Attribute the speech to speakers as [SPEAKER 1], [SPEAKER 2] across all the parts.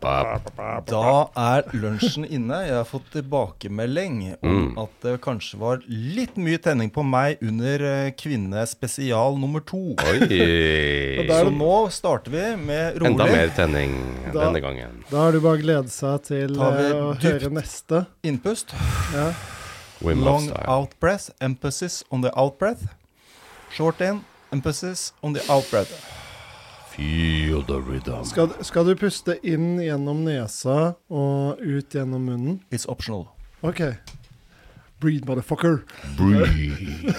[SPEAKER 1] Da er lunsjen inne. Jeg har fått tilbakemelding om
[SPEAKER 2] Mm.
[SPEAKER 1] at det kanskje var litt mye tenning på meg under eh, kvinnespesial nummer to.
[SPEAKER 2] Oi.
[SPEAKER 1] Så nå starter vi med rolig.
[SPEAKER 2] Enda mer tenning
[SPEAKER 3] Da-
[SPEAKER 2] denne gangen.
[SPEAKER 3] Da har du bare gledet seg til
[SPEAKER 1] Tar vi
[SPEAKER 3] eh, å
[SPEAKER 1] dypt.
[SPEAKER 3] høre neste.
[SPEAKER 1] Innpust.
[SPEAKER 3] Ja.
[SPEAKER 2] Wim Hof
[SPEAKER 1] Long
[SPEAKER 2] style.
[SPEAKER 1] out breath. Emphasis on the out breath. Short in. Emphasis on the out breath.
[SPEAKER 2] Feel the rhythm.
[SPEAKER 3] Skal, skal du puste inn gjennom nesa og ut gjennom munnen?
[SPEAKER 1] It's optional.
[SPEAKER 3] OK. Breathe, motherfucker.
[SPEAKER 2] Breathe.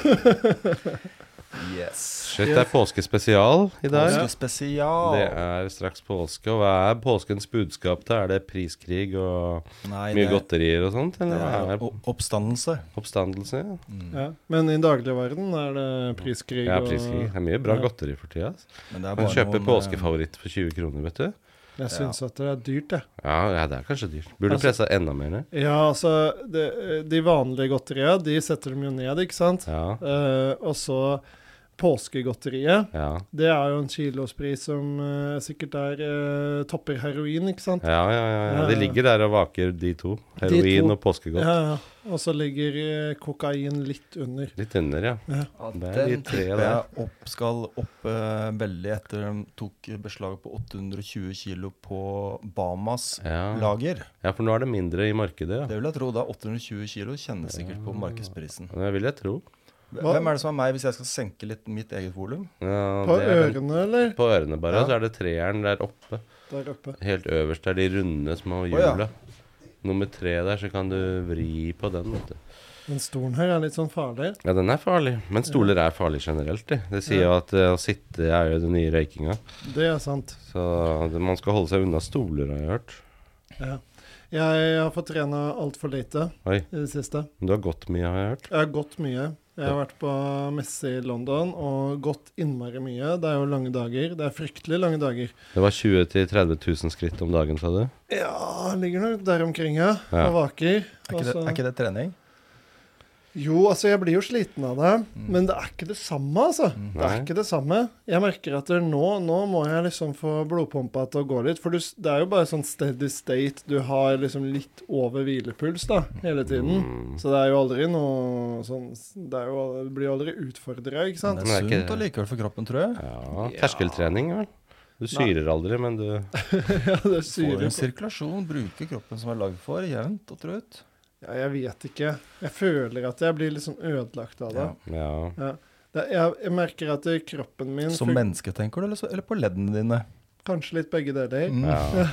[SPEAKER 1] Yes.
[SPEAKER 2] Shit, det er påskespesial i dag.
[SPEAKER 1] Påskespesial.
[SPEAKER 2] Det er straks påske, og hva er påskens budskap? da? Er det priskrig og
[SPEAKER 1] Nei,
[SPEAKER 2] mye
[SPEAKER 1] det-
[SPEAKER 2] godterier og sånt?
[SPEAKER 1] Det
[SPEAKER 2] Eller hva
[SPEAKER 1] er
[SPEAKER 2] er
[SPEAKER 1] o- oppstandelse. Mm.
[SPEAKER 2] oppstandelse? Ja,
[SPEAKER 3] Ja. Men i dagligverden er det priskrig.
[SPEAKER 2] ja priskrig. Det er mye bra
[SPEAKER 3] Ja.
[SPEAKER 2] godteri for tida. ass.
[SPEAKER 1] Men det er
[SPEAKER 2] Man
[SPEAKER 1] bare
[SPEAKER 2] kjøper
[SPEAKER 1] noen,
[SPEAKER 2] påskefavoritt for 20 kroner, vet du.
[SPEAKER 3] Og jeg syns at det er dyrt, jeg.
[SPEAKER 2] Ja, ja det er kanskje dyrt. Burde
[SPEAKER 3] Altså-
[SPEAKER 2] pressa enda mer ned.
[SPEAKER 3] Ja, altså, det, de vanlige godteria, de setter dem jo ned, ikke sant?
[SPEAKER 2] Ja.
[SPEAKER 3] Eh, og så påskegodteriet.
[SPEAKER 2] Ja.
[SPEAKER 3] Det er jo en kilospris som eh, sikkert er eh, topper heroin, ikke sant?
[SPEAKER 2] Ja, ja, ja, ja.
[SPEAKER 3] Ja,
[SPEAKER 2] De
[SPEAKER 3] ja.
[SPEAKER 2] ligger der og vaker, de to.
[SPEAKER 3] De
[SPEAKER 2] Heroin
[SPEAKER 3] to.
[SPEAKER 2] og påskegodt.
[SPEAKER 3] Ja, ja. Og så ligger eh, kokain litt under.
[SPEAKER 2] Litt under, ja.
[SPEAKER 1] eh, at
[SPEAKER 2] Det er de
[SPEAKER 1] Den
[SPEAKER 2] tre
[SPEAKER 1] tipper
[SPEAKER 2] der.
[SPEAKER 1] jeg opp, skal opp eh, veldig etter de tok beslag på 820 kilo på Bamas
[SPEAKER 2] Ja.
[SPEAKER 1] lager.
[SPEAKER 2] ja, for nå er det mindre i markedet, ja.
[SPEAKER 1] Det vil jeg tro. Da 820 kilo kjennes sikkert på markedsprisen.
[SPEAKER 2] Det vil jeg tro.
[SPEAKER 3] Hva-
[SPEAKER 1] Hvem er det som er meg hvis jeg skal senke litt mitt eget volum?
[SPEAKER 2] Ja,
[SPEAKER 3] På
[SPEAKER 2] det er den-
[SPEAKER 3] ørene, eller?
[SPEAKER 2] På ørene bare,
[SPEAKER 1] Ja.
[SPEAKER 2] så er det treeren der oppe.
[SPEAKER 3] Der oppe.
[SPEAKER 2] Helt øverst er de runde små
[SPEAKER 1] ja.
[SPEAKER 2] hjula. Nummer tre der, så kan du vri på den. Vet du.
[SPEAKER 3] Den stolen her er litt sånn farlig.
[SPEAKER 2] Ja, den er farlig. Men stoler er farlig generelt. Det, det sier jo at eh, å sitte er jo den nye røykinga.
[SPEAKER 3] Det er sant.
[SPEAKER 2] Så det, man skal holde seg unna stoler, har jeg hørt.
[SPEAKER 3] Ja. Jeg har fått trena altfor lite
[SPEAKER 2] Oi,
[SPEAKER 3] i det siste.
[SPEAKER 2] men du har gått mye, har jeg hørt.
[SPEAKER 3] Jeg har gått mye. Jeg har vært på messe i London og gått innmari mye. Det er jo lange dager. Det er fryktelig lange dager.
[SPEAKER 2] Det var 20 000-30 000 skritt om dagen, sa du?
[SPEAKER 3] Ja, ligger nok der omkring, ja.
[SPEAKER 2] Ja.
[SPEAKER 3] Og vaker.
[SPEAKER 1] Er ikke, det,
[SPEAKER 3] Altså-
[SPEAKER 1] er ikke det trening?
[SPEAKER 3] Jo, altså jeg blir jo sliten av det,
[SPEAKER 1] Mm.
[SPEAKER 3] men det er ikke det samme, altså. Det
[SPEAKER 2] Nei.
[SPEAKER 3] er ikke det samme. Jeg merker at det er nå, nå må jeg liksom få blodpumpa til å gå litt. For du, s- det er jo bare sånn steady state. Du har liksom litt over hvilepuls da,
[SPEAKER 1] Mm.
[SPEAKER 3] hele tiden.
[SPEAKER 2] Mm,
[SPEAKER 3] Så det er jo aldri noe sånn Det er jo, du blir jo aldri utfordra,
[SPEAKER 1] Men
[SPEAKER 3] ikke sant?
[SPEAKER 1] det
[SPEAKER 2] Nei,
[SPEAKER 1] er
[SPEAKER 2] det er ikke
[SPEAKER 1] sunt
[SPEAKER 2] det.
[SPEAKER 1] allikevel for kroppen, tror jeg.
[SPEAKER 2] Ja, terskeltrening, vel. Du syrer aldri, men du
[SPEAKER 3] ja, det er
[SPEAKER 1] Får
[SPEAKER 3] syre.
[SPEAKER 1] en sirkulasjon, bruker kroppen som er lagd for, jevnt og trutt.
[SPEAKER 3] Ja, jeg vet ikke. Jeg føler at jeg blir litt sånn ødelagt av det.
[SPEAKER 1] Ja.
[SPEAKER 2] Ja.
[SPEAKER 3] det jeg, jeg merker at det- kroppen min
[SPEAKER 1] Som
[SPEAKER 3] fun-
[SPEAKER 1] menneske, tenker du, eller, så, eller på leddene dine?
[SPEAKER 3] Kanskje litt begge deler.
[SPEAKER 1] Mm.
[SPEAKER 2] ja.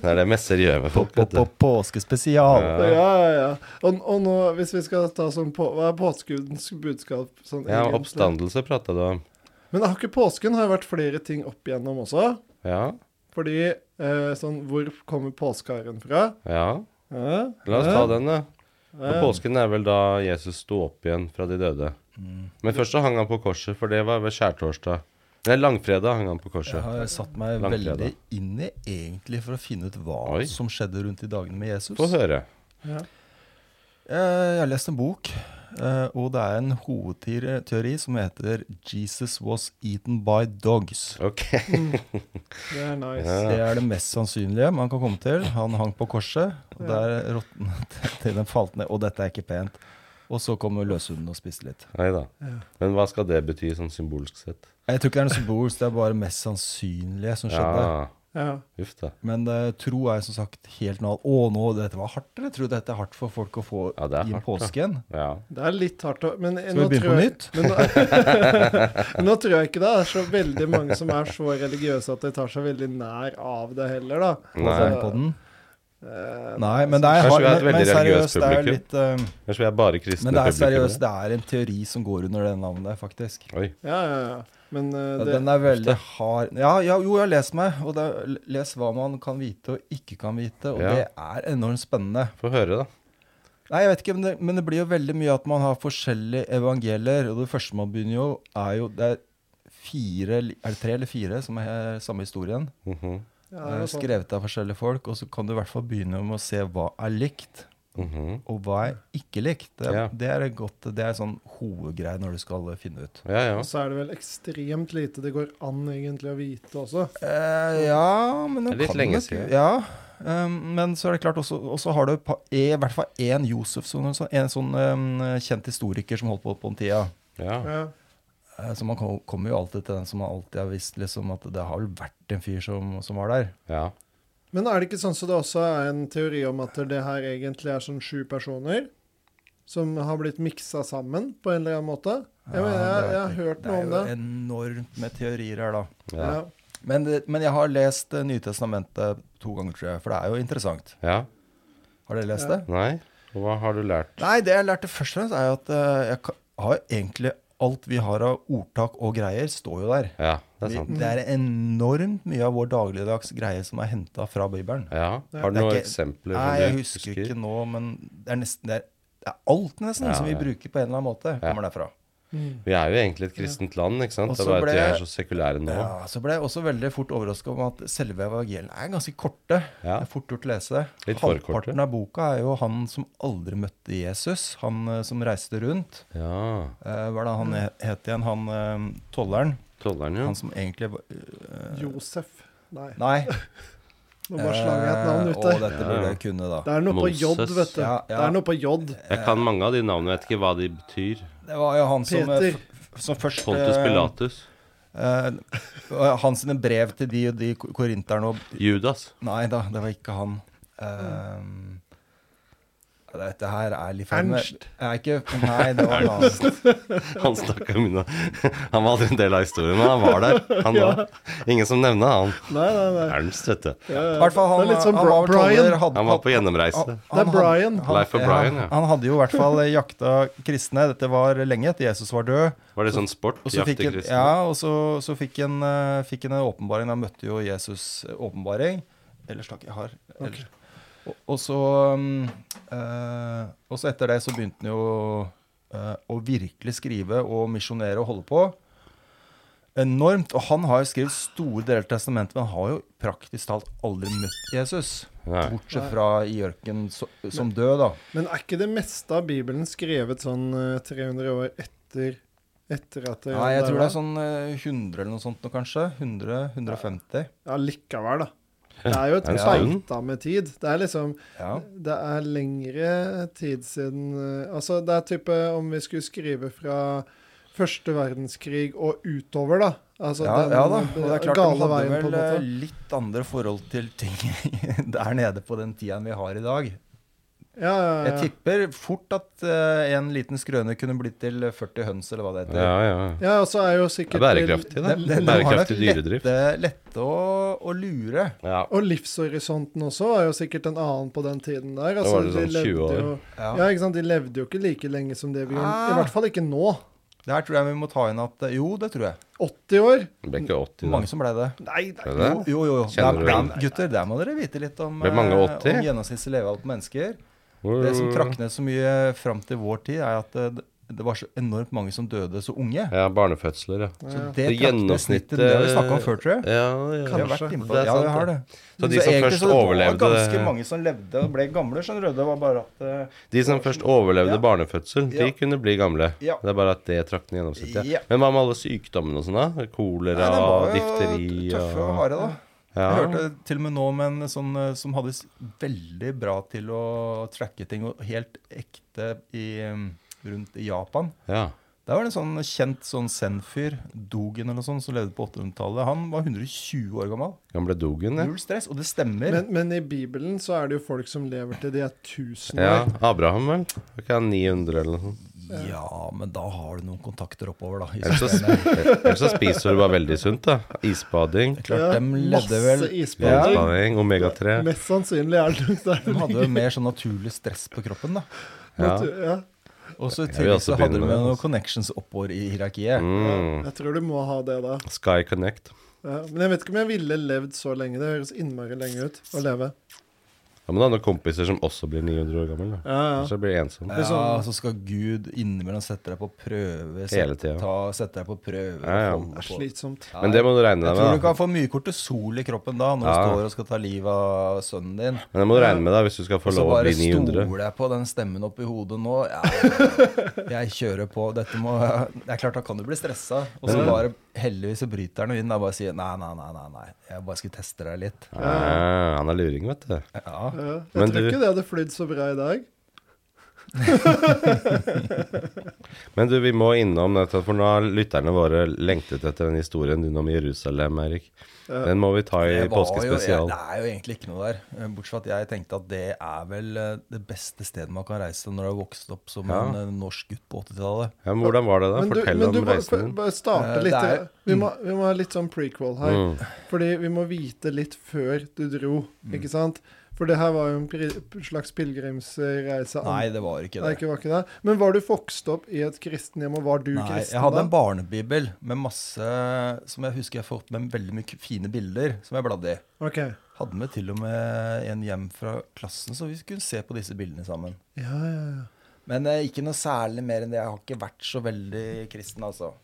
[SPEAKER 2] Det er det messer gjør med
[SPEAKER 1] På,
[SPEAKER 2] folk,
[SPEAKER 1] på,
[SPEAKER 2] vet
[SPEAKER 1] på
[SPEAKER 2] du.
[SPEAKER 1] påskespesial.
[SPEAKER 2] Ja.
[SPEAKER 3] Ja, ja, ja. Og, og nå, hvis vi skal ta sånn på, Hva er påskens budskap? Sånn,
[SPEAKER 2] Ja,
[SPEAKER 3] egentlig?
[SPEAKER 2] oppstandelse prata du om.
[SPEAKER 3] Men har ikke påsken har jo vært flere ting opp igjennom også?
[SPEAKER 2] Ja,
[SPEAKER 3] Fordi eh, sånn Hvor kommer påskeharen fra?
[SPEAKER 2] ja.
[SPEAKER 3] Ja,
[SPEAKER 2] La oss ta den, da.
[SPEAKER 3] Ja,
[SPEAKER 2] For påsken er vel da Jesus sto opp igjen fra de døde.
[SPEAKER 1] Mm.
[SPEAKER 2] Men først så hang han på korset, for det var ved skjærtorsdag. Nei, langfredag hang han på
[SPEAKER 1] Jeg
[SPEAKER 2] korset.
[SPEAKER 1] har satt meg
[SPEAKER 2] Langfredag.
[SPEAKER 1] veldig inn i egentlig for å finne ut hva
[SPEAKER 2] Oi.
[SPEAKER 1] som skjedde rundt i dagene med Jesus.
[SPEAKER 2] Få høre.
[SPEAKER 3] ja.
[SPEAKER 1] Eh, Jeg har lest en bok, eh, og det er en hovedteori som heter 'Jesus was eaten by dogs'.
[SPEAKER 2] Ok.
[SPEAKER 3] Det er nice.
[SPEAKER 2] Ja.
[SPEAKER 1] Det er det mest sannsynlige man kan komme til. Han hang på korset, og der råtna til den falt ned. Og dette er ikke pent. Og så kom løshunden og spiste litt.
[SPEAKER 2] Nei da. Men hva skal det bety sånn symbolsk sett?
[SPEAKER 1] Jeg tror ikke det er noe symbolsk, det er bare mest sannsynlige som skjedde.
[SPEAKER 2] Ja,
[SPEAKER 3] Ja.
[SPEAKER 2] uff da.
[SPEAKER 1] Men eh, tro er som sagt helt noe annet. Å, nå, dette var hardt, eller? Tror du dette er hardt for folk å få
[SPEAKER 2] Ja, det er
[SPEAKER 1] i
[SPEAKER 2] hardt, da.
[SPEAKER 1] påsken?
[SPEAKER 2] Ja.
[SPEAKER 3] Det er litt hardt å men, eh,
[SPEAKER 1] Skal vi begynne på nytt?
[SPEAKER 3] Men nå, nå tror jeg ikke det er så veldig mange som er så religiøse at de tar seg veldig nær av det heller, da. Altså,
[SPEAKER 2] Nei.
[SPEAKER 1] På den?
[SPEAKER 3] eh,
[SPEAKER 1] Nei, men det er,
[SPEAKER 2] Kanskje
[SPEAKER 1] hardt-
[SPEAKER 2] vi er et
[SPEAKER 1] men- men
[SPEAKER 2] veldig religiøst
[SPEAKER 1] seriøst, det er
[SPEAKER 2] publikum.
[SPEAKER 1] litt eh,
[SPEAKER 2] Ellers vil jeg bare kristne
[SPEAKER 1] Men det er
[SPEAKER 2] publikummere.
[SPEAKER 1] seriøst, det er en teori som går under det navnet, faktisk.
[SPEAKER 2] Oi.
[SPEAKER 3] Ja, ja, ja. Men eh,
[SPEAKER 1] Ja,
[SPEAKER 3] det,
[SPEAKER 1] Den er veldig hard ja, ja, Jo, jeg har lest meg, og det er, les hva man kan vite og ikke kan vite, og
[SPEAKER 2] Ja.
[SPEAKER 1] det er enormt spennende.
[SPEAKER 2] Få høre, da.
[SPEAKER 1] Nei, jeg vet ikke, men det, men det blir jo veldig mye at man har forskjellige evangelier, og det første man begynner jo, er jo det er fire, eller- er det tre eller fire som er samme historien?
[SPEAKER 2] Mhm.
[SPEAKER 3] ja,
[SPEAKER 1] Det er
[SPEAKER 3] sånn.
[SPEAKER 1] skrevet av forskjellige folk, og så kan du i hvert fall begynne med å se hva er likt.
[SPEAKER 2] Mhm.
[SPEAKER 1] og hva jeg ikke likte. Det,
[SPEAKER 2] Ja.
[SPEAKER 1] det er et godt, det er sånn hovedgreie når du skal finne ut.
[SPEAKER 2] Ja, ja.
[SPEAKER 3] Og så er det vel ekstremt lite det går an egentlig å vite også.
[SPEAKER 1] Eh, ja, men nå
[SPEAKER 2] Det er litt
[SPEAKER 1] kan
[SPEAKER 2] lenge
[SPEAKER 1] nok-
[SPEAKER 2] siden.
[SPEAKER 1] Ja, um, men så er det klart også, også har du et par- e, i hvert fall én Josef, som- som- en sånn um, kjent historiker som holdt på på den tida.
[SPEAKER 2] ja.
[SPEAKER 3] Ja.
[SPEAKER 1] Eh, Så man kom- kommer jo alltid til den som man alltid har visst liksom, at det har vel vært en fyr som, som var der.
[SPEAKER 2] ja.
[SPEAKER 3] Men er det ikke sånn så det også er en teori om at det her egentlig er sånn sju personer som har blitt miksa sammen på en eller annen måte? Jeg,
[SPEAKER 1] Eh,
[SPEAKER 3] mener, jeg, jeg har hørt noe om det.
[SPEAKER 1] Det er jo enormt med teorier her, da.
[SPEAKER 2] ja.
[SPEAKER 3] Ja.
[SPEAKER 1] Men, det- men jeg har lest eh, Nytestamentet to ganger, tror jeg, for det er jo interessant.
[SPEAKER 2] ja.
[SPEAKER 1] Har dere lest
[SPEAKER 3] Ja.
[SPEAKER 1] det?
[SPEAKER 2] Nei? Og Hva har du lært?
[SPEAKER 1] Nei, det jeg lærte først og fremst, er jo at eh, jeg ka- har egentlig alt vi har av ordtak og greier, står jo der.
[SPEAKER 2] Ja, det er
[SPEAKER 1] Vi-
[SPEAKER 2] sant.
[SPEAKER 1] Det er enormt mye av vår dagligdags greie som er henta fra Bibelen.
[SPEAKER 2] Ja. Har du
[SPEAKER 1] Det er
[SPEAKER 2] noen
[SPEAKER 1] ikke-
[SPEAKER 2] eksempler? som
[SPEAKER 1] Nei,
[SPEAKER 2] du
[SPEAKER 1] jeg husker ikke nå, men det er nesten det er, det er alt nesten
[SPEAKER 2] Ja,
[SPEAKER 1] som vi
[SPEAKER 2] ja.
[SPEAKER 1] bruker på en eller annen måte, kommer derfra.
[SPEAKER 3] Mm.
[SPEAKER 2] Vi er jo egentlig et kristent land, ikke sant?
[SPEAKER 1] Og
[SPEAKER 2] Det
[SPEAKER 1] så
[SPEAKER 2] er bare at vi
[SPEAKER 1] ble-
[SPEAKER 2] er så sekulære nå.
[SPEAKER 1] Ja, så ble jeg også veldig fort overraska om at selve evangeliene er ganske korte.
[SPEAKER 2] Ja.
[SPEAKER 1] Det er fort gjort å lese.
[SPEAKER 2] Litt for korte.
[SPEAKER 1] Halvparten av boka er jo han som aldri møtte Jesus, han eh, som reiste rundt.
[SPEAKER 2] Ja.
[SPEAKER 1] Eh, hva er det han he- het igjen, han eh, tolleren?
[SPEAKER 2] Tolleren, jo.
[SPEAKER 1] Han som egentlig var- eh,
[SPEAKER 3] Josef. Nei,
[SPEAKER 1] Nei.
[SPEAKER 3] nå bare slang jeg et navn
[SPEAKER 1] Eh,
[SPEAKER 3] ute.
[SPEAKER 1] Å, dette burde jeg kunne, da.
[SPEAKER 3] Det er noe på
[SPEAKER 2] Moses.
[SPEAKER 3] J, vet du.
[SPEAKER 1] Ja, ja.
[SPEAKER 3] Det er noe på J.
[SPEAKER 2] Jeg
[SPEAKER 1] eh,
[SPEAKER 2] kan mange av de navnene, jeg vet ikke hva de betyr.
[SPEAKER 1] Det var jo han som, eh,
[SPEAKER 3] Peter.
[SPEAKER 1] f- som først
[SPEAKER 2] Pontus
[SPEAKER 1] eh,
[SPEAKER 2] Pilatus.
[SPEAKER 1] eh, Han sine brev til de og de ko- korinterne og
[SPEAKER 2] Judas.
[SPEAKER 1] Nei da, det var ikke han. Ehm, dette her er litt feil. men-
[SPEAKER 3] Ernst.
[SPEAKER 1] Er ikke, nei, det var noe annet.
[SPEAKER 2] Han snakka mye Han var aldri en del av historien, men han var der. Han var. Ingen som nevner han.
[SPEAKER 3] Nei, nei, nei.
[SPEAKER 2] Ernst, vet du.
[SPEAKER 3] Ja,
[SPEAKER 1] I
[SPEAKER 3] ja.
[SPEAKER 1] hvert fall han,
[SPEAKER 3] det er litt som
[SPEAKER 1] han var vel
[SPEAKER 3] Brian.
[SPEAKER 1] toller, hadde-
[SPEAKER 2] Han var på
[SPEAKER 1] han- han
[SPEAKER 2] gjennomreise.
[SPEAKER 3] Det er
[SPEAKER 1] hadde-
[SPEAKER 3] Brian.
[SPEAKER 2] Life of
[SPEAKER 1] han,
[SPEAKER 2] Brian, ja.
[SPEAKER 1] han hadde jo i hvert fall jakta kristne. Dette var lenge etter Jesus var død.
[SPEAKER 2] Var det sånn sport?
[SPEAKER 1] Og så fikk
[SPEAKER 2] Jakte
[SPEAKER 1] han,
[SPEAKER 2] kristne?
[SPEAKER 1] ja, og så, så fikk han eh, fikk han en åpenbaring. Da møtte jo Jesus eh, åpenbaring. Ellers takk, jeg har ellers. Og, og, så, mm, eh, og så etter det så begynte han jo eh, å virkelig skrive og misjonere og holde på. Enormt. Og han har jo skrevet store deler av testamentet, men han har jo praktisk talt aldri møtt Jesus.
[SPEAKER 2] Nei.
[SPEAKER 1] Bortsett fra i ørkenen så- som død, da.
[SPEAKER 3] Men er ikke det meste av Bibelen skrevet sånn eh, 300 år etter, etter at det
[SPEAKER 1] Nei, jeg tror det er sånn eh, 100 eller noe sånt nå, kanskje. 100, 150.
[SPEAKER 3] Ja, likevel, da. Det er jo et
[SPEAKER 2] Er det sant?
[SPEAKER 3] beita med tid. Det er liksom
[SPEAKER 1] Ja.
[SPEAKER 3] Det er lengre tid siden eh, Altså, det er type om vi skulle skrive fra første verdenskrig og utover, da. Altså
[SPEAKER 1] ja,
[SPEAKER 3] den
[SPEAKER 1] ja da, og det er klart de
[SPEAKER 3] gale veien,
[SPEAKER 1] hadde
[SPEAKER 3] på en
[SPEAKER 1] vel eh,
[SPEAKER 3] måte.
[SPEAKER 1] litt andre forhold til ting der nede på den tida enn vi har i dag.
[SPEAKER 3] Ja, ja,
[SPEAKER 1] eh, Jeg
[SPEAKER 3] ja.
[SPEAKER 1] tipper fort at eh, en liten skrøne kunne blitt til 40 høns, eller hva det heter.
[SPEAKER 2] Ja, ja.
[SPEAKER 3] ja, og så er jo
[SPEAKER 2] Det er
[SPEAKER 3] sikkert
[SPEAKER 2] bærekraftig,
[SPEAKER 1] Det, det,
[SPEAKER 2] da.
[SPEAKER 1] det var nok
[SPEAKER 2] Bærekraftig dyredrift.
[SPEAKER 1] lette, lette å, å lure.
[SPEAKER 2] Ja.
[SPEAKER 3] Og livshorisonten også var jo sikkert en annen på den tiden der. Altså,
[SPEAKER 2] var det sånn 20
[SPEAKER 3] de levde
[SPEAKER 2] år.
[SPEAKER 3] Jo,
[SPEAKER 1] Ja.
[SPEAKER 3] ja, ikke sant? De levde jo ikke like lenge som det vi gjør.
[SPEAKER 1] Ah.
[SPEAKER 3] I hvert fall ikke nå.
[SPEAKER 1] Der tror jeg vi må ta inn at eh, Jo, det tror jeg.
[SPEAKER 3] 80 år?
[SPEAKER 2] Det ble ikke 80,
[SPEAKER 1] Mange
[SPEAKER 2] da.
[SPEAKER 1] som ble det.
[SPEAKER 3] Nei, nei.
[SPEAKER 2] Er det
[SPEAKER 1] Jo,
[SPEAKER 2] det?
[SPEAKER 1] jo, jo. jo. Der,
[SPEAKER 2] Kjenner du
[SPEAKER 1] der,
[SPEAKER 2] det?
[SPEAKER 1] gutter, der må dere vite litt om,
[SPEAKER 2] Ble mange
[SPEAKER 1] eh,
[SPEAKER 2] 80?
[SPEAKER 1] om gjennomsnittlig levealder på mennesker. Det som trakk ned så mye fram til vår tid, er at eh, det var så enormt mange som døde så unge.
[SPEAKER 2] Ja, barnefødsler, ja.
[SPEAKER 1] Så
[SPEAKER 3] Ja.
[SPEAKER 1] det
[SPEAKER 2] Det
[SPEAKER 1] trakk ned
[SPEAKER 2] gjennomsnittet-
[SPEAKER 1] snittet. Det har vi snakka om før, tror jeg.
[SPEAKER 2] Ja,
[SPEAKER 1] Vi har
[SPEAKER 2] ja.
[SPEAKER 1] vært inne på det.
[SPEAKER 2] Det er
[SPEAKER 1] Ja,
[SPEAKER 2] sant,
[SPEAKER 1] vi har det.
[SPEAKER 2] Så de som
[SPEAKER 1] egentlig
[SPEAKER 2] først
[SPEAKER 1] så det var
[SPEAKER 2] overlevde
[SPEAKER 1] ganske mange som levde og ble gamle, skjønner du. Det var bare at eh,
[SPEAKER 2] De som først overlevde
[SPEAKER 1] Ja.
[SPEAKER 2] barnefødsel, de
[SPEAKER 1] Ja.
[SPEAKER 2] kunne bli gamle.
[SPEAKER 1] Ja.
[SPEAKER 2] Det er bare at det trakk ned gjennomsnittet.
[SPEAKER 1] Ja.
[SPEAKER 2] Men hva med alle sykdommene og sånn, da?
[SPEAKER 1] Nei,
[SPEAKER 2] Kolera,
[SPEAKER 1] de var jo
[SPEAKER 2] difteri
[SPEAKER 1] tøffe og harde, da.
[SPEAKER 2] ja.
[SPEAKER 1] Jeg hørte til og med nå med en sånn eh, som hadde s- veldig bra til å tracke ting, og helt ekte i, eh, rundt i Japan.
[SPEAKER 2] Ja.
[SPEAKER 1] Der var det en sånn kjent sånn zen-fyr, Dogen eller noe sånt, som levde på 800-tallet. Han var 120 år gammel.
[SPEAKER 2] Gamle Dogen, ja.
[SPEAKER 1] Null stress, og det stemmer.
[SPEAKER 3] Men, men i Bibelen så er det jo folk som lever til de er 1000 år.
[SPEAKER 2] ja. Abraham, vel? Var ikke han 900 eller noe sånt?
[SPEAKER 1] ja, men da har du noen kontakter oppover, da. i
[SPEAKER 2] Ellers så,
[SPEAKER 1] systemet.
[SPEAKER 2] ellers så spiser du bare veldig sunt, da. Isbading,
[SPEAKER 1] Klart, de levde vel
[SPEAKER 3] Masse isbading.
[SPEAKER 2] isbading, omega-3.
[SPEAKER 3] Mest sannsynlig er det nok der.
[SPEAKER 1] De hadde jo mer sånn naturlig stress på kroppen, da.
[SPEAKER 2] Ja.
[SPEAKER 3] Natur- Ja.
[SPEAKER 1] Og så i
[SPEAKER 2] Jeg vil
[SPEAKER 1] tillegg
[SPEAKER 2] også
[SPEAKER 1] så hadde de
[SPEAKER 2] begynne
[SPEAKER 1] jo
[SPEAKER 2] med det,
[SPEAKER 1] noen
[SPEAKER 2] altså.
[SPEAKER 1] connections oppover i hierarkiet.
[SPEAKER 2] Mm.
[SPEAKER 3] Jeg tror du må ha det da.
[SPEAKER 2] Sky Connect.
[SPEAKER 3] Ja. Men jeg vet ikke om jeg ville levd så lenge. Det høres innmari lenge ut å leve.
[SPEAKER 2] Da må du ha noen kompiser som også blir 900 år gammel. Da.
[SPEAKER 3] Ja, ja.
[SPEAKER 2] Så blir jeg ensom.
[SPEAKER 3] Liksom-
[SPEAKER 1] Ja, så skal Gud innimellom sette deg på prøve.
[SPEAKER 2] Hele
[SPEAKER 1] sette-
[SPEAKER 2] tida.
[SPEAKER 1] ta- Sette deg på prøve.
[SPEAKER 2] Ja, ja.
[SPEAKER 1] holde
[SPEAKER 3] Det er
[SPEAKER 1] på.
[SPEAKER 3] slitsomt.
[SPEAKER 1] Ja,
[SPEAKER 2] Men det må du regne
[SPEAKER 1] Jeg
[SPEAKER 2] deg
[SPEAKER 1] tror du
[SPEAKER 2] med. da
[SPEAKER 1] kan få mye kortisol i kroppen da, når
[SPEAKER 2] Ja.
[SPEAKER 1] du står og skal ta livet av sønnen din.
[SPEAKER 2] Men det må du regne med da hvis du skal få
[SPEAKER 1] Og så
[SPEAKER 2] lov å
[SPEAKER 1] bare
[SPEAKER 2] bli 900.
[SPEAKER 1] stoler jeg på den stemmen oppi hodet nå. Ja, jeg kjører på. Dette må Det er klart, da kan du bli stressa. Og så bare Heldigvis så bryter han jo inn da, og bare sier nei, nei, nei, nei, nei. Jeg bare skulle teste deg litt.
[SPEAKER 2] Ja, han er luring, vet du.
[SPEAKER 1] Ja.
[SPEAKER 3] Ja. Jeg
[SPEAKER 2] Men
[SPEAKER 3] tror
[SPEAKER 2] du-
[SPEAKER 3] ikke det hadde flydd så bra i dag.
[SPEAKER 2] Men du, vi må innom dette, for nå har lytterne våre lengtet etter den historien din om Jerusalem, Eirik.
[SPEAKER 3] Ja.
[SPEAKER 2] Den må vi ta i
[SPEAKER 1] Det, var jo,
[SPEAKER 2] påskespesial.
[SPEAKER 1] det er jo egentlig ikke noe der. Eh, Bortsett fra at jeg tenkte at det er vel eh, det beste stedet man kan reise når du har vokst opp som
[SPEAKER 2] Ja.
[SPEAKER 1] en eh, norsk gutt på 80-tallet.
[SPEAKER 2] Ja, men hvordan var det da?
[SPEAKER 3] Men du,
[SPEAKER 2] Fortell
[SPEAKER 3] men du
[SPEAKER 2] om
[SPEAKER 3] bare-
[SPEAKER 2] reisen din.
[SPEAKER 3] Bare
[SPEAKER 1] Eh,
[SPEAKER 3] starte litt.
[SPEAKER 1] det er- Mm.
[SPEAKER 3] Vi må, vi må ha litt sånn prequel her.
[SPEAKER 2] Mm.
[SPEAKER 3] Fordi vi må vite litt før du dro,
[SPEAKER 1] Mm.
[SPEAKER 3] ikke sant? For det her var jo en pri- slags pilegrimsreise.
[SPEAKER 1] Nei, det var ikke
[SPEAKER 3] Nei,
[SPEAKER 1] det.
[SPEAKER 3] ikke, var ikke det. Men var du vokst opp i et kristenhjem, og var du
[SPEAKER 1] Nei,
[SPEAKER 3] kristen
[SPEAKER 1] jeg hadde
[SPEAKER 3] da?
[SPEAKER 1] en barnebibel med masse Som jeg husker jeg fått med veldig mye fine bilder som jeg bladde i.
[SPEAKER 3] Ok.
[SPEAKER 1] Hadde med til og med en hjem fra klassen, så vi kunne se på disse bildene sammen.
[SPEAKER 3] Ja, ja, ja.
[SPEAKER 1] Men eh, ikke noe særlig mer enn det. Jeg har ikke vært så veldig kristen, altså.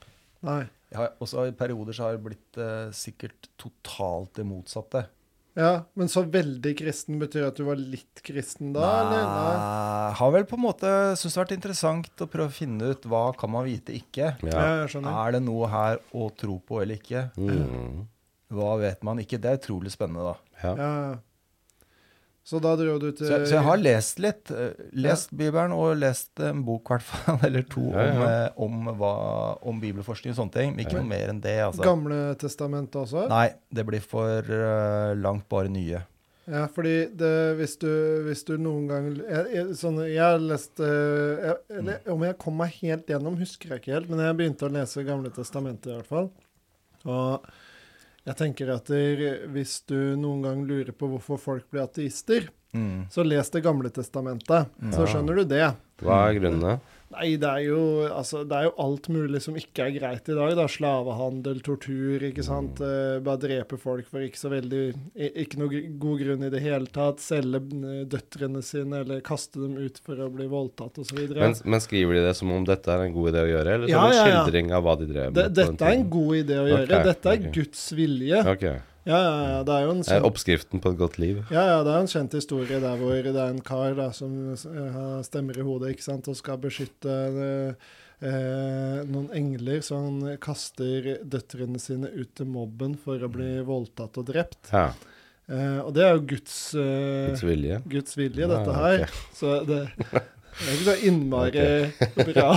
[SPEAKER 3] Nei.
[SPEAKER 1] Jeg har, også i perioder så har jeg blitt eh, sikkert totalt det motsatte.
[SPEAKER 3] Ja, men så veldig kristen betyr at du var litt kristen da, eller? Nei.
[SPEAKER 1] Nei, Har vel på en måte syntes det har vært interessant å prøve å finne ut hva kan man vite ikke.
[SPEAKER 3] Ja,
[SPEAKER 2] Ja.
[SPEAKER 3] jeg skjønner.
[SPEAKER 1] Er det noe her å tro på eller ikke?
[SPEAKER 2] Mm.
[SPEAKER 1] Hva vet man ikke? Det er utrolig spennende, da.
[SPEAKER 2] ja.
[SPEAKER 3] Ja, ja. Så da dro du til
[SPEAKER 1] Så, så jeg har lest litt. eh, Lest Bibelen og lest en bok, hvert fall, eller to,
[SPEAKER 2] Ja, ja.
[SPEAKER 1] om, eh, om, hva, om bibelforskning og sånne ting. Men ikke
[SPEAKER 2] Ja.
[SPEAKER 1] noe mer enn det, altså.
[SPEAKER 3] Gamle testamentet også?
[SPEAKER 1] Nei, det blir for eh, langt bare nye.
[SPEAKER 3] Ja, fordi det, hvis, du, hvis du noen gang jeg, jeg, sånn, jeg leste jeg, eller, Om jeg kom meg helt gjennom, husker jeg ikke helt, men jeg begynte å lese Gamle testamentet i hvert fall. Og jeg tenker at der, hvis du noen gang lurer på hvorfor folk blir ateister,
[SPEAKER 1] Mm.
[SPEAKER 3] så les Det gamle testamentet.
[SPEAKER 2] Ja.
[SPEAKER 3] Så skjønner du det.
[SPEAKER 2] Hva er grunnene?
[SPEAKER 3] Nei, det er, jo, altså, det er jo alt mulig som ikke er greit i dag. da. Slavehandel, tortur, ikke sant.
[SPEAKER 2] Mm.
[SPEAKER 3] Eh, Bare drepe folk for ikke så veldig i- Ikke noe gr- god grunn i det hele tatt. Selge eh, døtrene sine, eller kaste dem ut for å bli voldtatt osv.
[SPEAKER 2] Men, men skriver de det som om dette er en god idé å gjøre, eller som
[SPEAKER 3] Ja, ja,
[SPEAKER 2] en
[SPEAKER 3] ja.
[SPEAKER 2] skildring av hva de drev med? på den
[SPEAKER 3] Dette er en
[SPEAKER 2] tiden?
[SPEAKER 3] god idé å
[SPEAKER 2] Ok,
[SPEAKER 3] gjøre. Dette er
[SPEAKER 2] ok.
[SPEAKER 3] Guds vilje. Ja,
[SPEAKER 2] Ok. Eh,
[SPEAKER 3] ja, ja. Det er jo en sånn kjent
[SPEAKER 2] Oppskriften på et godt liv.
[SPEAKER 3] Ja, ja, det er en kjent historie der hvor det er en kar da, som eh, har stemmer i hodet ikke sant, og skal beskytte eh, eh, noen engler, så han kaster døtrene sine ut til mobben for å bli
[SPEAKER 2] Mm.
[SPEAKER 3] voldtatt og drept.
[SPEAKER 2] Ja.
[SPEAKER 3] Eh, og det er jo Guds, eh,
[SPEAKER 2] Guds vilje.
[SPEAKER 3] Guds vilje, dette
[SPEAKER 2] Ah,
[SPEAKER 3] her.
[SPEAKER 2] ok.
[SPEAKER 3] Så det, det er ikke så innmari bra.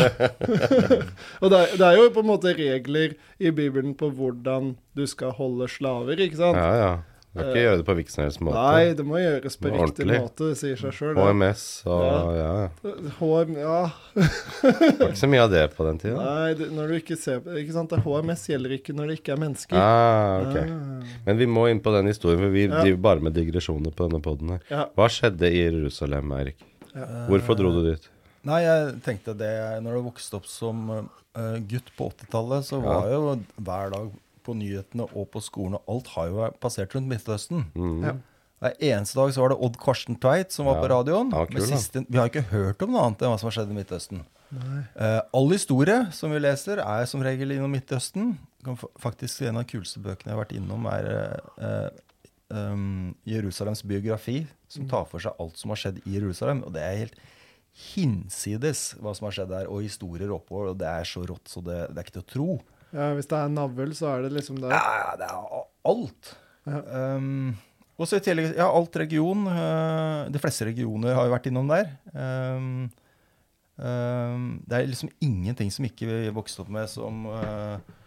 [SPEAKER 3] og det er, det er jo på en måte regler i Bibelen på hvordan du skal holde slaver, ikke sant?
[SPEAKER 2] Ja, ja. Du
[SPEAKER 1] Eh,
[SPEAKER 2] kan ikke gjøre det på hvilken som helst måte.
[SPEAKER 3] Nei, det må gjøres på
[SPEAKER 2] Det må
[SPEAKER 3] riktig
[SPEAKER 2] ordentlig.
[SPEAKER 3] måte. Det sier seg sjøl.
[SPEAKER 2] HMS og ja.
[SPEAKER 3] HM, ja.
[SPEAKER 2] Det var ikke så mye av det på den tida.
[SPEAKER 3] Nei, det, når du ikke ser på ikke sant? Det HMS gjelder ikke når det ikke er mennesker.
[SPEAKER 2] Ah, ok.
[SPEAKER 3] Ah.
[SPEAKER 2] Men vi må inn på den historien, for vi
[SPEAKER 3] Ja.
[SPEAKER 2] driver bare med digresjoner på denne poden her.
[SPEAKER 3] Ja.
[SPEAKER 2] Hva skjedde i Jerusalem, Eirik?
[SPEAKER 1] Eh,
[SPEAKER 2] Hvorfor dro du dit?
[SPEAKER 1] Nei, jeg tenkte det Når du vokste opp som eh, gutt på 80-tallet, så var jo hver dag på nyhetene og på skolen og alt har jo passert rundt Midtøsten.
[SPEAKER 2] Mm.
[SPEAKER 3] Ja.
[SPEAKER 1] Hver eneste dag så var det Odd Karsten Tveit som var
[SPEAKER 2] Ja,
[SPEAKER 1] på radioen.
[SPEAKER 2] han var kul,
[SPEAKER 1] med
[SPEAKER 2] han.
[SPEAKER 1] siste, vi har ikke hørt om noe annet enn hva som har skjedd i Midtøsten. Eh, all historie som vi leser, er som regel innom Midtøsten. Kan fa- Faktisk En av de kuleste bøkene jeg har vært innom, er eh, eh, um, Jerusalems biografi, som tar for seg alt som har skjedd i Jerusalem. Og det er helt hinsides hva som har skjedd der, og historier oppover. Og det er så rått, så det, det er ikke til å tro.
[SPEAKER 3] Ja, hvis det er navl, så er det liksom der.
[SPEAKER 1] Ja, ja, det er a- alt.
[SPEAKER 3] Ja.
[SPEAKER 1] Um, og så i tillegg, ja, alt region. øh, de fleste regioner har jo vært innom der. Um, um, det er liksom ingenting som ikke vi vokste opp med som øh,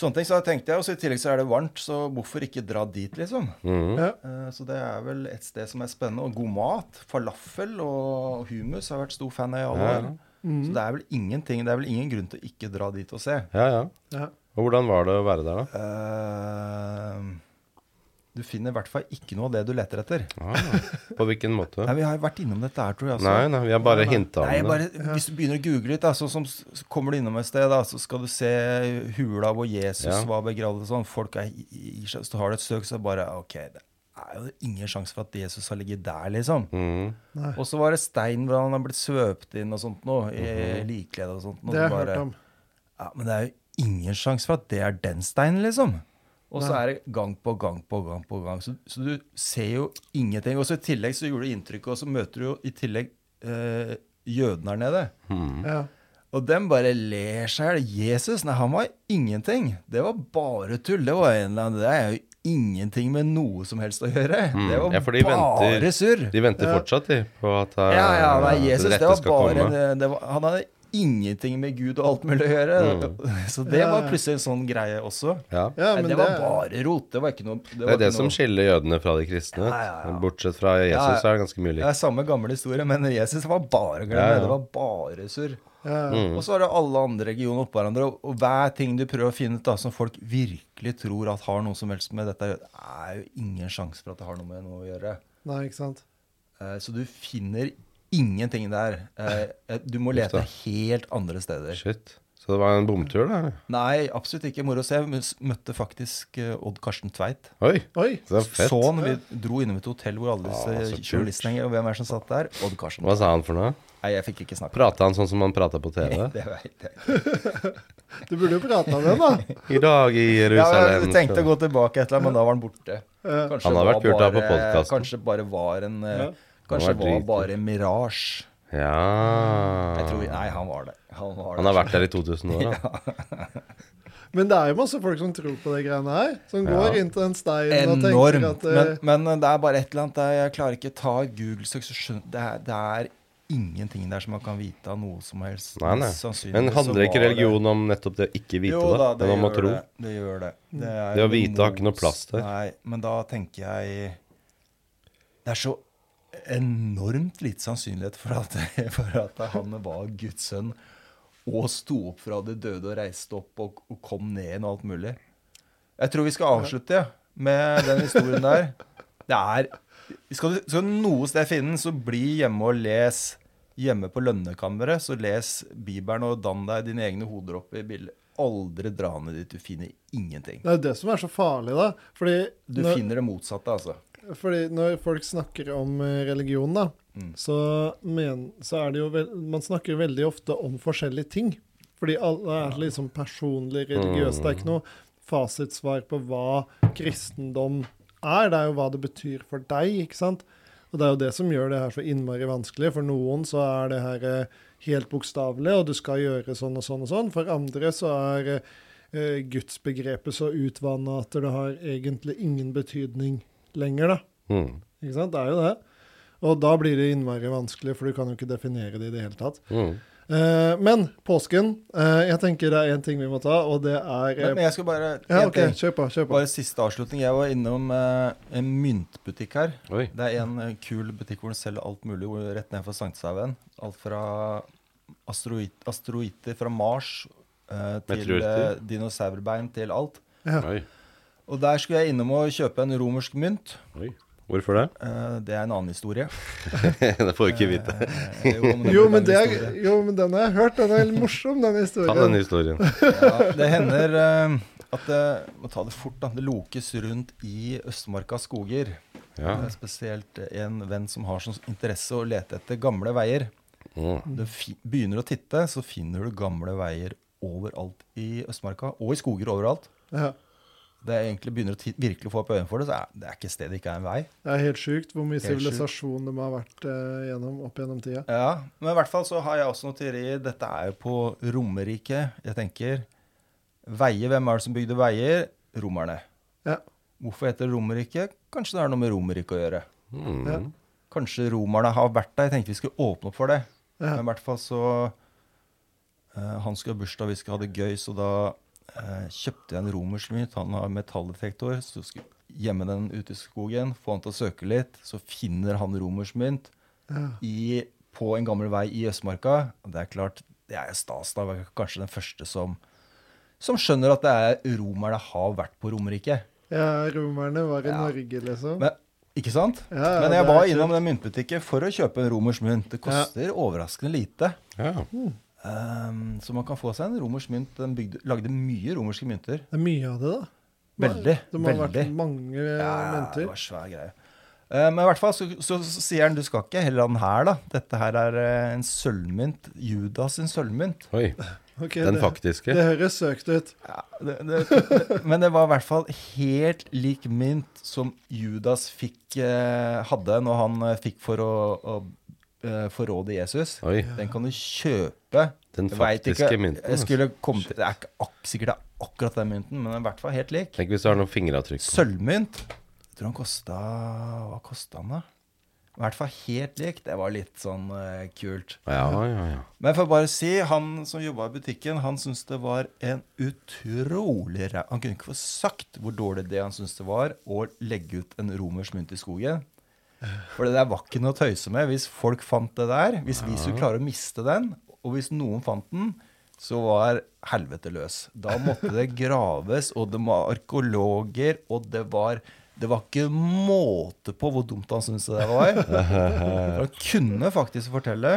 [SPEAKER 1] Sånne ting, så da tenkte jeg, Og så i tillegg så er det varmt, så hvorfor ikke dra dit, liksom?
[SPEAKER 2] Mm.
[SPEAKER 3] Ja.
[SPEAKER 1] Eh, Så det er vel et sted som er spennende. Og god mat. Falafel og humus har jeg vært stor fan av i alle
[SPEAKER 2] Ja,
[SPEAKER 1] år.
[SPEAKER 2] ja.
[SPEAKER 1] Så det er vel ingenting, det er vel ingen grunn til å ikke dra dit og se.
[SPEAKER 2] ja, ja.
[SPEAKER 3] Ja.
[SPEAKER 2] Og hvordan var det å være der, da?
[SPEAKER 1] Eh, du finner i hvert fall ikke noe av det du leter etter.
[SPEAKER 2] Ah, på hvilken måte?
[SPEAKER 1] Nei, Vi har jo vært innom dette her, tror jeg. altså.
[SPEAKER 2] Nei, nei, vi har bare hinta
[SPEAKER 1] Nei,
[SPEAKER 2] om det.
[SPEAKER 1] bare, hvis du begynner å google litt, da, så, som, så kommer du innom et sted, da, så skal du se hula hvor Jesus
[SPEAKER 2] Ja.
[SPEAKER 1] var begravd og sånn. Folk er i, i, i- så har du et søk, så bare OK, det er jo ingen sjanse for at Jesus har ligget der, liksom.
[SPEAKER 2] Mm.
[SPEAKER 3] Nei.
[SPEAKER 1] Og så var det stein hvor han har blitt svøpt inn og sånt noe,
[SPEAKER 2] Mhm.
[SPEAKER 1] i likkledet og sånt. Noe,
[SPEAKER 3] Det har jeg
[SPEAKER 1] bare-
[SPEAKER 3] hørt om.
[SPEAKER 1] Ja, men det er jo ingen sjanse for at det er den steinen, liksom. Og så
[SPEAKER 3] Nei.
[SPEAKER 1] er det gang på gang på gang på gang. Så, så du ser jo ingenting. Og så i tillegg så gjorde det inntrykk, og så møter du jo i tillegg eh, jødene her nede.
[SPEAKER 2] Hmm. Mm.
[SPEAKER 3] Ja.
[SPEAKER 1] Og dem bare ler seg i hjel. Jesus, nei, han var ingenting. Det var bare tull. Det var en eller annen Det er jo ingenting med noe som helst å gjøre. Det var
[SPEAKER 2] Hmm. Ja, for de
[SPEAKER 1] bare
[SPEAKER 2] venter-
[SPEAKER 1] surr.
[SPEAKER 2] De venter fortsatt, de, på at eh,
[SPEAKER 1] Ja, ja, nei,
[SPEAKER 2] det
[SPEAKER 1] Jesus, det
[SPEAKER 2] rette
[SPEAKER 1] var
[SPEAKER 2] skal
[SPEAKER 1] bare
[SPEAKER 2] komme.
[SPEAKER 1] en- det var, Han hadde ingenting med Gud og alt mulig å gjøre.
[SPEAKER 2] Mm.
[SPEAKER 1] Så det
[SPEAKER 3] Ja,
[SPEAKER 1] var
[SPEAKER 3] ja.
[SPEAKER 1] plutselig en sånn greie også.
[SPEAKER 2] Ja.
[SPEAKER 3] ja,
[SPEAKER 1] Nei,
[SPEAKER 3] men
[SPEAKER 1] det var bare rot. Det var ikke noe
[SPEAKER 2] Det er
[SPEAKER 1] var
[SPEAKER 2] det
[SPEAKER 1] ikke
[SPEAKER 2] som
[SPEAKER 1] noe-
[SPEAKER 2] skiller jødene fra de kristne.
[SPEAKER 1] Ja, ja, ja.
[SPEAKER 2] Bortsett fra Jesus
[SPEAKER 1] Ja, ja.
[SPEAKER 2] så er det ganske mye
[SPEAKER 1] Det
[SPEAKER 2] likt.
[SPEAKER 1] er samme gamle historie, men Jesus var bare glad.
[SPEAKER 2] Ja, ja.
[SPEAKER 1] Det var bare surr.
[SPEAKER 3] ja.
[SPEAKER 2] Mm.
[SPEAKER 1] Og så er det alle andre regioner oppå hverandre, og, og hver ting du prøver å finne ut da, som folk virkelig tror at har noe som helst med dette å gjøre, det er jo ingen sjanse for at det har noe med noe å gjøre.
[SPEAKER 3] Nei, ikke sant.
[SPEAKER 1] Eh, Så du finner ingenting der. Eh, eh, Du må
[SPEAKER 2] Just
[SPEAKER 1] lete
[SPEAKER 2] det.
[SPEAKER 1] helt andre steder.
[SPEAKER 2] Shit. Så det var en bomtur, da? eller?
[SPEAKER 1] Nei, absolutt ikke moro. Så jeg møs- møtte faktisk eh, Odd Karsten Tveit.
[SPEAKER 2] Oi,
[SPEAKER 3] Oi!
[SPEAKER 2] det var fett.
[SPEAKER 1] Så han, vi dro innom et hotell hvor alle
[SPEAKER 2] Ah, så
[SPEAKER 1] disse
[SPEAKER 2] kult.
[SPEAKER 1] journalistene henger, og hvem er det som satt der? Odd Karsten.
[SPEAKER 2] Hva sa han for noe?
[SPEAKER 1] Nei, jeg fikk ikke snakke.
[SPEAKER 2] Prata han sånn som han prata på TV?
[SPEAKER 1] Det vet jeg.
[SPEAKER 3] Du burde jo prata med ham, da.
[SPEAKER 2] I dag i
[SPEAKER 1] Ja,
[SPEAKER 2] Jerusalem.
[SPEAKER 1] jeg tenkte å gå tilbake et eller annet, men da var han borte.
[SPEAKER 3] Ja.
[SPEAKER 1] Kanskje
[SPEAKER 2] Han har
[SPEAKER 1] var
[SPEAKER 2] vært kult da på
[SPEAKER 1] bare-
[SPEAKER 2] podcasten.
[SPEAKER 1] Kanskje bare var en eh,
[SPEAKER 3] Ja.
[SPEAKER 1] Kanskje
[SPEAKER 2] Han var
[SPEAKER 1] var
[SPEAKER 2] dritkult.
[SPEAKER 1] bare en mirasje. Jeg tror,
[SPEAKER 2] Ja
[SPEAKER 1] nei, han var det. Han, var
[SPEAKER 2] Ah. Han
[SPEAKER 1] det.
[SPEAKER 2] har vært der i 2000 år, da.
[SPEAKER 3] Men det er jo masse folk som tror på de greiene her. Som går inn til den steinen og tenker
[SPEAKER 1] Enormt.
[SPEAKER 3] at eh,
[SPEAKER 1] Men, men det er bare et eller annet der Jeg klarer ikke ta Google-søk, så skjønner det, er- det er ingenting der som man kan vite av noe som helst.
[SPEAKER 2] Nei, nei.
[SPEAKER 1] Sannsynligvis
[SPEAKER 2] Men
[SPEAKER 1] så
[SPEAKER 2] handler ikke
[SPEAKER 1] var det-
[SPEAKER 2] religion om nettopp det å ikke vite,
[SPEAKER 1] Jo
[SPEAKER 2] da? Men om å
[SPEAKER 1] gjør
[SPEAKER 2] tro?
[SPEAKER 1] Det. det gjør det.
[SPEAKER 3] Mm.
[SPEAKER 1] Det, er
[SPEAKER 2] Det å vite har ikke noe
[SPEAKER 1] imot-
[SPEAKER 2] plass der.
[SPEAKER 1] Nei, men da tenker jeg Det er så enormt lite sannsynlighet for at, for at han var Guds sønn og sto opp fra de døde og reiste opp og, og kom ned igjen og alt mulig. Jeg tror vi skal avslutte ja, med den historien der. Det er Skal du skal du noe sted finne den, så bli hjemme og les. Hjemme på lønnekammeret, så les Bibelen og dann deg dine egne hoder opp i bildet. Aldri dra ned dit. Du finner ingenting.
[SPEAKER 3] Det er det som er så farlig, da. Fordi
[SPEAKER 1] Du
[SPEAKER 3] når,
[SPEAKER 1] finner det motsatte, altså.
[SPEAKER 3] fordi når folk snakker om eh, religion, da, så, men, så er det jo vel- Man snakker jo veldig ofte om forskjellige ting. Fordi alle er liksom personlig religiøse. Det er ikke noe fasitsvar på hva kristendom er. Det er jo hva det betyr for deg, ikke sant? Og det er jo det som gjør det her så innmari vanskelig. For noen så er det her eh, helt bokstavelig, og du skal gjøre sånn og sånn og sånn. For andre så er eh, eh, gudsbegrepet så utvanna at det har egentlig ingen betydning lenger, da.
[SPEAKER 2] Mm.
[SPEAKER 3] Ikke sant? Det er jo det. Og da blir det innmari vanskelig, for du kan jo ikke definere det i det hele tatt.
[SPEAKER 2] Mm.
[SPEAKER 3] Eh, men påsken eh, Jeg tenker det er én ting vi må ta, og det er
[SPEAKER 1] Men,
[SPEAKER 3] eh,
[SPEAKER 1] men jeg skal bare
[SPEAKER 3] Ja,
[SPEAKER 1] en
[SPEAKER 3] OK,
[SPEAKER 1] ting.
[SPEAKER 3] kjør på. Kjør på.
[SPEAKER 1] Bare siste avslutning. Jeg var innom eh, en myntbutikk her.
[SPEAKER 2] Oi.
[SPEAKER 1] Det er en eh, kul butikk hvor den selger alt mulig hvor- rett ned for Sankthanshaugen. Alt fra asteroid, asteroider fra Mars eh, til eh,
[SPEAKER 2] Meteoritter.
[SPEAKER 1] dinosaurbein til alt.
[SPEAKER 3] Ja.
[SPEAKER 2] Oi.
[SPEAKER 1] Og der skulle jeg innom og kjøpe en romersk mynt.
[SPEAKER 2] Oi. Hvorfor det?
[SPEAKER 1] Eh, det er en annen historie.
[SPEAKER 2] det får vi ikke vite.
[SPEAKER 1] Eh, men det er
[SPEAKER 3] Jo,
[SPEAKER 1] en
[SPEAKER 3] men det er,
[SPEAKER 1] historie.
[SPEAKER 3] jo, men den har jeg hørt. Den er litt morsom, den
[SPEAKER 2] Ta den
[SPEAKER 3] historien.
[SPEAKER 2] historien.
[SPEAKER 1] ja, Det hender eh, at det Må ta det fort, da. Det lokes rundt i Østmarkas skoger.
[SPEAKER 2] Ja.
[SPEAKER 1] Det er spesielt en venn som har som interesse å lete etter gamle veier.
[SPEAKER 2] Mm.
[SPEAKER 1] Du fi- begynner å titte, så finner du gamle veier overalt i Østmarka, og i skoger overalt.
[SPEAKER 3] Ja.
[SPEAKER 1] Det jeg egentlig begynner å ti- virkelig få opp øynene for det, så er det er ikke et sted det ikke er en vei.
[SPEAKER 3] Det er helt sjukt hvor mye
[SPEAKER 1] Helt sjukt.
[SPEAKER 3] sivilisasjon de har vært eh, gjennom opp gjennom tida.
[SPEAKER 1] Ja, Men i hvert fall så har jeg også noen teorier. Dette er jo på Romerike. Jeg tenker Veier, hvem er det som bygde veier? Romerne.
[SPEAKER 3] Ja.
[SPEAKER 1] Hvorfor heter det Romerike? Kanskje det har noe med Romerike å gjøre.
[SPEAKER 3] Ja.
[SPEAKER 1] Mhm.
[SPEAKER 2] Mm.
[SPEAKER 1] Kanskje romerne har vært der. Jeg tenkte vi skulle åpne opp for det.
[SPEAKER 3] Ja.
[SPEAKER 1] Men i hvert fall så eh, Han skulle ha bursdag, vi skulle ha det gøy, så da eh, kjøpte jeg en romersk mynt. Han har metalldetektor. Så skulle jeg gjemme den ute i skogen, få han til å søke litt. Så finner han romersk mynt
[SPEAKER 3] Ja.
[SPEAKER 1] i- på en gammel vei i Østmarka. Og Det er klart, det er jo stas. Da var jeg kanskje den første som, som skjønner at det er romerne har vært på Romerike.
[SPEAKER 3] ja, romerne var i
[SPEAKER 1] Ja.
[SPEAKER 3] Norge, liksom.
[SPEAKER 1] Men, ikke sant?
[SPEAKER 3] Ja, ja,
[SPEAKER 1] Men
[SPEAKER 3] det
[SPEAKER 1] jeg
[SPEAKER 3] er
[SPEAKER 1] var
[SPEAKER 3] kult.
[SPEAKER 1] innom den myntbutikken for å kjøpe en romersk mynt. Det koster overraskende lite.
[SPEAKER 2] ja.
[SPEAKER 1] Ehm, så man kan få seg en romersk mynt. Den bygde, lagde mye romerske mynter.
[SPEAKER 3] Det er mye av det, da.
[SPEAKER 1] Veldig.
[SPEAKER 3] Det må ha
[SPEAKER 1] veldig.
[SPEAKER 3] vært mange
[SPEAKER 1] Ja, det
[SPEAKER 3] momenter.
[SPEAKER 1] var svær greie. Eh, Men i hvert fall så, så, så sier han du skal ikke helle han her, da. Dette her er eh, en sølvmynt. Judas sin sølvmynt.
[SPEAKER 2] Oi.
[SPEAKER 3] Ok,
[SPEAKER 2] Den
[SPEAKER 3] det,
[SPEAKER 2] faktiske.
[SPEAKER 3] det høres søkt ut.
[SPEAKER 1] Ja, det, det, det, men det var i hvert fall helt lik mynt som Judas fikk, eh, hadde når han eh, fikk for å, å eh, forråde Jesus.
[SPEAKER 2] Oi.
[SPEAKER 1] Den kan du kjøpe.
[SPEAKER 2] Den
[SPEAKER 1] Jeg vet
[SPEAKER 2] faktiske mynten,
[SPEAKER 1] Jeg
[SPEAKER 2] altså.
[SPEAKER 1] skulle komme til, det er ikke ak sikkert det er akkurat den mynten, men den er i hvert fall helt lik.
[SPEAKER 2] Tenk hvis du har noen fingeravtrykk. på.
[SPEAKER 1] Sølvmynt. Jeg tror han kosta Hva kosta han, da? I hvert fall helt lik. Det var litt sånn eh, kult.
[SPEAKER 2] Ja, ja, ja.
[SPEAKER 1] Men jeg får bare si, han som jobba i butikken, han syntes det var en utrolig ræ... Han kunne ikke få sagt hvor dårlig det han syntes det var å legge ut en romersk mynt i skogen. For det der var ikke noe å tøyse med hvis folk fant det der. Hvis vi skulle klare å miste den, og hvis noen fant den, så var helvete løs. Da måtte det graves, og det var arkeologer, og det var det var ikke måte på hvor dumt han syntes det var. For Han kunne faktisk fortelle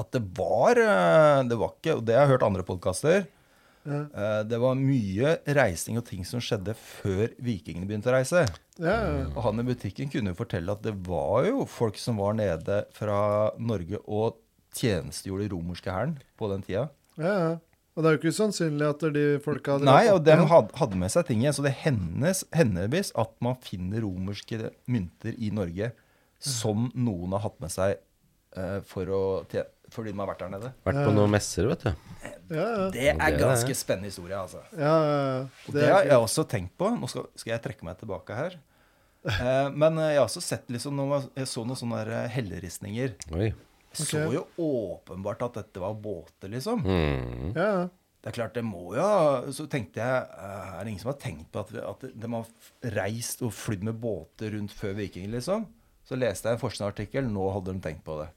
[SPEAKER 1] at det var eh, Det var ikke, og det har jeg hørt andre podkaster eh, Det var mye reising og ting som skjedde før vikingene begynte å reise.
[SPEAKER 3] Ja, ja.
[SPEAKER 1] Og han i butikken kunne jo fortelle at det var jo folk som var nede fra Norge og tjenestegjorde i romerske hæren på den tida.
[SPEAKER 3] ja, ja. Og det er jo ikke usannsynlig at de folka hadde
[SPEAKER 1] Nei,
[SPEAKER 3] vært
[SPEAKER 1] og
[SPEAKER 3] opp
[SPEAKER 1] de
[SPEAKER 3] igjen.
[SPEAKER 1] hadde, hadde med seg ting igjen. Så det hendes, hendevis at man finner romerske mynter i Norge som noen har hatt med seg eh, for å, tje- fordi de har vært der nede.
[SPEAKER 2] Vært på noen messer, vet du.
[SPEAKER 3] ja, ja.
[SPEAKER 1] Det
[SPEAKER 2] det er
[SPEAKER 1] er
[SPEAKER 2] det.
[SPEAKER 1] ganske spennende historie, altså.
[SPEAKER 3] Ja, ja, ja.
[SPEAKER 1] Og
[SPEAKER 3] Det
[SPEAKER 1] det har
[SPEAKER 3] er,
[SPEAKER 1] jeg også tenkt på. Nå skal, skal jeg trekke meg tilbake her. Eh, men eh, jeg har også sett liksom, når man- jeg så noen sånne der, eh, helleristninger.
[SPEAKER 2] Oi.
[SPEAKER 1] Jeg
[SPEAKER 3] Ok.
[SPEAKER 1] Så jo åpenbart at dette var båter, liksom.
[SPEAKER 2] Mm.
[SPEAKER 3] ja, ja.
[SPEAKER 1] Det er klart, det må jo ha- Så tenkte jeg eh, Er det ingen som har tenkt på at, at de har reist og flydd med båter rundt før vikingene, liksom? Så leste jeg en forskningsartikkel. Nå hadde de tenkt på det.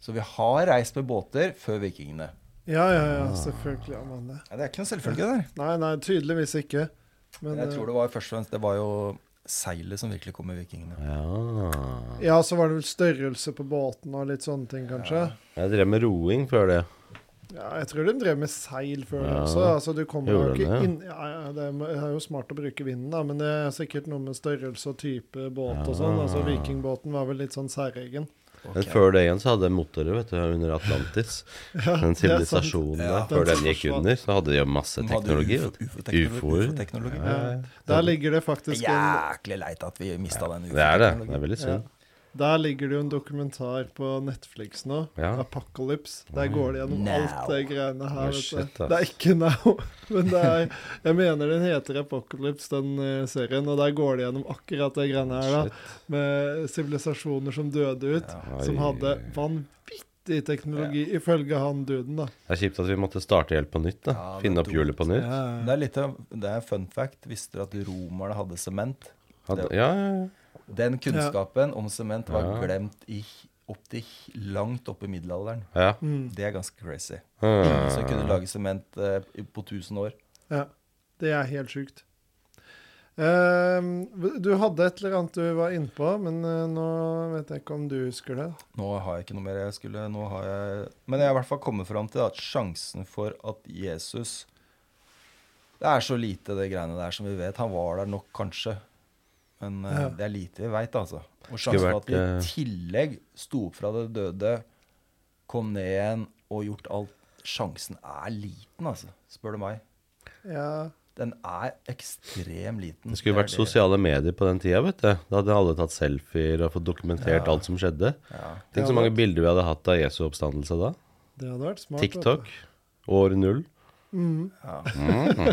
[SPEAKER 1] Så vi har reist med båter før vikingene.
[SPEAKER 3] ja, ja, ja selvfølgelig. Ja, men det.
[SPEAKER 1] Ja, det er ikke noen selvfølge der.
[SPEAKER 3] Nei, nei, tydeligvis ikke. Men eh,
[SPEAKER 1] jeg tror det var først og fremst Det var jo seilet som virkelig kom med vikingene.
[SPEAKER 2] Ja.
[SPEAKER 3] eh, ja, så var det vel størrelse på båten og litt sånne ting, kanskje.
[SPEAKER 2] Jeg drev med roing før det.
[SPEAKER 3] Ja, jeg tror de drev med seil før det
[SPEAKER 2] Ja.
[SPEAKER 3] også. Altså, du kommer jo
[SPEAKER 2] Gjorde de
[SPEAKER 3] ikke
[SPEAKER 2] det?
[SPEAKER 3] inn ja, ja, Det er- det er jo smart å bruke vinden, da, men det er sikkert noe med størrelse og type båt og sånn. Altså, Vikingbåten var vel litt sånn særegen.
[SPEAKER 2] Men før det igjen så hadde jeg motorer vet du, under Atlantis. den
[SPEAKER 3] det er sant.
[SPEAKER 2] sivilisasjonen der.
[SPEAKER 1] Ja.
[SPEAKER 2] Før
[SPEAKER 3] Den
[SPEAKER 2] den gikk
[SPEAKER 3] forsvant.
[SPEAKER 2] under, så hadde de jo masse
[SPEAKER 1] De hadde
[SPEAKER 2] teknologi.
[SPEAKER 1] ufo-
[SPEAKER 2] vet du.
[SPEAKER 1] Ufo-teknologi.
[SPEAKER 2] Ufoer.
[SPEAKER 1] Ufo-teknologi.
[SPEAKER 3] Ja. Der ligger det faktisk en
[SPEAKER 1] Jæklig leit at vi mista den
[SPEAKER 2] Det er det.
[SPEAKER 1] ufo-teknologien.
[SPEAKER 2] Det er veldig
[SPEAKER 3] ja,
[SPEAKER 2] synd.
[SPEAKER 3] Der ligger det jo en dokumentar på Netflix nå,
[SPEAKER 2] Ja.
[SPEAKER 3] Apocalypse. Der går det gjennom
[SPEAKER 1] Now.
[SPEAKER 3] alt det greiene her.
[SPEAKER 2] Oh,
[SPEAKER 3] Vet
[SPEAKER 2] shit,
[SPEAKER 3] du.
[SPEAKER 2] ass.
[SPEAKER 3] Det er ikke Now, men det er Jeg mener den heter Apocalypse, den eh, serien, og der går det gjennom akkurat det greiene her. da.
[SPEAKER 2] Shit.
[SPEAKER 3] med sivilisasjoner som døde ut,
[SPEAKER 1] Ja.
[SPEAKER 3] som
[SPEAKER 2] Oi.
[SPEAKER 3] hadde vanvittig teknologi, ifølge han duden, da.
[SPEAKER 2] Det er kjipt at vi måtte starte helt på nytt. da.
[SPEAKER 1] Ja, det er
[SPEAKER 2] Finne opp hjulet på nytt. Ja,
[SPEAKER 1] Det er litt av, det er fun fact. Visste du at romerne hadde sement?
[SPEAKER 2] ja, ja.
[SPEAKER 1] Den kunnskapen om sement var
[SPEAKER 2] Ja.
[SPEAKER 1] glemt i, opp til langt opp i middelalderen.
[SPEAKER 2] ja.
[SPEAKER 3] Mm.
[SPEAKER 1] Det er ganske crazy.
[SPEAKER 2] Hmm.
[SPEAKER 1] Så jeg kunne lage sement eh, på 1000 år.
[SPEAKER 3] ja. Det er helt sjukt. Ehm, du hadde et eller annet du var innpå, men eh, nå vet jeg ikke om du husker det.
[SPEAKER 1] Nå har jeg ikke noe mer jeg skulle nå har jeg, Men jeg har i hvert fall kommet fram til at sjansen for at Jesus Det er så lite, det greiene der, som vi vet. Han var der nok, kanskje. Men eh,
[SPEAKER 3] Ja.
[SPEAKER 1] det er lite vi veit, altså. Og
[SPEAKER 2] Skulle
[SPEAKER 1] sjansen for at
[SPEAKER 2] vært,
[SPEAKER 1] de
[SPEAKER 2] eh,
[SPEAKER 1] i tillegg sto opp fra det døde, kom ned igjen og gjort alt Sjansen er liten, altså. Spør du meg.
[SPEAKER 3] Ja,
[SPEAKER 1] Den er ekstrem liten.
[SPEAKER 2] Det skulle
[SPEAKER 1] er
[SPEAKER 2] vært sosiale medier på den tida. vet du. Da hadde alle tatt selfier og fått dokumentert alt som skjedde.
[SPEAKER 1] Ja.
[SPEAKER 2] Tenk så mange bilder vi hadde hatt av Jesu oppstandelse da.
[SPEAKER 3] det hadde vært smart. vet du.
[SPEAKER 2] TikTok. År null.
[SPEAKER 3] Mm.
[SPEAKER 1] Ja.
[SPEAKER 2] Mm.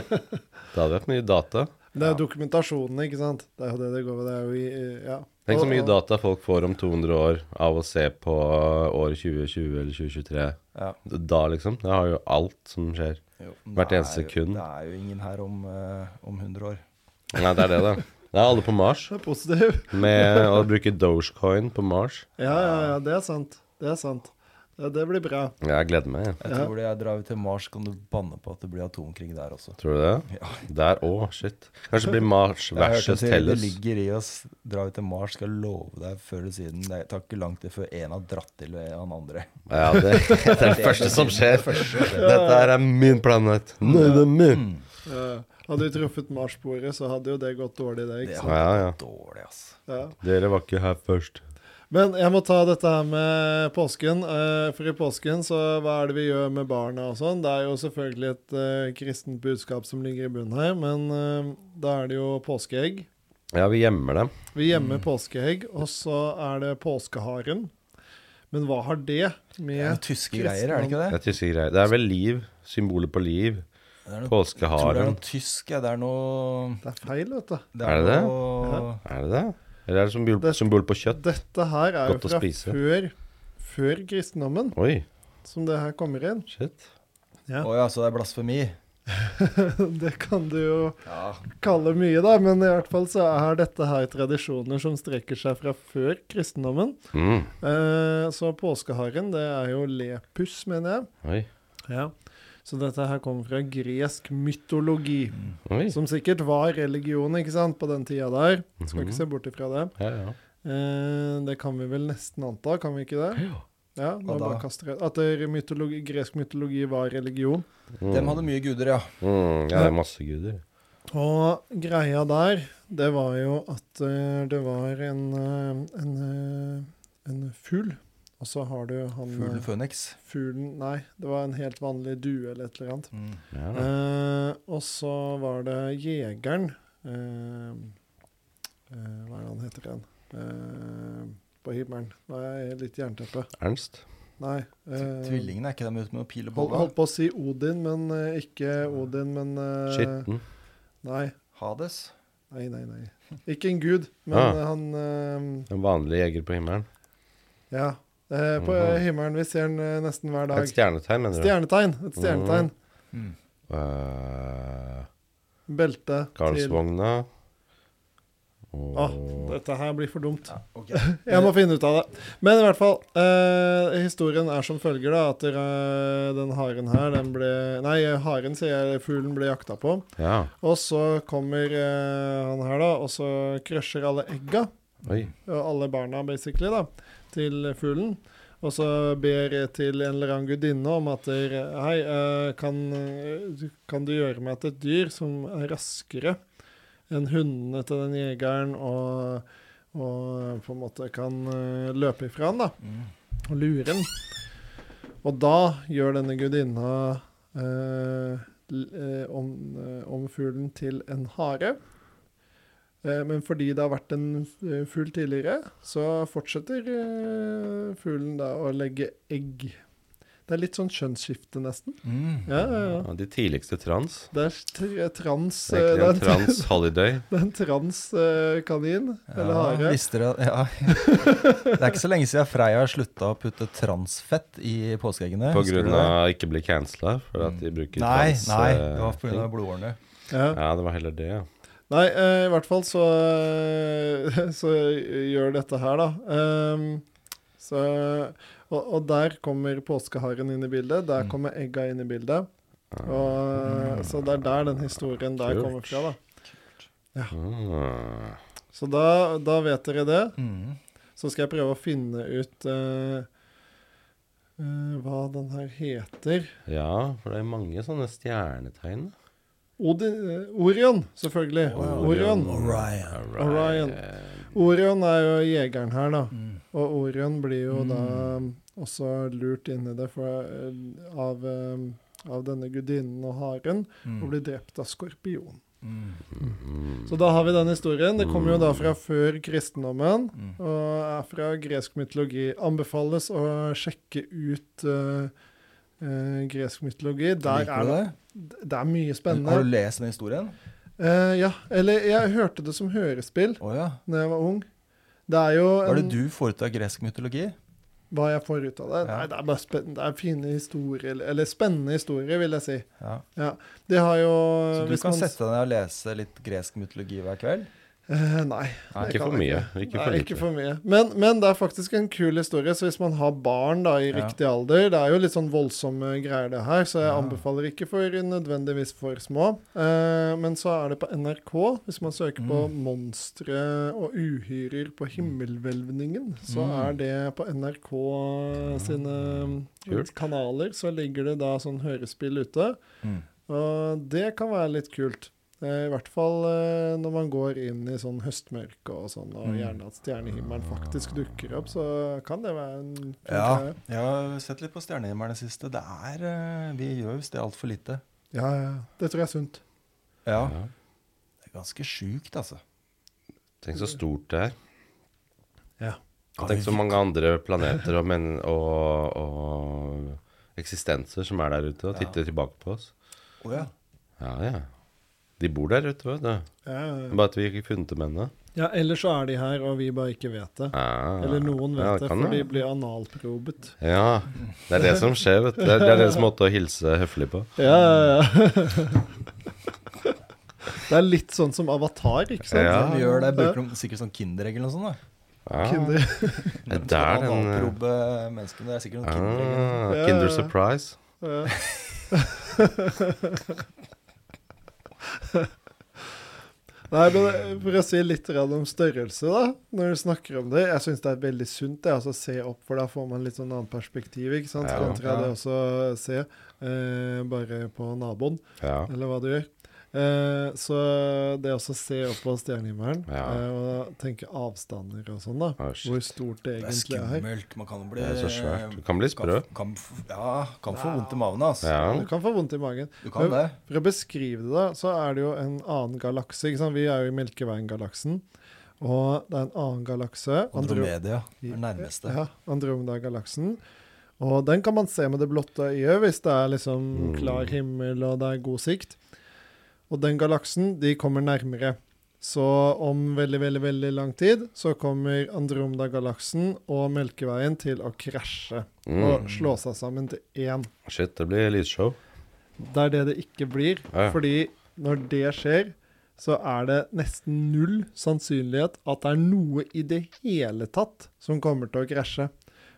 [SPEAKER 2] Det hadde vært mye data.
[SPEAKER 3] Men det er jo dokumentasjonen, ikke sant? Det er jo det det går ved. Det er jo i, eh, ja.
[SPEAKER 2] Tenk så
[SPEAKER 3] Og-
[SPEAKER 2] mye
[SPEAKER 3] og-
[SPEAKER 2] data folk får om 200 år av å se på året 2020 eller 2023.
[SPEAKER 1] Ja.
[SPEAKER 2] Da, liksom. Det har jo alt som skjer.
[SPEAKER 1] Jo, men
[SPEAKER 2] Hvert
[SPEAKER 1] det er
[SPEAKER 2] eneste
[SPEAKER 1] jo-
[SPEAKER 2] sekund.
[SPEAKER 1] Det er jo ingen her om, eh, om 100 år.
[SPEAKER 2] Nei, det er det, da. Det er alle på Mars.
[SPEAKER 3] Det er positiv.
[SPEAKER 2] Med å bruke Dogecoin på Mars.
[SPEAKER 3] Ja, ja, ja, det er sant. Det er sant. Ja, det blir bra.
[SPEAKER 2] Jeg gleder meg, jeg.
[SPEAKER 1] Jeg
[SPEAKER 3] Ja.
[SPEAKER 1] tror det jeg drar til Mars, kan du banne på at det blir atomkrig der også.
[SPEAKER 2] Tror du det?
[SPEAKER 1] Ja.
[SPEAKER 2] Der òg, shit. Kanskje det blir Mars
[SPEAKER 1] Jeg har hørt
[SPEAKER 2] versus
[SPEAKER 1] en teori, Det
[SPEAKER 2] Tellus.
[SPEAKER 1] ligger i oss. Drar vi til Mars, skal jeg love deg før eller siden. Det tar ikke lang tid før en har dratt til han andre.
[SPEAKER 2] Ja, det, det er det første som skjer.
[SPEAKER 1] Første, Mm.
[SPEAKER 2] Dette her er min planet. Nei, det er min.
[SPEAKER 3] Ja. Hadde vi truffet marsboere, så hadde jo det gått dårlig, det.
[SPEAKER 1] Det
[SPEAKER 3] ikke sant?
[SPEAKER 1] hadde
[SPEAKER 2] Ja, ja.
[SPEAKER 1] vært dårlig, ass.
[SPEAKER 3] Ja.
[SPEAKER 2] Dere var ikke her først.
[SPEAKER 3] Men jeg må ta dette her med påsken. eh, For i påsken, så hva er det vi gjør med barna og sånn? Det er jo selvfølgelig et eh, kristent budskap som ligger i bunnen her, men eh, da er det jo påskeegg.
[SPEAKER 2] Ja, vi gjemmer dem.
[SPEAKER 3] Vi
[SPEAKER 2] Mm.
[SPEAKER 3] gjemmer påskeegg, og så er det påskeharen. Men hva har det
[SPEAKER 1] Det er
[SPEAKER 3] med
[SPEAKER 1] noen tyske greier, er det ikke
[SPEAKER 2] Det
[SPEAKER 1] det?
[SPEAKER 2] er tyske greier. Det er vel liv. Symbolet på liv.
[SPEAKER 1] det er noe, jeg tror det er
[SPEAKER 2] Påskeharen.
[SPEAKER 1] noe tysk, ja. Det er noe
[SPEAKER 3] Det er feil, vet du.
[SPEAKER 2] Er det det?
[SPEAKER 1] noe-
[SPEAKER 2] Er det det? Eller er det symbol,
[SPEAKER 3] Det-
[SPEAKER 2] symbol på kjøtt?
[SPEAKER 3] Dette her er jo
[SPEAKER 2] Godt å
[SPEAKER 3] fra
[SPEAKER 2] spise.
[SPEAKER 3] før, før kristendommen
[SPEAKER 2] Oi,
[SPEAKER 3] som det her kommer inn.
[SPEAKER 2] shit.
[SPEAKER 1] Å
[SPEAKER 3] Ja.
[SPEAKER 1] ja, så det er blasfemi?
[SPEAKER 3] Det kan du jo
[SPEAKER 1] Ja.
[SPEAKER 3] kalle mye, da, men i hvert fall så er dette her tradisjoner som strekker seg fra før kristendommen.
[SPEAKER 2] Mm.
[SPEAKER 3] Eh, så påskeharen, det er jo lepus, mener jeg.
[SPEAKER 2] Oi.
[SPEAKER 3] Ja. Så dette her kommer fra gresk mytologi,
[SPEAKER 2] Oi.
[SPEAKER 3] som sikkert var religion ikke sant, på den tida der. Skal
[SPEAKER 2] Mhm.
[SPEAKER 3] ikke se bort ifra det.
[SPEAKER 2] Mm-hmm. Ja, ja.
[SPEAKER 3] Eh, det kan vi vel nesten anta, kan vi ikke det? Ja, nå
[SPEAKER 1] Hva da?
[SPEAKER 3] bare kaster jeg. At det er mytologi, gresk mytologi var religion.
[SPEAKER 2] Mm.
[SPEAKER 1] Dem hadde mye guder, ja.
[SPEAKER 2] mm. Ja, det er masse guder.
[SPEAKER 3] Og greia der, det var jo at eh, det var en, eh, en, eh, en fugl. Og så har du han
[SPEAKER 1] Fuglen
[SPEAKER 3] eh,
[SPEAKER 1] Føniks.
[SPEAKER 3] Fuglen Nei, det var en helt vanlig due eller et eller annet.
[SPEAKER 1] Mm.
[SPEAKER 2] Ja.
[SPEAKER 3] Eh, og så var det jegeren eh, eh, Hva er det han heter igjen? Eh, på himmelen. Nå er jeg litt jernteppe.
[SPEAKER 2] Ernst.
[SPEAKER 3] Nei. eh,
[SPEAKER 1] Tvillingene, er ikke dem ute med noen pil og
[SPEAKER 3] Hold,
[SPEAKER 1] bolle?
[SPEAKER 3] holdt på å si Odin, men eh, ikke Odin, men eh,
[SPEAKER 2] Skitten.
[SPEAKER 3] Nei.
[SPEAKER 1] Hades?
[SPEAKER 3] Nei, nei, nei. Ikke en gud, men
[SPEAKER 2] Ah.
[SPEAKER 3] eh, han eh,
[SPEAKER 2] En vanlig jeger på himmelen.
[SPEAKER 3] Ja. Eh, på
[SPEAKER 2] Mhm.
[SPEAKER 3] himmelen. Vi ser den eh, nesten hver
[SPEAKER 2] Et
[SPEAKER 3] dag.
[SPEAKER 2] stjernetegn, mener du?
[SPEAKER 3] Stjernetegn. Et stjernetegn.
[SPEAKER 1] Mm.
[SPEAKER 2] Uh,
[SPEAKER 3] Belte til Ah.
[SPEAKER 2] Karlsvogna. Og
[SPEAKER 3] Å, dette her blir for dumt.
[SPEAKER 1] Ja, ok.
[SPEAKER 3] Jeg må finne ut av det. Men i hvert fall, eh, historien er som følger, da. At dere, den haren her, den ble Nei, haren, sier jeg. Fuglen ble jakta på.
[SPEAKER 2] Ja.
[SPEAKER 3] Og så kommer eh, han her, da, og så crusher alle egga.
[SPEAKER 2] Oi.
[SPEAKER 3] og alle barna basically da, til fuglen. Og så ber jeg til en eller annen gudinne om at der, Hei, eh, kan, eh, kan du gjøre meg til et dyr som er raskere enn hundene til den jegeren, og, og på en måte kan eh, løpe ifra han, da,
[SPEAKER 1] Mm.
[SPEAKER 3] og lure han. Og da gjør denne gudinna eh, l- eh, om, eh, om fuglen til en hare. Eh, Men fordi det har vært en eh, fugl tidligere, så fortsetter eh, fuglen da å legge egg. Det er litt sånn kjønnsskifte, nesten.
[SPEAKER 1] Mm.
[SPEAKER 3] Ja, ja, ja.
[SPEAKER 2] Ja, de tidligste trans.
[SPEAKER 3] Det er tr- trans
[SPEAKER 2] Det
[SPEAKER 3] eh,
[SPEAKER 2] er ikke en
[SPEAKER 3] Det er en,
[SPEAKER 2] trans holiday.
[SPEAKER 3] det er en trans eh, kanin, eller
[SPEAKER 1] Ja,
[SPEAKER 3] hare.
[SPEAKER 1] visste dere ja. Det er ikke så lenge siden Freia slutta å putte transfett i påskeeggene.
[SPEAKER 2] På
[SPEAKER 1] husker
[SPEAKER 2] grunn
[SPEAKER 1] du det?
[SPEAKER 2] av ikke bli cancela for at de bruker
[SPEAKER 1] Nei,
[SPEAKER 2] trans,
[SPEAKER 1] nei,
[SPEAKER 2] eh,
[SPEAKER 1] det var pga.
[SPEAKER 2] ting.
[SPEAKER 1] blodårene.
[SPEAKER 3] Ja.
[SPEAKER 2] Ja, det var heller det, ja.
[SPEAKER 3] Nei, eh, i hvert fall så, eh, så gjør dette her, da. Ehm, så, og, og der kommer påskeharen inn i bildet. Der
[SPEAKER 1] Mm.
[SPEAKER 3] kommer egga inn i bildet. Og, så det er der den historien der
[SPEAKER 2] Kult.
[SPEAKER 3] kommer fra, da.
[SPEAKER 2] Ah.
[SPEAKER 3] Så da, da vet dere det.
[SPEAKER 1] Mm.
[SPEAKER 3] Så skal jeg prøve å finne ut eh, eh, hva den her heter.
[SPEAKER 2] Ja, for det er mange sånne stjernetegn.
[SPEAKER 3] Odin, eh, Orion, selvfølgelig. Orion.
[SPEAKER 1] Orion.
[SPEAKER 3] Orion. Orion er jo jegeren her, da.
[SPEAKER 1] mm,
[SPEAKER 3] Og Orion blir jo da også lurt inn i det fra, eh, av, eh, av denne gudinnen og haren,
[SPEAKER 1] mm,
[SPEAKER 3] og blir drept av skorpion.
[SPEAKER 2] Mm.
[SPEAKER 3] Så da har vi den historien. Det kommer jo da
[SPEAKER 1] Mm.
[SPEAKER 3] fra før kristendommen. Og er fra gresk mytologi. Anbefales å sjekke ut eh, eh, gresk mytologi. Der
[SPEAKER 1] Liker
[SPEAKER 3] er
[SPEAKER 1] du
[SPEAKER 3] det,
[SPEAKER 1] det?
[SPEAKER 3] det er mye
[SPEAKER 1] Har
[SPEAKER 3] spennende.
[SPEAKER 1] du lest den historien?
[SPEAKER 3] Eh, ja, eller jeg hørte det som hørespill
[SPEAKER 1] Å ja.
[SPEAKER 3] da jeg var ung. Det er jo
[SPEAKER 1] Hva er det
[SPEAKER 3] en-
[SPEAKER 1] du får ut av gresk mytologi?
[SPEAKER 3] hva jeg får ut av det.
[SPEAKER 1] Ja.
[SPEAKER 3] Nei, det er bare spennende. Det er fine historier, eller- eller spennende historier, vil jeg si.
[SPEAKER 1] Ja.
[SPEAKER 3] Ja, De har jo
[SPEAKER 1] Så du
[SPEAKER 3] Eh, hvis
[SPEAKER 1] kan
[SPEAKER 3] man-
[SPEAKER 1] sette deg ned og lese litt gresk mytologi hver kveld?
[SPEAKER 3] Eh, nei.
[SPEAKER 1] Nei,
[SPEAKER 2] Ikke
[SPEAKER 3] kan
[SPEAKER 2] for
[SPEAKER 3] jeg
[SPEAKER 2] mye. Ikke for
[SPEAKER 3] Nei,
[SPEAKER 2] lite.
[SPEAKER 3] ikke for mye. Men, men det er faktisk en kul historie. Så hvis man har barn da i
[SPEAKER 1] Ja.
[SPEAKER 3] riktig alder Det er jo litt sånn voldsomme greier, det her, så jeg
[SPEAKER 1] Ja.
[SPEAKER 3] anbefaler ikke for nødvendigvis for små. Eh, men så er det på NRK, hvis man søker på
[SPEAKER 2] Mm.
[SPEAKER 3] 'Monstre og uhyrer på himmelhvelvningen', så
[SPEAKER 1] Mm.
[SPEAKER 3] er det på NRK sine
[SPEAKER 2] Kult.
[SPEAKER 3] kanaler, så ligger det da sånn hørespill ute.
[SPEAKER 1] Mm.
[SPEAKER 3] Og det kan være litt kult. Det er I hvert fall eh, når man går inn i sånn høstmørke og sånn, og
[SPEAKER 1] Mm.
[SPEAKER 3] gjerne at stjernehimmelen faktisk dukker opp, så kan det være en fin
[SPEAKER 1] Ja,
[SPEAKER 3] greie.
[SPEAKER 1] jeg har sett litt på Stjernehimmelen det siste. Det er eh, Vi gjør visst det altfor lite.
[SPEAKER 3] ja, ja. Det tror jeg er sunt.
[SPEAKER 1] Ja.
[SPEAKER 2] Ja.
[SPEAKER 1] Det er ganske sjukt, altså.
[SPEAKER 2] Tenk så stort det er.
[SPEAKER 3] Ja.
[SPEAKER 2] Og tenk så mange andre planeter og, men, og, og eksistenser som er der ute og
[SPEAKER 1] Ja.
[SPEAKER 2] titter tilbake på oss.
[SPEAKER 1] Å ja.
[SPEAKER 2] Ja, ja. De bor der ute, vet du.
[SPEAKER 3] Ja, ja.
[SPEAKER 2] Bare at vi ikke funnet dem ennå.
[SPEAKER 3] ja, ellers så er de her, og vi bare ikke vet det.
[SPEAKER 2] Ah,
[SPEAKER 3] Eller noen vet
[SPEAKER 2] ja,
[SPEAKER 3] det,
[SPEAKER 2] kan
[SPEAKER 3] for de
[SPEAKER 2] være.
[SPEAKER 3] blir analprobet.
[SPEAKER 2] Ja. Det er det som skjer, vet du. Det er det, er det som måtte å hilse høflig på.
[SPEAKER 3] Ja, ja, ja. det er litt sånn som Avatar, ikke sant?
[SPEAKER 2] Ja.
[SPEAKER 1] De gjør det, bruker de sikkert sånn Kinderegg eller noe sånt? da.
[SPEAKER 2] Ja.
[SPEAKER 3] Kinder.
[SPEAKER 2] Det er der
[SPEAKER 1] Skal
[SPEAKER 2] den eh,
[SPEAKER 1] Analprobe menneskene. Det er sikkert noen Kinderegg.
[SPEAKER 2] ah,
[SPEAKER 3] Ja, ja,
[SPEAKER 2] Kinder
[SPEAKER 3] ja.
[SPEAKER 2] Surprise.
[SPEAKER 3] Ja. Nei, men det- For å si litt grann om størrelse, da, når du snakker om det Jeg syns det er veldig sunt det, altså, å se opp, for da får man litt sånn annet perspektiv. ikke sant?
[SPEAKER 2] Ja,
[SPEAKER 3] Kontra
[SPEAKER 1] ja.
[SPEAKER 3] det også å se eh, bare på naboen,
[SPEAKER 2] Ja.
[SPEAKER 3] eller hva du gjør. Eh, så det også å se opp på stjernehimmelen
[SPEAKER 2] Ja.
[SPEAKER 3] eh, og tenke avstander og sånn, da.
[SPEAKER 2] Ah,
[SPEAKER 3] hvor
[SPEAKER 2] shit.
[SPEAKER 3] stort det
[SPEAKER 1] Det er
[SPEAKER 3] egentlig er.
[SPEAKER 1] skummelt. Man kan jo bli eh,
[SPEAKER 2] Det er så svært. Du kan bli sprø.
[SPEAKER 1] Kan, kan, f- ja, kan få vondt i magen, altså.
[SPEAKER 2] Ja.
[SPEAKER 3] Du kan få vondt i magen.
[SPEAKER 1] Du kan det.
[SPEAKER 3] For å beskrive det, da, så er det jo en annen galakse. ikke sant? Vi er jo i Melkeveien-galaksen. Og det er en annen galakse. Andro-
[SPEAKER 1] Andromedia er den nærmeste.
[SPEAKER 3] Ja, Andromeda-galaksen. Og den kan man se med det blotte øyet hvis det er liksom
[SPEAKER 2] Mm.
[SPEAKER 3] klar himmel og det er god sikt. Og den galaksen, de kommer nærmere. Så om veldig, veldig veldig lang tid så kommer Andromeda-galaksen og Melkeveien til å krasje
[SPEAKER 2] Mm.
[SPEAKER 3] og slå seg sammen til én.
[SPEAKER 2] Shit, det blir lysshow.
[SPEAKER 3] Det er det det ikke blir.
[SPEAKER 2] Ja, ja.
[SPEAKER 3] Fordi når det skjer, så er det nesten null sannsynlighet at det er noe i det hele tatt som kommer til å krasje.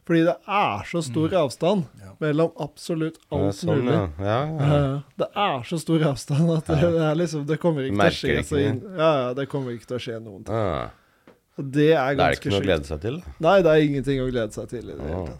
[SPEAKER 3] Fordi det er så stor avstand
[SPEAKER 1] Ja.
[SPEAKER 3] mellom absolutt
[SPEAKER 2] Ja,
[SPEAKER 3] alt
[SPEAKER 2] sånn,
[SPEAKER 3] mulig.
[SPEAKER 2] ja. Ja,
[SPEAKER 3] Ja,
[SPEAKER 2] ja.
[SPEAKER 3] ja. Det er så stor avstand at det,
[SPEAKER 2] Ja.
[SPEAKER 3] det, er liksom, det kommer ikke til å
[SPEAKER 2] Merker
[SPEAKER 3] skje
[SPEAKER 2] ikke
[SPEAKER 3] så inn, ja, ja, det kommer ikke til å skje noen ting.
[SPEAKER 2] Ah,
[SPEAKER 3] Og det er
[SPEAKER 2] det er
[SPEAKER 3] ganske
[SPEAKER 2] ikke noe å
[SPEAKER 3] sjukt.
[SPEAKER 2] glede seg til.
[SPEAKER 3] Nei, det er ingenting å glede seg til i det hele
[SPEAKER 2] Ah.
[SPEAKER 3] tatt.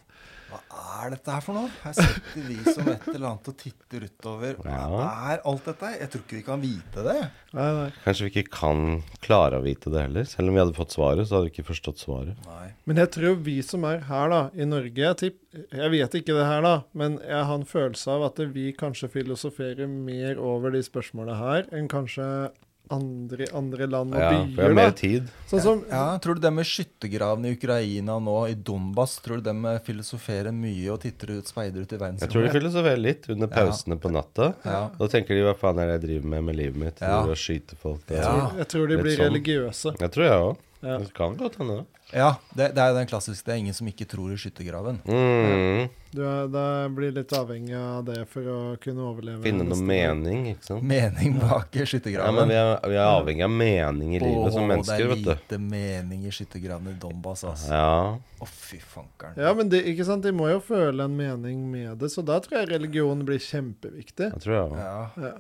[SPEAKER 1] Hva er dette her for noe? Her sitter vi som et eller annet og titter utover. Hva
[SPEAKER 2] Ja.
[SPEAKER 1] er alt dette? her? Jeg tror ikke vi kan vite det.
[SPEAKER 3] Nei, nei.
[SPEAKER 2] Kanskje vi ikke kan klare å vite det heller. Selv om vi hadde fått svaret, så hadde vi ikke forstått svaret.
[SPEAKER 1] Nei.
[SPEAKER 3] Men jeg tror vi som er her da, i Norge jeg, tipp, jeg vet ikke det her, da, men jeg har en følelse av at vi kanskje filosoferer mer over de spørsmålene her enn kanskje andre i andre land og
[SPEAKER 2] Ja, for vi har
[SPEAKER 3] byer.
[SPEAKER 2] mer
[SPEAKER 3] da.
[SPEAKER 2] tid.
[SPEAKER 3] Sånn som
[SPEAKER 1] Ja, tror du dem i skyttergraven i Ukraina nå, i Donbas, tror du dem filosoferer mye og titter ut, speider ut i
[SPEAKER 2] Jeg tror de
[SPEAKER 1] verdensrommet?
[SPEAKER 2] filosoferer litt under pausene på natta.
[SPEAKER 1] Ja.
[SPEAKER 2] Da tenker de hva faen er det jeg driver med med livet mitt?
[SPEAKER 1] Ja.
[SPEAKER 2] Driver og skyter folk. og-
[SPEAKER 1] Ja.
[SPEAKER 3] Jeg tror de
[SPEAKER 2] litt
[SPEAKER 3] blir
[SPEAKER 2] sånn.
[SPEAKER 3] religiøse.
[SPEAKER 2] Jeg tror jeg òg.
[SPEAKER 3] Ja.
[SPEAKER 2] Det kan godt hende.
[SPEAKER 1] Ja, det, det er jo den klassiske. Det er ingen som ikke tror i skyttergraven.
[SPEAKER 2] Mm.
[SPEAKER 3] Du er, da blir litt avhengig av det for å kunne overleve.
[SPEAKER 2] Finne noe
[SPEAKER 3] neste dag.
[SPEAKER 2] mening, ikke sant.
[SPEAKER 1] Mening bak i
[SPEAKER 2] Ja, men vi
[SPEAKER 1] skyttergraven.
[SPEAKER 2] er, vi er avhengig av mening i livet som mennesker,
[SPEAKER 1] Det
[SPEAKER 2] vet
[SPEAKER 1] er
[SPEAKER 2] du.
[SPEAKER 1] lite mening i skyttergraven i Donbas, altså.
[SPEAKER 2] Ja.
[SPEAKER 1] Å, fy fankeren.
[SPEAKER 3] Ja, men de, ikke sant? de må jo føle en mening med det, så da tror jeg religion blir kjempeviktig.
[SPEAKER 2] Jeg tror jeg òg.
[SPEAKER 1] Ja.
[SPEAKER 3] Ja.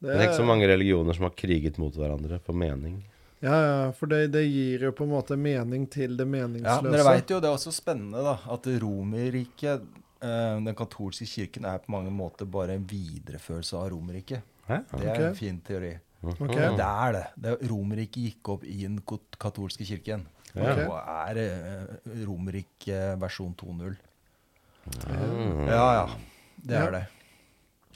[SPEAKER 2] Men det er ikke så mange religioner som har kriget mot hverandre for mening.
[SPEAKER 3] Ja, ja, for det, det gir jo på en måte mening til det
[SPEAKER 1] Ja,
[SPEAKER 3] meningsløse.
[SPEAKER 1] men dere vet jo, det er også spennende da, at Romerriket, eh, den katolske kirken, er på mange måter bare en videreførelse av Romerriket.
[SPEAKER 2] Hæ?
[SPEAKER 1] Det er
[SPEAKER 3] Ok.
[SPEAKER 1] en fin teori.
[SPEAKER 3] Ok.
[SPEAKER 2] Mhm.
[SPEAKER 1] Det er det. det er- Romerriket gikk opp i den kot- katolske kirken.
[SPEAKER 2] Ja.
[SPEAKER 1] Og er eh, Romerriket versjon 2.0.
[SPEAKER 2] Mm.
[SPEAKER 1] Ja, ja. Det
[SPEAKER 3] Ja.
[SPEAKER 1] er det.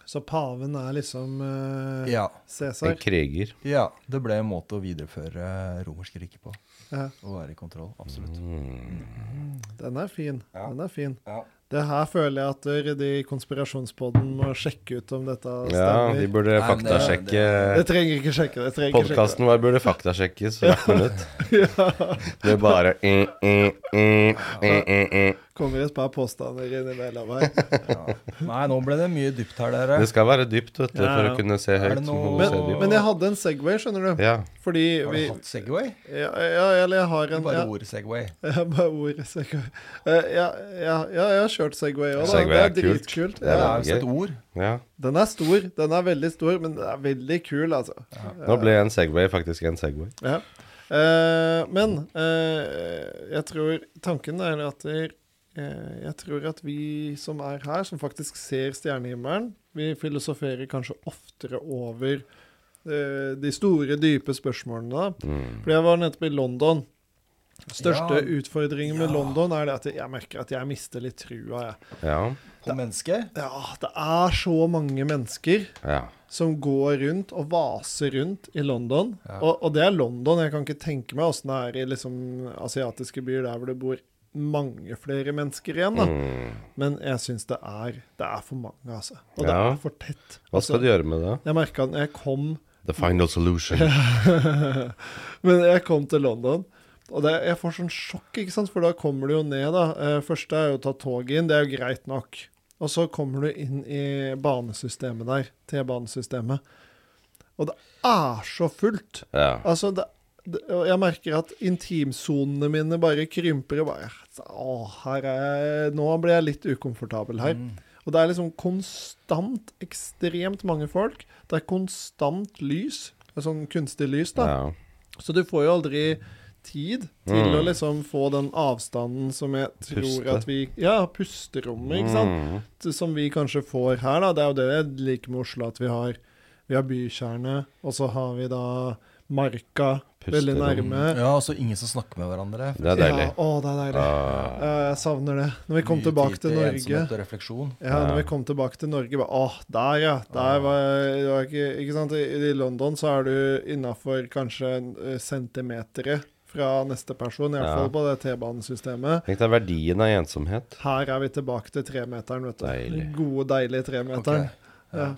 [SPEAKER 3] Så paven er liksom eh,
[SPEAKER 1] Ja.
[SPEAKER 2] En
[SPEAKER 3] Cæsar?
[SPEAKER 2] kriger.
[SPEAKER 1] ja. Det ble en måte å videreføre romerske riket på.
[SPEAKER 3] Ja,
[SPEAKER 1] Å være i kontroll. Absolutt.
[SPEAKER 2] Mm.
[SPEAKER 3] den er fin.
[SPEAKER 1] Ja.
[SPEAKER 3] Den er fin.
[SPEAKER 1] Ja.
[SPEAKER 3] Det her føler jeg at dere, de i konspirasjonspodden må sjekke ut om dette
[SPEAKER 2] Ja,
[SPEAKER 3] stemmer.
[SPEAKER 2] de burde
[SPEAKER 1] Nei, men det-
[SPEAKER 2] faktasjekke
[SPEAKER 3] Jeg trenger ikke sjekke det. jeg trenger ikke sjekke
[SPEAKER 2] Podkasten vår burde faktasjekkes hvert minutt. Det er bare eh, eh, eh, eh, eh, eh.
[SPEAKER 3] det. Kommer et par påstander innimellom her.
[SPEAKER 1] Ja. Nei, nå ble det mye dypt her,
[SPEAKER 2] Det
[SPEAKER 1] dere.
[SPEAKER 2] skal være dypt vet du,
[SPEAKER 3] Ja,
[SPEAKER 2] for
[SPEAKER 3] ja.
[SPEAKER 2] å kunne se
[SPEAKER 1] Er
[SPEAKER 2] høyt.
[SPEAKER 1] det
[SPEAKER 2] så må
[SPEAKER 1] noe-
[SPEAKER 2] du
[SPEAKER 3] Men,
[SPEAKER 2] se dypt.
[SPEAKER 3] men jeg hadde en Segway, skjønner du.
[SPEAKER 2] Ja.
[SPEAKER 3] Fordi
[SPEAKER 1] Har
[SPEAKER 3] vi
[SPEAKER 1] du hatt Segway?
[SPEAKER 3] Ja, ja eller jeg har en
[SPEAKER 1] Bare
[SPEAKER 3] ja,
[SPEAKER 1] ordet Segway.
[SPEAKER 3] ja, bare ordet Segway. Eh, ja, ja, ja, jeg har kjørt Segway òg, da.
[SPEAKER 2] Segway
[SPEAKER 3] Det
[SPEAKER 2] er
[SPEAKER 3] er
[SPEAKER 2] kult.
[SPEAKER 3] dritkult.
[SPEAKER 1] Det
[SPEAKER 2] Det er
[SPEAKER 3] Ja.
[SPEAKER 1] er jo
[SPEAKER 2] gøy.
[SPEAKER 1] et ord.
[SPEAKER 2] ja.
[SPEAKER 3] Den er stor, den er veldig stor, men den er veldig kul, altså.
[SPEAKER 2] Nå ble en Segway faktisk en Segway.
[SPEAKER 3] Ja. Eh, men eh, jeg tror tanken er at der, eh, jeg tror at vi som er her, som faktisk ser stjernehimmelen, vi filosoferer kanskje oftere over eh, de store, dype spørsmålene. da.
[SPEAKER 2] Mm.
[SPEAKER 3] For jeg var nettopp i London. Største
[SPEAKER 1] Ja.
[SPEAKER 3] utfordringen med
[SPEAKER 1] Ja.
[SPEAKER 3] London er det at jeg merker at jeg mister litt trua. Jeg.
[SPEAKER 2] Ja.
[SPEAKER 1] På mennesket?
[SPEAKER 3] Ja, det er så mange mennesker
[SPEAKER 2] ja.
[SPEAKER 3] som går rundt og vaser rundt i London.
[SPEAKER 1] Ja.
[SPEAKER 3] Og, og det er London. Jeg kan ikke tenke meg åssen det er i liksom asiatiske byer der hvor det bor mange flere mennesker
[SPEAKER 1] Sånn,
[SPEAKER 3] igjen. da.
[SPEAKER 2] Mm.
[SPEAKER 3] Men jeg syns det er Det er for mange, altså. Og det
[SPEAKER 2] Ja.
[SPEAKER 3] er for tett. Altså,
[SPEAKER 2] Hva skal du gjøre med det?
[SPEAKER 3] Jeg merka når jeg kom
[SPEAKER 2] The final solution.
[SPEAKER 3] Men jeg kom til London, og det, jeg får sånn sjokk, ikke sant? For da kommer du jo ned, da. Eh, Første er jo å ta toget inn, det er jo greit nok. Og så kommer du inn i banesystemet der, T-banesystemet. Og det er så fullt.
[SPEAKER 2] Ja.
[SPEAKER 3] Altså, det, det, og jeg merker at intimsonene mine bare krymper. Og bare, å, her er jeg, nå ble jeg litt ukomfortabel her.
[SPEAKER 2] Mm.
[SPEAKER 3] Og det er liksom konstant ekstremt mange folk. Det er konstant lys. Det er Sånn kunstig lys, da.
[SPEAKER 2] Ja.
[SPEAKER 3] Så du får jo aldri tid til
[SPEAKER 2] Mm.
[SPEAKER 3] å liksom få den avstanden som jeg tror
[SPEAKER 2] Puste.
[SPEAKER 3] at vi Ja, pusterommet, ikke sant.
[SPEAKER 2] Mm.
[SPEAKER 3] Som vi kanskje får her, da. Det er jo det jeg liker med Oslo, at vi har, vi har bykjerne, og så har vi da Marka veldig
[SPEAKER 2] Pusterom.
[SPEAKER 3] nærme.
[SPEAKER 1] Ja, og så ingen som snakker med hverandre.
[SPEAKER 2] Det er deilig.
[SPEAKER 3] Ja, å, det er deilig.
[SPEAKER 2] Ah.
[SPEAKER 3] Ja, jeg savner det. Når vi kom
[SPEAKER 1] Mye
[SPEAKER 3] tilbake
[SPEAKER 1] tid
[SPEAKER 3] til Norge
[SPEAKER 1] ensomhet og refleksjon.
[SPEAKER 3] ja, når
[SPEAKER 2] Ja.
[SPEAKER 3] vi kom tilbake til Norge, bare Åh, der, ja. Der var, jeg- det var ikke, ikke sant? I, I London så er du innafor kanskje eh, centimetere fra neste person,
[SPEAKER 2] Ja.
[SPEAKER 3] iallfall fall på det T-banesystemet.
[SPEAKER 2] Tenk deg verdien av ensomhet.
[SPEAKER 3] Her er vi tilbake til tremeteren, vet du.
[SPEAKER 2] Deilig.
[SPEAKER 3] Den Gode, deilige tremeteren.
[SPEAKER 1] Ok.
[SPEAKER 3] Ja.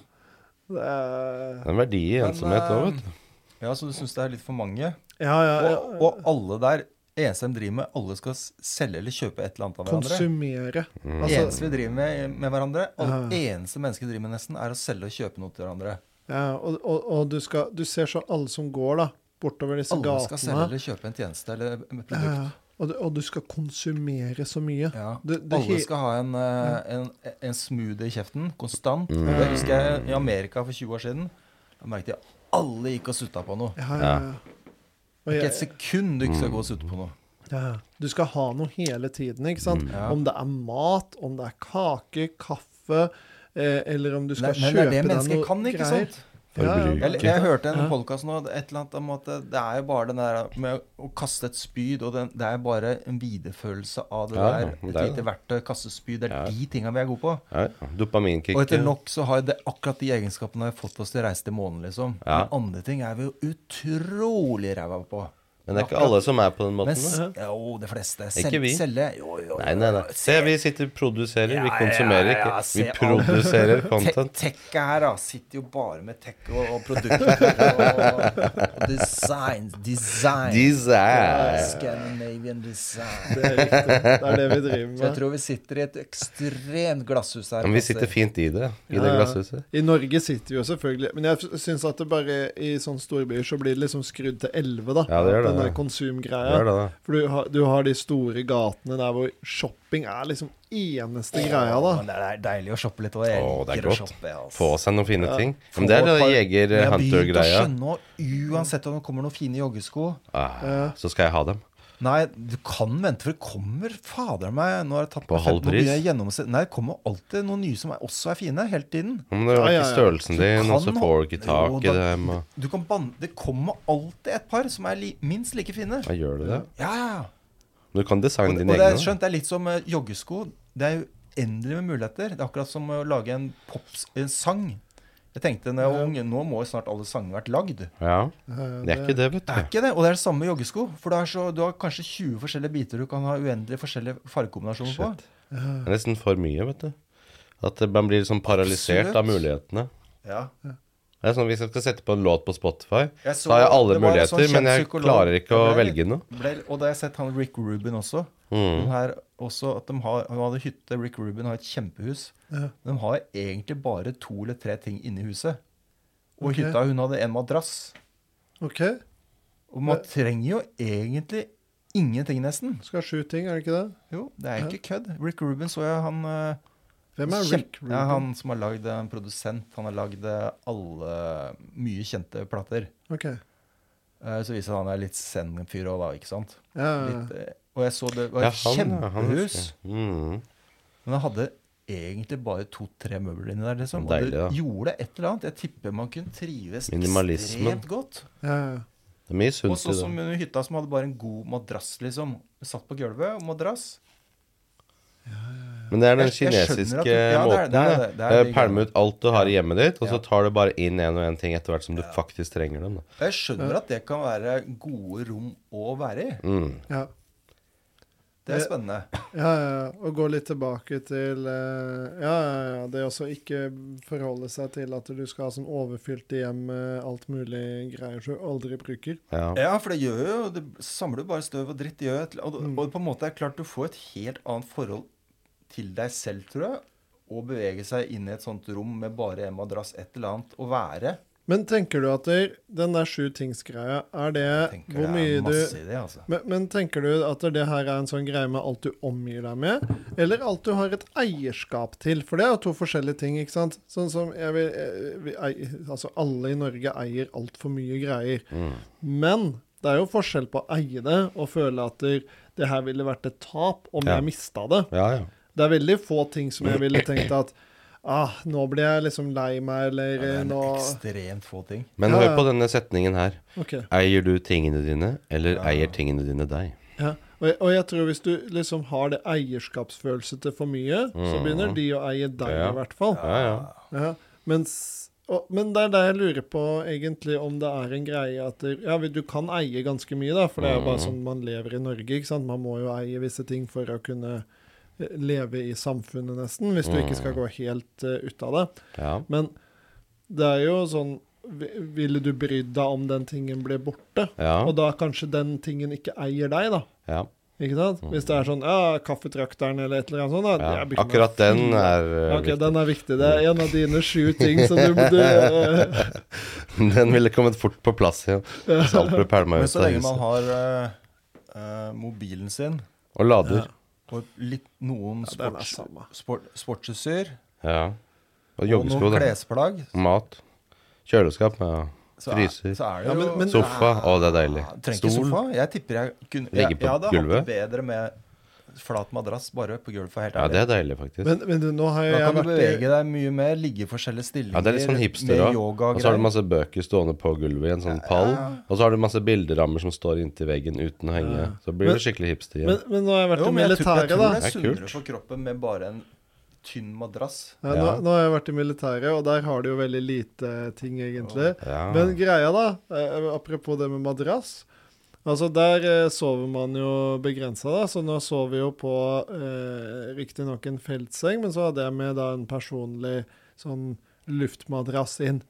[SPEAKER 3] Det er-
[SPEAKER 2] Det er en verdi i
[SPEAKER 1] Men,
[SPEAKER 2] ensomhet òg,
[SPEAKER 1] eh,
[SPEAKER 2] vet du.
[SPEAKER 1] Ja, så du syns det er litt for mange?
[SPEAKER 3] Ja, ja. ja.
[SPEAKER 1] Og, og alle der eneste de driver med, alle skal s- selge eller kjøpe et eller annet av hverandre.
[SPEAKER 3] Konsumere.
[SPEAKER 2] Mm.
[SPEAKER 1] Det
[SPEAKER 3] altså-
[SPEAKER 1] eneste vi driver med med hverandre, alle,
[SPEAKER 3] Ja.
[SPEAKER 1] eneste mennesker driver med nesten, er å selge og kjøpe noe til hverandre.
[SPEAKER 3] Ja, og og, og du, skal, du ser så alle som går, da. Bortover disse
[SPEAKER 1] Alle
[SPEAKER 3] gatene.
[SPEAKER 1] skal selge eller kjøpe en tjeneste eller et produkt.
[SPEAKER 3] Ja, og, du, og du skal konsumere så mye.
[SPEAKER 1] Ja.
[SPEAKER 3] Det, det,
[SPEAKER 1] Alle
[SPEAKER 3] he-
[SPEAKER 1] skal ha en, eh, en, en smoothie i kjeften konstant.
[SPEAKER 2] Mm.
[SPEAKER 1] Det husker jeg i Amerika for 20 år siden. Da merket jeg alle gikk og sutta på noe.
[SPEAKER 3] ja, ja, ja. Og
[SPEAKER 1] Ikke
[SPEAKER 3] jeg,
[SPEAKER 1] et sekund du ikke
[SPEAKER 2] Mm.
[SPEAKER 1] skal gå og sutte på noe.
[SPEAKER 3] ja. ja. Du skal ha noe hele tiden, ikke sant?
[SPEAKER 2] Mm.
[SPEAKER 1] Ja.
[SPEAKER 3] Om det er mat, om det er kake, kaffe, eh, eller om du
[SPEAKER 1] Nei,
[SPEAKER 3] skal
[SPEAKER 1] men det
[SPEAKER 3] kjøpe
[SPEAKER 1] er det
[SPEAKER 3] deg
[SPEAKER 1] mennesker
[SPEAKER 3] noe
[SPEAKER 1] kan, ikke
[SPEAKER 3] greier.
[SPEAKER 1] sant?
[SPEAKER 2] Forbruk.
[SPEAKER 1] Jeg,
[SPEAKER 2] Ikke?
[SPEAKER 1] jeg hørte en
[SPEAKER 3] Ja.
[SPEAKER 1] podkast nå, et eller annet om at det, det er jo bare den der med å kaste et spyd, og den, det er bare en videreførelse av det
[SPEAKER 2] Ja,
[SPEAKER 1] der.
[SPEAKER 2] men
[SPEAKER 1] Et
[SPEAKER 2] det er jo
[SPEAKER 1] lite verktøy, kaste spyd. Det er
[SPEAKER 2] Ja.
[SPEAKER 1] de tinga vi er gode på.
[SPEAKER 2] Ja, Dopaminkick.
[SPEAKER 1] Og etter nok så har det akkurat de egenskapene har fått oss til å reise til månen, liksom.
[SPEAKER 2] Ja.
[SPEAKER 1] Men andre ting er vi jo utrolig ræva på.
[SPEAKER 2] Men det er ikke alle som er på den måten.
[SPEAKER 1] Mens,
[SPEAKER 2] da.
[SPEAKER 1] jo, de fleste. Sel,
[SPEAKER 2] Ikke vi.
[SPEAKER 1] Selge. Jo, jo, jo.
[SPEAKER 2] Nei, nei, nei. Se, vi sitter og produserer. Vi
[SPEAKER 1] Ja,
[SPEAKER 2] konsumerer
[SPEAKER 1] ja, ja,
[SPEAKER 2] ikke. Vi
[SPEAKER 1] se, alle-
[SPEAKER 2] produserer
[SPEAKER 1] Te-
[SPEAKER 2] content.
[SPEAKER 1] Tekket her da, sitter jo bare med tech og, og produkter og, og design. Design.
[SPEAKER 2] Design.
[SPEAKER 1] Scandinavian design.
[SPEAKER 3] Det er riktig. Det er det vi
[SPEAKER 1] Så jeg
[SPEAKER 3] driver med.
[SPEAKER 1] tror vi sitter i et ekstremt glasshus her.
[SPEAKER 2] Men vi sitter fint i det, i det
[SPEAKER 3] Ja, ja.
[SPEAKER 2] glasshuset.
[SPEAKER 3] I Norge sitter vi jo selvfølgelig Men jeg syns at det bare i sånne storbyer så blir det liksom skrudd til 11, da.
[SPEAKER 2] Ja, det gjør det, ja.
[SPEAKER 3] Den der
[SPEAKER 2] Det
[SPEAKER 3] konsumgreia.
[SPEAKER 2] er det, da.
[SPEAKER 3] For du har, du har de store gatene der hvor shopping er liksom eneste greia, da.
[SPEAKER 1] Å, men det er deilig å shoppe litt. Og jeg
[SPEAKER 2] Å, det er
[SPEAKER 1] liker å
[SPEAKER 2] godt.
[SPEAKER 1] shoppe, altså.
[SPEAKER 2] Få seg noen fine
[SPEAKER 3] Ja.
[SPEAKER 2] ting. Men det er
[SPEAKER 1] Få
[SPEAKER 2] det
[SPEAKER 1] et par- Men jeg har begynt å
[SPEAKER 2] jeger-hunter-greia.
[SPEAKER 1] skjønne nå, uansett om det kommer noen fine joggesko
[SPEAKER 2] Ah, så skal jeg ha dem.
[SPEAKER 1] Nei, du kan vente, for det kommer fader meg Nå har jeg tatt
[SPEAKER 2] På
[SPEAKER 1] meg
[SPEAKER 2] halv
[SPEAKER 1] fem- nå begynner
[SPEAKER 2] pris?
[SPEAKER 1] jeg å gjennomse- Nei, det kommer alltid noen nye som er, også er fine, hele tiden.
[SPEAKER 2] Men det var
[SPEAKER 3] Ja,
[SPEAKER 2] ikke
[SPEAKER 3] ja, ja.
[SPEAKER 2] størrelsen din, og så
[SPEAKER 1] kan
[SPEAKER 2] får du
[SPEAKER 1] ha-
[SPEAKER 2] ikke tak i
[SPEAKER 1] Jo, da-
[SPEAKER 2] dem. og-
[SPEAKER 1] Du kan banne Det kommer alltid et par som er li, minst like fine.
[SPEAKER 2] Ja, gjør du det?
[SPEAKER 1] Ja, ja. ja.
[SPEAKER 2] Du kan
[SPEAKER 1] Og,
[SPEAKER 2] designe
[SPEAKER 1] det-
[SPEAKER 2] dine
[SPEAKER 1] og det er
[SPEAKER 2] egne.
[SPEAKER 1] skjønt, det er litt som eh, joggesko. Det er uendelig med muligheter. Det er akkurat som å lage en, pops, en sang. Jeg tenkte når jeg var ung, nå må jo snart alle sanger vært lagd.
[SPEAKER 2] Ja.
[SPEAKER 3] Eh,
[SPEAKER 2] Det er ikke det, vet
[SPEAKER 1] Det er
[SPEAKER 2] du.
[SPEAKER 1] ikke det, og det er det samme med joggesko. For det er så, du har kanskje 20 forskjellige biter du kan ha uendelig forskjellige fargekombinasjoner på.
[SPEAKER 2] Det er nesten for mye, vet du. At det- man blir sånn paralysert av
[SPEAKER 1] Absolutt.
[SPEAKER 2] mulighetene.
[SPEAKER 1] Ja.
[SPEAKER 2] Det er sånn, Hvis jeg skal sette på en låt på Spotify,
[SPEAKER 1] Jeg så-
[SPEAKER 2] så har jeg alle
[SPEAKER 1] det var en
[SPEAKER 2] muligheter,
[SPEAKER 1] sånn kjent
[SPEAKER 2] men jeg
[SPEAKER 1] psykolog.
[SPEAKER 2] klarer ikke å
[SPEAKER 1] Det ble-
[SPEAKER 2] velge noe.
[SPEAKER 1] Ble, og da har jeg sett han Rick Rubin også.
[SPEAKER 2] Mm.
[SPEAKER 1] Den her, også at de har, han hadde hytte, Rick Rubin har et kjempehus.
[SPEAKER 3] Ja.
[SPEAKER 1] De har egentlig bare to eller tre ting inni huset. Og
[SPEAKER 3] Ok.
[SPEAKER 1] hytta, hun hadde en madrass.
[SPEAKER 3] OK.
[SPEAKER 1] Og man trenger jo egentlig ingenting, nesten.
[SPEAKER 3] Skal ha sju ting, er det ikke det?
[SPEAKER 1] Jo, det er ikke kødd. Rick Rubin så jeg han eh,
[SPEAKER 3] Hvem er
[SPEAKER 1] kjem-
[SPEAKER 3] Rick Rubin?
[SPEAKER 1] Ja, han som har lagd eh, en produsent. Han har lagd eh, alle mye kjente plater.
[SPEAKER 3] OK.
[SPEAKER 1] Eh, Så viser det seg at han er litt zen-fyr òg, da, ikke sant?
[SPEAKER 3] Ja, ja, ja.
[SPEAKER 1] Litt, eh, og jeg så det var
[SPEAKER 2] Ja,
[SPEAKER 1] et
[SPEAKER 2] han, ja, han
[SPEAKER 1] kjempehus.
[SPEAKER 2] husker jeg. Mm.
[SPEAKER 1] Men han hadde egentlig bare to-tre møbler inni der. Liksom. Og
[SPEAKER 2] Deilig,
[SPEAKER 1] det
[SPEAKER 2] da.
[SPEAKER 1] gjorde et eller annet. Jeg tipper man kunne trives
[SPEAKER 2] Minimalismen.
[SPEAKER 1] ekstremt godt.
[SPEAKER 3] Ja, ja.
[SPEAKER 2] Det er mye
[SPEAKER 1] Og
[SPEAKER 2] sunt
[SPEAKER 1] så
[SPEAKER 2] i det.
[SPEAKER 1] som under hytta som hadde bare en god madrass, liksom. Satt på gulvet og madrass.
[SPEAKER 2] Men det er
[SPEAKER 1] Jeg-
[SPEAKER 2] den
[SPEAKER 1] jeg skjønner at du-
[SPEAKER 2] kinesiske
[SPEAKER 1] ja, det er det,
[SPEAKER 2] måten.
[SPEAKER 1] det er
[SPEAKER 2] da.
[SPEAKER 1] det, det er
[SPEAKER 2] Eh,
[SPEAKER 1] de
[SPEAKER 2] Pælme ut alt du har i hjemmet ditt, og
[SPEAKER 1] Ja.
[SPEAKER 2] så tar du bare inn en og en ting etter hvert som du faktisk trenger dem. Da.
[SPEAKER 1] Jeg skjønner at det kan være gode rom å være i.
[SPEAKER 2] Mm.
[SPEAKER 3] ja.
[SPEAKER 1] Det
[SPEAKER 3] Eh,
[SPEAKER 1] er spennende.
[SPEAKER 3] Ja, ja, ja. Og gå litt tilbake til eh, Ja, ja, ja. Det å ikke forholde seg til at du skal ha sånn overfylte hjem med alt mulig greier som du aldri bruker.
[SPEAKER 2] Ja.
[SPEAKER 1] Ja, for det gjør jo Det samler jo bare støv og dritt. det Gjør, jo et- og,
[SPEAKER 3] Mm.
[SPEAKER 1] og på en måte er det klart du får et helt annet forhold til deg selv, tror jeg. Å bevege seg inn i et sånt rom med bare en madrass, et eller annet, å være.
[SPEAKER 3] Men tenker du at det, den der sju tings-greia, er det
[SPEAKER 1] Jeg tenker
[SPEAKER 3] hvor
[SPEAKER 1] det
[SPEAKER 3] mye
[SPEAKER 1] er
[SPEAKER 3] du
[SPEAKER 1] masse i det, altså.
[SPEAKER 3] Men, men tenker du at det her er en sånn greie med alt du omgir deg med, eller alt du har et eierskap til? For det er jo to forskjellige ting, ikke sant? Sånn som jeg vil, eh, vi ei- Altså, alle i Norge eier altfor mye greier.
[SPEAKER 2] mm.
[SPEAKER 3] Men det er jo forskjell på å eie det og føle at det, det her ville vært et tap om
[SPEAKER 2] Ja.
[SPEAKER 3] jeg mista det.
[SPEAKER 2] Ja, ja.
[SPEAKER 3] Det er veldig få ting som jeg ville tenkt at Ah, nå blir jeg liksom lei meg, eller
[SPEAKER 1] Ja, det er
[SPEAKER 3] eh,
[SPEAKER 1] en
[SPEAKER 3] nå
[SPEAKER 1] ekstremt få ting.
[SPEAKER 2] Men
[SPEAKER 3] Ja,
[SPEAKER 2] hør
[SPEAKER 3] ja.
[SPEAKER 2] på denne setningen her.
[SPEAKER 3] OK.
[SPEAKER 2] Eier du tingene dine, eller
[SPEAKER 1] Ja.
[SPEAKER 2] eier tingene dine deg?
[SPEAKER 3] Ja, og jeg, og jeg tror hvis du liksom har det eierskapsfølelse til for mye, så begynner de å eie deg
[SPEAKER 2] Mm. Ja.
[SPEAKER 3] i hvert fall.
[SPEAKER 2] Ja, ja.
[SPEAKER 3] Ja. Mens, og, men det er der jeg lurer på egentlig om det er en greie at det, ja, du kan eie ganske mye, da, for det er jo
[SPEAKER 2] Mm.
[SPEAKER 3] bare sånn man lever i Norge. ikke sant? Man må jo eie visse ting for å kunne eh, leve i samfunnet, nesten, hvis du ikke
[SPEAKER 2] Mm.
[SPEAKER 3] skal gå helt eh, ut av det.
[SPEAKER 2] ja.
[SPEAKER 3] Men det er jo sånn vi- Ville du brydd deg om den tingen ble borte? Og
[SPEAKER 2] Ja.
[SPEAKER 3] da kanskje den tingen ikke eier deg, da?
[SPEAKER 2] ja.
[SPEAKER 3] Ikke sant? Hvis det er sånn ja, kaffetrakteren eller et eller annet sånt. Da,
[SPEAKER 2] Mm. ja.
[SPEAKER 3] jeg begynner
[SPEAKER 2] Akkurat
[SPEAKER 3] å
[SPEAKER 2] den
[SPEAKER 3] fyre-
[SPEAKER 2] er eh,
[SPEAKER 3] Ja, Ok,
[SPEAKER 2] viktig.
[SPEAKER 3] den er viktig. Det er en av dine sju ting, så du, du eh,
[SPEAKER 2] Den ville kommet fort på plass igjen. Hvis alt ble pælma
[SPEAKER 1] Men
[SPEAKER 2] ut
[SPEAKER 1] så
[SPEAKER 2] av
[SPEAKER 1] lenge man
[SPEAKER 2] huset.
[SPEAKER 1] har eh, eh, mobilen sin
[SPEAKER 2] Og lader.
[SPEAKER 1] og litt, noen
[SPEAKER 3] Ja, den er
[SPEAKER 1] sports,
[SPEAKER 3] samme.
[SPEAKER 1] sport, sportsutstyr
[SPEAKER 2] Ja. Og
[SPEAKER 1] og
[SPEAKER 2] joggesko,
[SPEAKER 1] noen
[SPEAKER 2] da.
[SPEAKER 1] klesplagg,
[SPEAKER 2] Mat. Kjøleskap. Ja.
[SPEAKER 1] så er,
[SPEAKER 2] Fryser.
[SPEAKER 1] så er det jo
[SPEAKER 3] Ja, men- men-
[SPEAKER 2] Sofa. Å, det er deilig.
[SPEAKER 1] Ja, Trenger ikke
[SPEAKER 2] Stol.
[SPEAKER 1] sofa. Jeg tipper jeg kunne
[SPEAKER 2] Legge
[SPEAKER 1] Jeg,
[SPEAKER 2] på
[SPEAKER 1] jeg hadde hatt det
[SPEAKER 2] gulvet.
[SPEAKER 1] bedre med flat madrass bare på gulvet, for helt
[SPEAKER 2] Ja,
[SPEAKER 1] ærlig.
[SPEAKER 2] det er deilig, faktisk.
[SPEAKER 3] men, men du, nå har jo
[SPEAKER 1] Da kan
[SPEAKER 3] jeg
[SPEAKER 1] du
[SPEAKER 3] vært i
[SPEAKER 1] bevege deg mye mer, ligge i forskjellige stillinger.
[SPEAKER 2] Ja, det er litt sånn hipster
[SPEAKER 1] med
[SPEAKER 2] òg.
[SPEAKER 1] yoga
[SPEAKER 2] Og
[SPEAKER 1] og
[SPEAKER 2] så har du
[SPEAKER 1] greier.
[SPEAKER 2] masse bøker stående på gulvet i en sånn pall. Og så har du masse bilderammer som står inntil veggen uten å henge. Så blir
[SPEAKER 3] Men-
[SPEAKER 2] du skikkelig hipster
[SPEAKER 3] men,
[SPEAKER 2] igjen.
[SPEAKER 3] men nå har jeg vært
[SPEAKER 1] Jo,
[SPEAKER 3] i
[SPEAKER 1] men jeg, tror- jeg tror
[SPEAKER 3] militæret, da.
[SPEAKER 1] det
[SPEAKER 2] Det
[SPEAKER 1] er
[SPEAKER 2] er kult.
[SPEAKER 1] sunnere for kroppen med bare en tynn madrass.
[SPEAKER 3] Ja, nå,
[SPEAKER 2] Ja.
[SPEAKER 3] nå har jeg vært i militæret, og der har du jo veldig lite ting, egentlig.
[SPEAKER 2] Ja.
[SPEAKER 3] Men greia, da, eh, apropos det med madrass Altså, der eh, sover man jo begrensa, da, så nå sover vi jo på eh, riktignok en feltseng, men så hadde jeg med da en personlig sånn luftmadrass inn.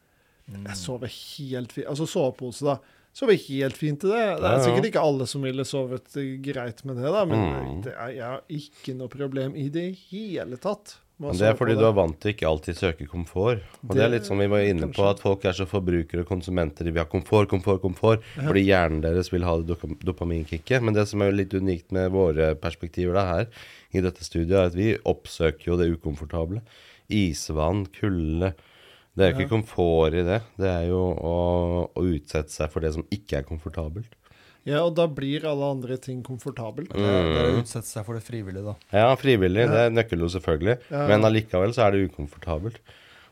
[SPEAKER 1] Mm.
[SPEAKER 3] Jeg sover helt fint Altså sovepose, da. Sover helt fint i det. Det
[SPEAKER 2] Ja,
[SPEAKER 3] er
[SPEAKER 2] ja.
[SPEAKER 3] sikkert ikke alle som ville sovet eh, greit med det, da, men
[SPEAKER 2] Mm.
[SPEAKER 3] det er, jeg har ikke noe problem i det hele tatt. med å
[SPEAKER 2] Men det er
[SPEAKER 3] sove på
[SPEAKER 2] fordi
[SPEAKER 3] det.
[SPEAKER 2] du er vant til ikke alltid søke komfort. Og det er litt sånn vi var inne på,
[SPEAKER 3] kanskje.
[SPEAKER 2] at folk er så forbrukere og konsumenter. De vil ha komfort, komfort, komfort. Fordi hjernen deres vil ha det dop- dopaminkicket. Men det som er jo litt unikt med våre perspektiver da her i dette studiet, er at vi oppsøker jo det ukomfortable. Isvann, kulde. Det er jo ikke komfort i det. Det er jo å, å utsette seg for det som ikke er komfortabelt.
[SPEAKER 3] Ja, og da blir alle andre ting komfortabelt.
[SPEAKER 1] Det er- det er
[SPEAKER 2] Mm.
[SPEAKER 1] å utsette seg for det frivillige, da.
[SPEAKER 2] Ja, frivillig. Det er nøkkelord, selvfølgelig.
[SPEAKER 3] Ja.
[SPEAKER 2] Men allikevel så er det ukomfortabelt.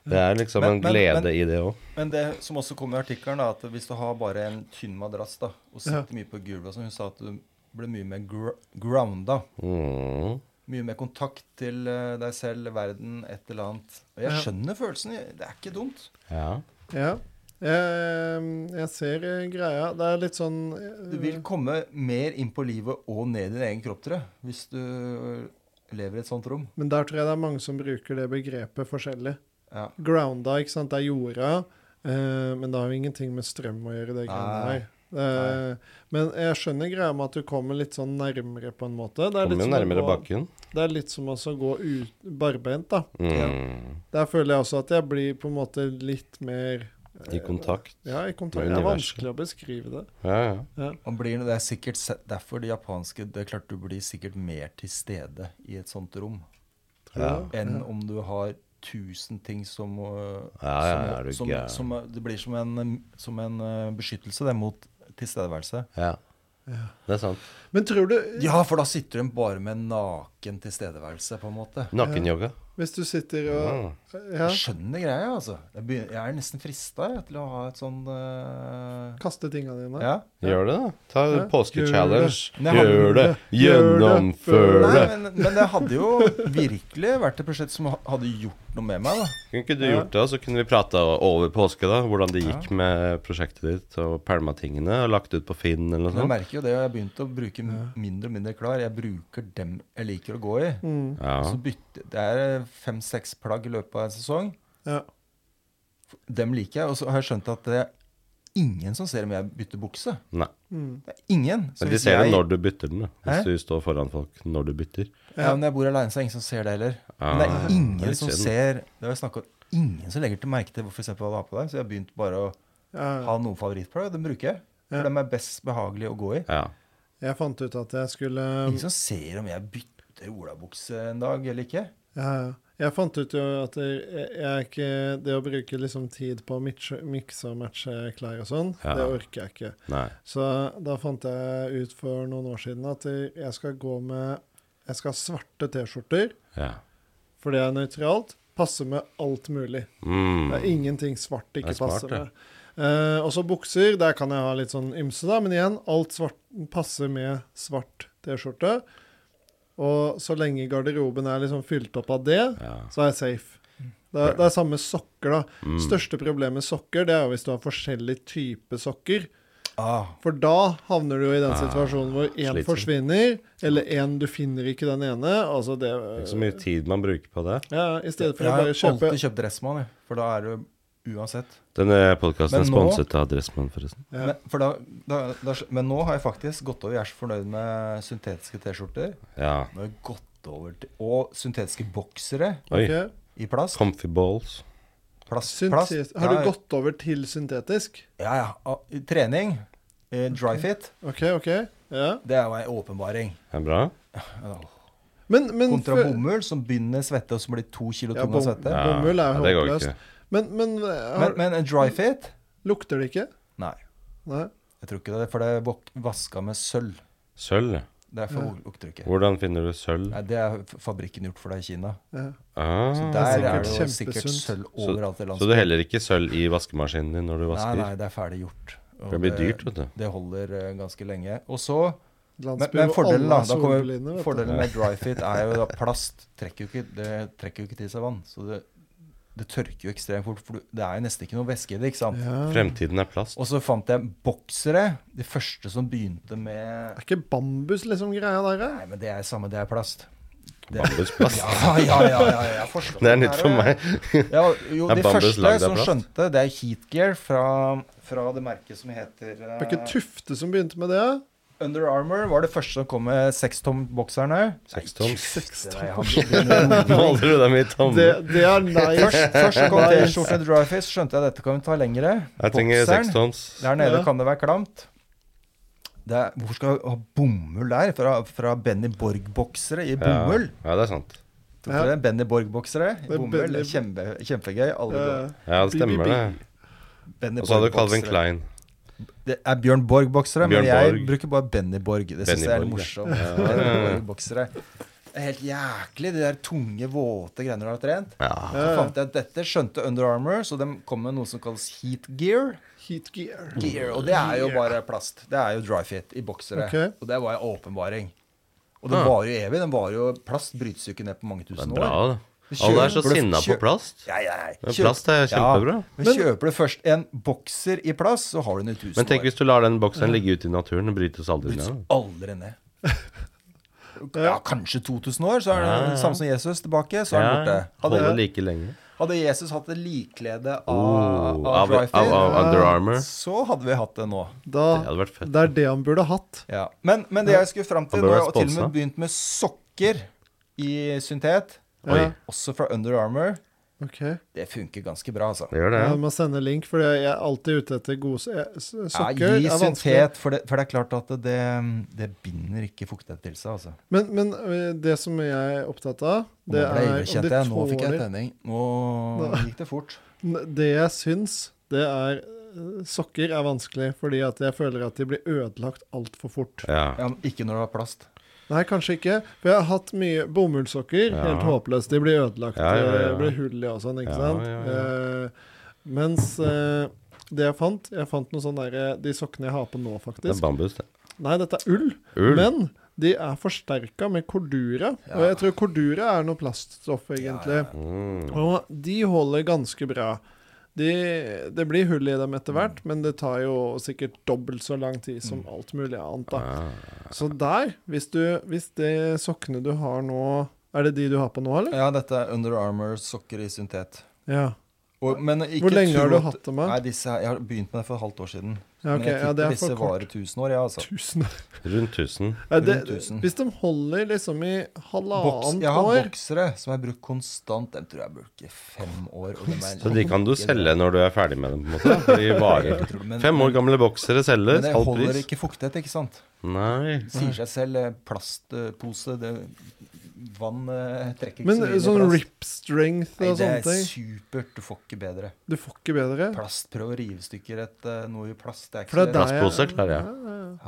[SPEAKER 2] Det er liksom
[SPEAKER 1] Men-
[SPEAKER 2] en
[SPEAKER 1] men-
[SPEAKER 2] glede
[SPEAKER 1] men-
[SPEAKER 2] i det òg.
[SPEAKER 1] Men det som også kommer i artikkelen, er at hvis du har bare en tynn madrass da, og sitter
[SPEAKER 3] Ja.
[SPEAKER 1] mye på gulvet, og sånn, hun sa at du blir mye mer gr grounda.
[SPEAKER 2] Mm.
[SPEAKER 1] Mye mer kontakt til eh, deg selv, verden, et eller annet. Og jeg
[SPEAKER 3] Ja.
[SPEAKER 1] skjønner følelsen. jeg- Det er ikke dumt.
[SPEAKER 2] Ja.
[SPEAKER 3] Ja. Jeg, jeg ser eh, greia. Det er litt sånn eh,
[SPEAKER 1] Du vil komme mer inn på livet og ned i din egen kropp, tror jeg, hvis du eh, lever i et sånt rom.
[SPEAKER 3] Men der tror jeg det er mange som bruker det begrepet forskjellig.
[SPEAKER 1] Ja.
[SPEAKER 3] Grounda, ikke sant, det er jorda. eh, men det har jo ingenting med strøm å gjøre, det greiene
[SPEAKER 1] Nei.
[SPEAKER 3] her. Eh, men jeg skjønner greia med at du kommer litt sånn nærmere, på en måte. Det
[SPEAKER 2] Kommer
[SPEAKER 3] er litt
[SPEAKER 2] jo
[SPEAKER 3] som å
[SPEAKER 2] nærmere
[SPEAKER 3] gå-
[SPEAKER 2] bakken.
[SPEAKER 3] Det er litt som også å gå ut, barbeint, da.
[SPEAKER 2] Mm.
[SPEAKER 3] Der føler jeg også at jeg blir på en måte litt mer eh,
[SPEAKER 2] I kontakt.
[SPEAKER 3] Ja, i kontakt.
[SPEAKER 2] med
[SPEAKER 3] Det er
[SPEAKER 2] universet.
[SPEAKER 3] vanskelig å beskrive det.
[SPEAKER 2] Ja, ja.
[SPEAKER 1] Man blir, det er sikkert se- derfor de japanske Det er klart du blir sikkert mer til stede i et sånt rom
[SPEAKER 3] tror jeg.
[SPEAKER 1] enn om du har tusen ting som øh,
[SPEAKER 2] Ja, ja, ja, er du
[SPEAKER 1] som, som,
[SPEAKER 2] gæren.
[SPEAKER 1] som, øh, Det blir som en, øh, som en øh, beskyttelse det, mot tilstedeværelse.
[SPEAKER 2] ja. Det er sant.
[SPEAKER 3] Men tror du
[SPEAKER 1] Ja, for da sitter de bare med naken tilstedeværelse, på en måte.
[SPEAKER 2] Nakenyoga.
[SPEAKER 3] Hvis du sitter og
[SPEAKER 2] Ah.
[SPEAKER 3] ja,
[SPEAKER 1] Jeg skjønner greia, altså. Jeg, begyn- jeg er nesten frista til å ha et sånn eh,
[SPEAKER 3] kaster tingene dine.
[SPEAKER 1] Ja.
[SPEAKER 2] Gjør det, da. Ta
[SPEAKER 3] Ja.
[SPEAKER 2] påskechallenge.
[SPEAKER 1] Gjør det.
[SPEAKER 2] Gjør det.
[SPEAKER 3] Gjør det.
[SPEAKER 2] Gjennomfør
[SPEAKER 1] Nei,
[SPEAKER 2] det.
[SPEAKER 1] men, men det hadde jo virkelig vært et prosjekt som ha- hadde gjort noe med meg. da.
[SPEAKER 2] Kunne ikke du
[SPEAKER 3] Ja.
[SPEAKER 2] gjort det, så kunne vi prata over påske, da. Hvordan det gikk med prosjektet ditt og pælma tingene og lagt ut på Finn eller
[SPEAKER 1] Men Jeg
[SPEAKER 2] noe sånt.
[SPEAKER 1] merker jo det, og jeg har begynt å bruke m- mindre og mindre klær. Jeg bruker dem jeg liker å gå i.
[SPEAKER 3] Mm,
[SPEAKER 2] Ja.
[SPEAKER 1] Så bytte, det er eh, fem-seks plagg i løpet av en sesong.
[SPEAKER 3] ja.
[SPEAKER 1] Dem liker jeg. Og så har jeg skjønt at det er ingen som ser om jeg bytter bukse.
[SPEAKER 2] Nei.
[SPEAKER 3] Mm.
[SPEAKER 1] Det er ingen. Så
[SPEAKER 2] Men de
[SPEAKER 1] hvis
[SPEAKER 2] ser det
[SPEAKER 1] jeg,
[SPEAKER 2] når du bytter den, da.
[SPEAKER 1] Hæ?
[SPEAKER 2] Hvis du står foran folk når du bytter.
[SPEAKER 1] ja, men når jeg bor alene, så er det ingen som ser det heller. Men det
[SPEAKER 2] Ah,
[SPEAKER 1] er ingen
[SPEAKER 2] det er
[SPEAKER 1] som
[SPEAKER 2] synd.
[SPEAKER 1] ser Det har jeg snakket om. Ingen som legger til merke til hvorfor jeg ser på hva du har på deg. Så jeg har begynt bare å
[SPEAKER 3] ja.
[SPEAKER 1] ha noen favorittplagg. og Dem bruker jeg.
[SPEAKER 3] Ja.
[SPEAKER 1] For dem er best behagelige å gå i.
[SPEAKER 2] Ja.
[SPEAKER 3] Jeg fant ut at jeg skulle
[SPEAKER 1] Ingen som ser om jeg bytter olabukse en dag eller ikke.
[SPEAKER 3] ja, ja. Jeg fant ut jo at jeg, jeg er ikke, det å bruke liksom tid på å mitche- mikse og matche klær og sånn,
[SPEAKER 2] Ja.
[SPEAKER 3] det orker jeg ikke.
[SPEAKER 2] Nei.
[SPEAKER 3] Så da fant jeg ut for noen år siden at jeg skal gå med Jeg skal ha svarte T-skjorter,
[SPEAKER 2] Ja.
[SPEAKER 3] for det er nøytralt. Passer med alt mulig.
[SPEAKER 2] Mm.
[SPEAKER 3] Det er ingenting svart ikke
[SPEAKER 2] Det er smart,
[SPEAKER 3] passer
[SPEAKER 2] det.
[SPEAKER 3] med. Eh, også bukser. Der kan jeg ha litt sånn ymse, da, men igjen, alt svart, passer med svart T-skjorte. Og så lenge garderoben er liksom fylt opp av det,
[SPEAKER 2] Ja.
[SPEAKER 3] så er jeg safe. Det er, det er samme sokker, da.
[SPEAKER 2] Mm.
[SPEAKER 3] Største problem med sokker, det er jo hvis du har forskjellig type sokker.
[SPEAKER 1] Ah,
[SPEAKER 3] For da havner du jo i den
[SPEAKER 2] Ah,
[SPEAKER 3] situasjonen hvor én
[SPEAKER 2] slitsomt.
[SPEAKER 3] forsvinner, eller én du finner ikke den ene. Altså det
[SPEAKER 2] Det er ikke så mye tid man bruker på det.
[SPEAKER 3] Ja, I stedet for
[SPEAKER 1] jeg
[SPEAKER 3] å
[SPEAKER 1] har
[SPEAKER 3] bare kjøpe
[SPEAKER 1] alltid kjøpt dressmann, jeg, for da er det uansett.
[SPEAKER 2] Denne podkasten
[SPEAKER 1] Men
[SPEAKER 2] er
[SPEAKER 1] nå-
[SPEAKER 2] sponset av Dressmann, forresten.
[SPEAKER 3] Ja.
[SPEAKER 1] Men, for da, da, da, men nå har jeg faktisk gått over Jeg er så fornøyd med syntetiske T-skjorter.
[SPEAKER 2] Ja.
[SPEAKER 1] Nå har jeg gått over til Og syntetiske boksere
[SPEAKER 2] Oi.
[SPEAKER 3] Ok.
[SPEAKER 1] i plast.
[SPEAKER 2] Comfy balls.
[SPEAKER 1] Plast, plast.
[SPEAKER 3] Syntetisk. Har
[SPEAKER 1] Ja,
[SPEAKER 3] du gått over til syntetisk?
[SPEAKER 1] Ja, ja. Ah, i Trening. eh, Dry fit.
[SPEAKER 3] OK, OK. Ja.
[SPEAKER 1] Det er jo ei åpenbaring.
[SPEAKER 2] Er det bra?
[SPEAKER 3] Men, men
[SPEAKER 1] Kontra
[SPEAKER 3] før-
[SPEAKER 1] bomull, som begynner svette, og så blir to kilo
[SPEAKER 3] Ja,
[SPEAKER 1] tung av
[SPEAKER 3] bom-
[SPEAKER 1] svette.
[SPEAKER 3] Ja. Bomull er
[SPEAKER 2] ja, det går
[SPEAKER 3] håpløst.
[SPEAKER 2] ikke.
[SPEAKER 3] Men, men, eh, har,
[SPEAKER 1] Men, men en dry fit?
[SPEAKER 3] lukter det ikke?
[SPEAKER 1] Nei.
[SPEAKER 3] Nei.
[SPEAKER 1] Jeg tror ikke det. For det er vok- vaska med sølv.
[SPEAKER 2] Sølv?
[SPEAKER 1] Derfor
[SPEAKER 3] Ja.
[SPEAKER 1] lukter det ikke.
[SPEAKER 2] Hvordan finner du sølv?
[SPEAKER 1] Nei, det er f- fabrikken gjort for deg i Kina.
[SPEAKER 3] Ja.
[SPEAKER 2] Ah.
[SPEAKER 1] Så
[SPEAKER 3] det er
[SPEAKER 1] der er det jo
[SPEAKER 3] sikkert
[SPEAKER 1] sikkert
[SPEAKER 3] kjempesunt.
[SPEAKER 1] sølv overalt i
[SPEAKER 2] Så du
[SPEAKER 1] landet.
[SPEAKER 2] heller ikke sølv i vaskemaskinen din når du
[SPEAKER 1] Nei,
[SPEAKER 2] vasker?
[SPEAKER 1] nei, det er ferdig gjort. Og
[SPEAKER 2] det blir dyrt, altså. vet du.
[SPEAKER 1] Det holder eh, ganske lenge. Og så men,
[SPEAKER 3] Landsby
[SPEAKER 1] men
[SPEAKER 3] og
[SPEAKER 1] fordelen, da,
[SPEAKER 3] alle
[SPEAKER 1] da
[SPEAKER 3] solbriller,
[SPEAKER 1] kommer,
[SPEAKER 3] vet du.
[SPEAKER 1] fordelen med dry fit er jo at plast trekker jo ikke, det trekker jo ikke til seg vann. Så det, det tørker jo ekstremt fort. For du- det er jo nesten ikke noe væske i det. ikke sant?
[SPEAKER 3] ja.
[SPEAKER 2] Fremtiden er plast.
[SPEAKER 1] Og så fant jeg boksere. De første som begynte med
[SPEAKER 3] Er ikke bambus liksom greia der? eh?
[SPEAKER 1] Nei, men det er samme, det er plast. Det,
[SPEAKER 2] Bambus plast.
[SPEAKER 1] ja, ja, ja, ja, jeg forstår
[SPEAKER 2] Det er nytt
[SPEAKER 1] her,
[SPEAKER 2] for
[SPEAKER 1] ja.
[SPEAKER 2] meg.
[SPEAKER 1] Ja, jo,
[SPEAKER 2] Er
[SPEAKER 1] de
[SPEAKER 2] bambus
[SPEAKER 1] første
[SPEAKER 2] lagd av
[SPEAKER 1] som
[SPEAKER 2] plast?
[SPEAKER 1] skjønte, det er Heatgear fra, fra det merket som heter
[SPEAKER 3] Det er ikke
[SPEAKER 1] eh,
[SPEAKER 3] Tufte som begynte med det? eh?
[SPEAKER 1] Under Armour var det første som kom med sekstomt-bokserne.
[SPEAKER 2] Sekstoms.
[SPEAKER 1] Først,
[SPEAKER 2] Måler du dem i
[SPEAKER 3] Det,
[SPEAKER 2] tomme?
[SPEAKER 3] det er nice.
[SPEAKER 1] først så kom T-skjorte Dryface, skjønte jeg dette kan vi ta lengre.
[SPEAKER 2] Jeg trenger sekstoms.
[SPEAKER 1] der nede
[SPEAKER 3] Ja.
[SPEAKER 1] kan det være klamt. Det er, hvor skal vi ha bomull der? Fra, fra Benny Borg-boksere i bomull?
[SPEAKER 2] Ja, ja, det er sant.
[SPEAKER 1] Tok dere det? Benny Borg-boksere i
[SPEAKER 3] Det er
[SPEAKER 1] bomull?
[SPEAKER 3] Benny-
[SPEAKER 1] Det er Kjempe, kjempegøy. Alle
[SPEAKER 3] Eh,
[SPEAKER 2] Ja, det stemmer, det.
[SPEAKER 1] Benny
[SPEAKER 2] Og så hadde du Calvin
[SPEAKER 1] Borg-boksere.
[SPEAKER 2] Klein.
[SPEAKER 1] Det er Bjørn Borg-boksere, men
[SPEAKER 2] Bjørn
[SPEAKER 1] jeg
[SPEAKER 2] Borg.
[SPEAKER 1] bruker bare Benny Borg. Det syns
[SPEAKER 2] Benny
[SPEAKER 1] jeg er
[SPEAKER 2] Borg,
[SPEAKER 1] morsomt. Benny Borg-boksere. Det er helt jæklig, de der tunge, våte greiene du har trent.
[SPEAKER 2] Ja.
[SPEAKER 1] Så fant jeg at dette skjønte Under Armour, så de kom med noe som kalles heat gear.
[SPEAKER 3] Heat gear.
[SPEAKER 1] gear og det er jo bare plast. Det er jo dry fit i boksere.
[SPEAKER 3] Ok.
[SPEAKER 1] Og det var en åpenbaring. Og den
[SPEAKER 2] Ah.
[SPEAKER 1] varer jo evig. den var jo Plast brytes jo ikke ned på mange
[SPEAKER 2] Det
[SPEAKER 1] tusen
[SPEAKER 2] er
[SPEAKER 1] år.
[SPEAKER 2] bra, da.
[SPEAKER 1] Vi
[SPEAKER 2] Alle er så
[SPEAKER 1] kjøper-
[SPEAKER 2] sinna på
[SPEAKER 1] kjø-
[SPEAKER 2] plast.
[SPEAKER 1] Ja, ja, ja.
[SPEAKER 2] Men
[SPEAKER 1] Kjøp-
[SPEAKER 2] plast er kjempebra.
[SPEAKER 1] Ja, men kjøper du først en bokser i plast, så har du den i tusen
[SPEAKER 2] Men tenk
[SPEAKER 1] år.
[SPEAKER 2] hvis du lar den bokseren ligge ute i naturen, den brytes aldri
[SPEAKER 1] Brytes
[SPEAKER 2] ned.
[SPEAKER 1] aldri ned. Ja, kanskje 2000 år, så er det
[SPEAKER 2] Ja, ja.
[SPEAKER 1] det samme som Jesus tilbake. Så er han
[SPEAKER 2] Ah. Ja,
[SPEAKER 1] borte.
[SPEAKER 2] holder
[SPEAKER 1] Hadde,
[SPEAKER 2] like lenge.
[SPEAKER 1] hadde Jesus hatt et likklede av,
[SPEAKER 2] Oh,
[SPEAKER 1] av
[SPEAKER 2] av,
[SPEAKER 1] dry
[SPEAKER 2] av,
[SPEAKER 1] fit,
[SPEAKER 2] av Under Armour.
[SPEAKER 1] så hadde vi hatt det nå.
[SPEAKER 3] Da,
[SPEAKER 2] Det hadde vært fett.
[SPEAKER 3] det er det han burde hatt.
[SPEAKER 1] Ja. Men, men det jeg skulle fram til,
[SPEAKER 2] Han bør
[SPEAKER 1] nå har
[SPEAKER 2] være
[SPEAKER 1] jeg til og
[SPEAKER 2] sponset.
[SPEAKER 1] med begynt med sokker i syntet.
[SPEAKER 2] Oi,
[SPEAKER 3] Ja.
[SPEAKER 1] Også fra Under Armour.
[SPEAKER 3] Ok.
[SPEAKER 1] Det funker ganske bra, altså.
[SPEAKER 2] det gjør det. ja.
[SPEAKER 3] Jeg må sende link, for jeg er alltid ute etter gode s- eh, s- sokker.
[SPEAKER 1] ja, gi
[SPEAKER 3] er vanskelig.
[SPEAKER 1] syntet, for det, for det er klart at det, det binder ikke fuktighet til seg, altså.
[SPEAKER 3] Men, men ø, det som jeg er opptatt av, det
[SPEAKER 1] nå ble
[SPEAKER 3] er
[SPEAKER 1] jeg
[SPEAKER 3] om
[SPEAKER 1] ivrig,
[SPEAKER 3] det
[SPEAKER 1] Nå fikk jeg
[SPEAKER 3] tåler
[SPEAKER 1] tenning. Nå
[SPEAKER 3] Nå-
[SPEAKER 1] gikk det fort.
[SPEAKER 3] N- Det jeg syns, det er ø, Sokker er vanskelig fordi at jeg føler at de blir ødelagt altfor fort.
[SPEAKER 2] Ja.
[SPEAKER 1] Ja, men ikke når det var plast.
[SPEAKER 3] Nei, kanskje ikke. For jeg har hatt mye bomullssokker.
[SPEAKER 2] Ja.
[SPEAKER 3] Helt håpløst. De blir ødelagt.
[SPEAKER 2] Ja, ja, ja.
[SPEAKER 3] Det blir hull i og sånn,
[SPEAKER 2] Ja,
[SPEAKER 3] ikke sant.
[SPEAKER 2] ja, ja.
[SPEAKER 3] Eh, mens eh, det jeg fant Jeg fant noe sånn derre De sokkene jeg har på nå,
[SPEAKER 2] Det er
[SPEAKER 3] faktisk.
[SPEAKER 2] bambus, det.
[SPEAKER 3] Nei, dette er ull.
[SPEAKER 2] Ull.
[SPEAKER 3] Men de er forsterka med cordura. Og jeg tror cordura er noe plaststoff, egentlig.
[SPEAKER 2] Mm.
[SPEAKER 3] Og de holder ganske bra. De, det blir hull i dem etter hvert, men det tar jo sikkert dobbelt så lang tid som alt mulig annet. da.
[SPEAKER 2] Ah.
[SPEAKER 3] Så der, hvis, du, hvis det sokkene du har nå Er det de du har på nå, eller?
[SPEAKER 1] Ja, dette er Under Armour sokker i syntet.
[SPEAKER 3] Ja.
[SPEAKER 1] Og, men ikke
[SPEAKER 3] Hvor lenge
[SPEAKER 1] tro
[SPEAKER 3] har du
[SPEAKER 1] at-
[SPEAKER 3] hatt dem? da?
[SPEAKER 1] Nei, disse, her- Jeg har begynt med det for et halvt år siden.
[SPEAKER 3] Ja, ok,
[SPEAKER 1] men jeg
[SPEAKER 3] ja,
[SPEAKER 1] tipper
[SPEAKER 3] det er
[SPEAKER 1] disse
[SPEAKER 3] for
[SPEAKER 1] varer
[SPEAKER 3] kort.
[SPEAKER 1] 1000 år, ja, altså.
[SPEAKER 3] Tusen
[SPEAKER 2] Rundt 1000.
[SPEAKER 3] ja, det,
[SPEAKER 1] Rundt tusen.
[SPEAKER 3] Hvis de holder liksom i
[SPEAKER 1] Boks,
[SPEAKER 3] halvannet
[SPEAKER 1] jeg har
[SPEAKER 3] år
[SPEAKER 1] boksere som jeg har brukt konstant. Dem tror jeg bruker fem år. Og dem er
[SPEAKER 2] Så de kan du selge når du er ferdig med dem, på en måte. For de varer.
[SPEAKER 1] Men,
[SPEAKER 2] Fem år gamle boksere
[SPEAKER 1] men
[SPEAKER 2] selges,
[SPEAKER 1] det
[SPEAKER 2] halv
[SPEAKER 1] holder
[SPEAKER 2] pris.
[SPEAKER 1] ikke fuktighet, ikke sant?
[SPEAKER 2] Nei.
[SPEAKER 1] Sier seg selv. eh, Plastpose, det, vann eh, trekker ikke
[SPEAKER 3] Men
[SPEAKER 1] mye
[SPEAKER 3] sånn
[SPEAKER 1] plast.
[SPEAKER 3] rip strength
[SPEAKER 1] Nei,
[SPEAKER 3] og
[SPEAKER 1] det
[SPEAKER 3] sånne
[SPEAKER 1] er
[SPEAKER 3] ting
[SPEAKER 1] supert. Du får ikke bedre.
[SPEAKER 3] Du får ikke bedre.
[SPEAKER 1] Plast, prøv å rive stykker et, eh, noe i plast. Det er
[SPEAKER 3] For
[SPEAKER 1] ikke så
[SPEAKER 3] det er
[SPEAKER 1] lett.
[SPEAKER 3] der
[SPEAKER 2] Plastposer klarer jeg.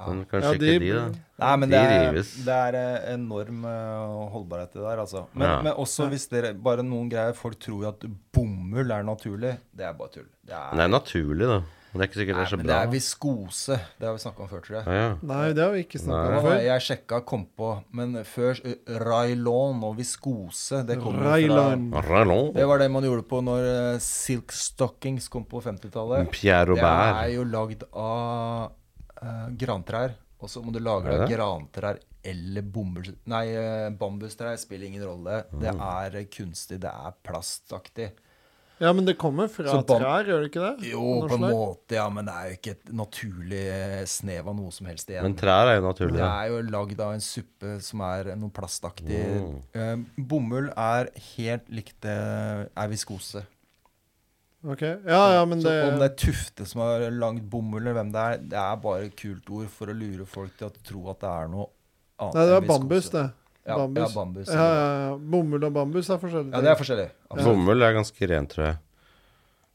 [SPEAKER 2] Men kanskje
[SPEAKER 3] Ja, de-
[SPEAKER 2] ikke de, da.
[SPEAKER 1] Nei, men
[SPEAKER 2] De
[SPEAKER 1] det er,
[SPEAKER 2] rives.
[SPEAKER 1] det er eh, enorm eh, holdbarhet i det der, altså. Men,
[SPEAKER 2] Ja.
[SPEAKER 1] men også
[SPEAKER 3] Ja.
[SPEAKER 1] hvis dere Bare noen greier Folk tror jo at bomull er naturlig. Det er bare tull. Det er,
[SPEAKER 2] Men det er naturlig, da. Men det er ikke sikkert det er
[SPEAKER 1] Nei,
[SPEAKER 2] så
[SPEAKER 1] men
[SPEAKER 2] bra.
[SPEAKER 1] det er viskose. Det har vi snakka om før, tror jeg.
[SPEAKER 2] Ja, ja.
[SPEAKER 3] Nei, det har vi ikke snakka
[SPEAKER 1] Hva var
[SPEAKER 3] om før.
[SPEAKER 1] det Jeg sjekka, kom på, men før ø, Railon og viskose Det kom jo
[SPEAKER 3] Railan.
[SPEAKER 1] fra Det
[SPEAKER 2] Rallon.
[SPEAKER 1] var det man gjorde på når eh, silk stockings kom på 50-tallet.
[SPEAKER 2] Mm, Pierre
[SPEAKER 1] Det er
[SPEAKER 2] Robert.
[SPEAKER 1] jo lagd av eh, grantrær. Og så må du lage det
[SPEAKER 2] Er
[SPEAKER 1] av
[SPEAKER 2] det?
[SPEAKER 1] grantrær eller bomull... Nei, eh, bambustrær. Spiller ingen rolle.
[SPEAKER 2] Mm.
[SPEAKER 1] Det er eh, kunstig. Det er plastaktig.
[SPEAKER 3] Ja, men det kommer fra
[SPEAKER 1] Så bam-
[SPEAKER 3] trær, gjør det ikke det?
[SPEAKER 1] Jo,
[SPEAKER 3] Av noe
[SPEAKER 1] på en
[SPEAKER 3] slag?
[SPEAKER 1] måte, ja, men det er jo ikke et naturlig eh, snev av noe som helst igjen.
[SPEAKER 2] Men trær er jo
[SPEAKER 1] Det
[SPEAKER 2] naturlig. da.
[SPEAKER 1] er jo lagd av en suppe som er noe plastaktig.
[SPEAKER 2] Mm.
[SPEAKER 1] Eh, bomull er helt likt det er viskose.
[SPEAKER 3] Ok, Ja, ja, men det,
[SPEAKER 1] Så om det er Tufte som har lagd bomull, eller hvem det er, det er bare et kult ord for å lure folk til å tro at det er noe annet.
[SPEAKER 3] Nei, det
[SPEAKER 1] enn
[SPEAKER 3] var bambus,
[SPEAKER 1] viskose.
[SPEAKER 3] det.
[SPEAKER 1] Ja,
[SPEAKER 3] bambus.
[SPEAKER 1] Ja, bambus.
[SPEAKER 3] Ja, ja, ja. Bomull og bambus er forskjellige
[SPEAKER 1] Ja, det er forskjellig. Absolutt.
[SPEAKER 2] Bomull er ganske ren, tror jeg.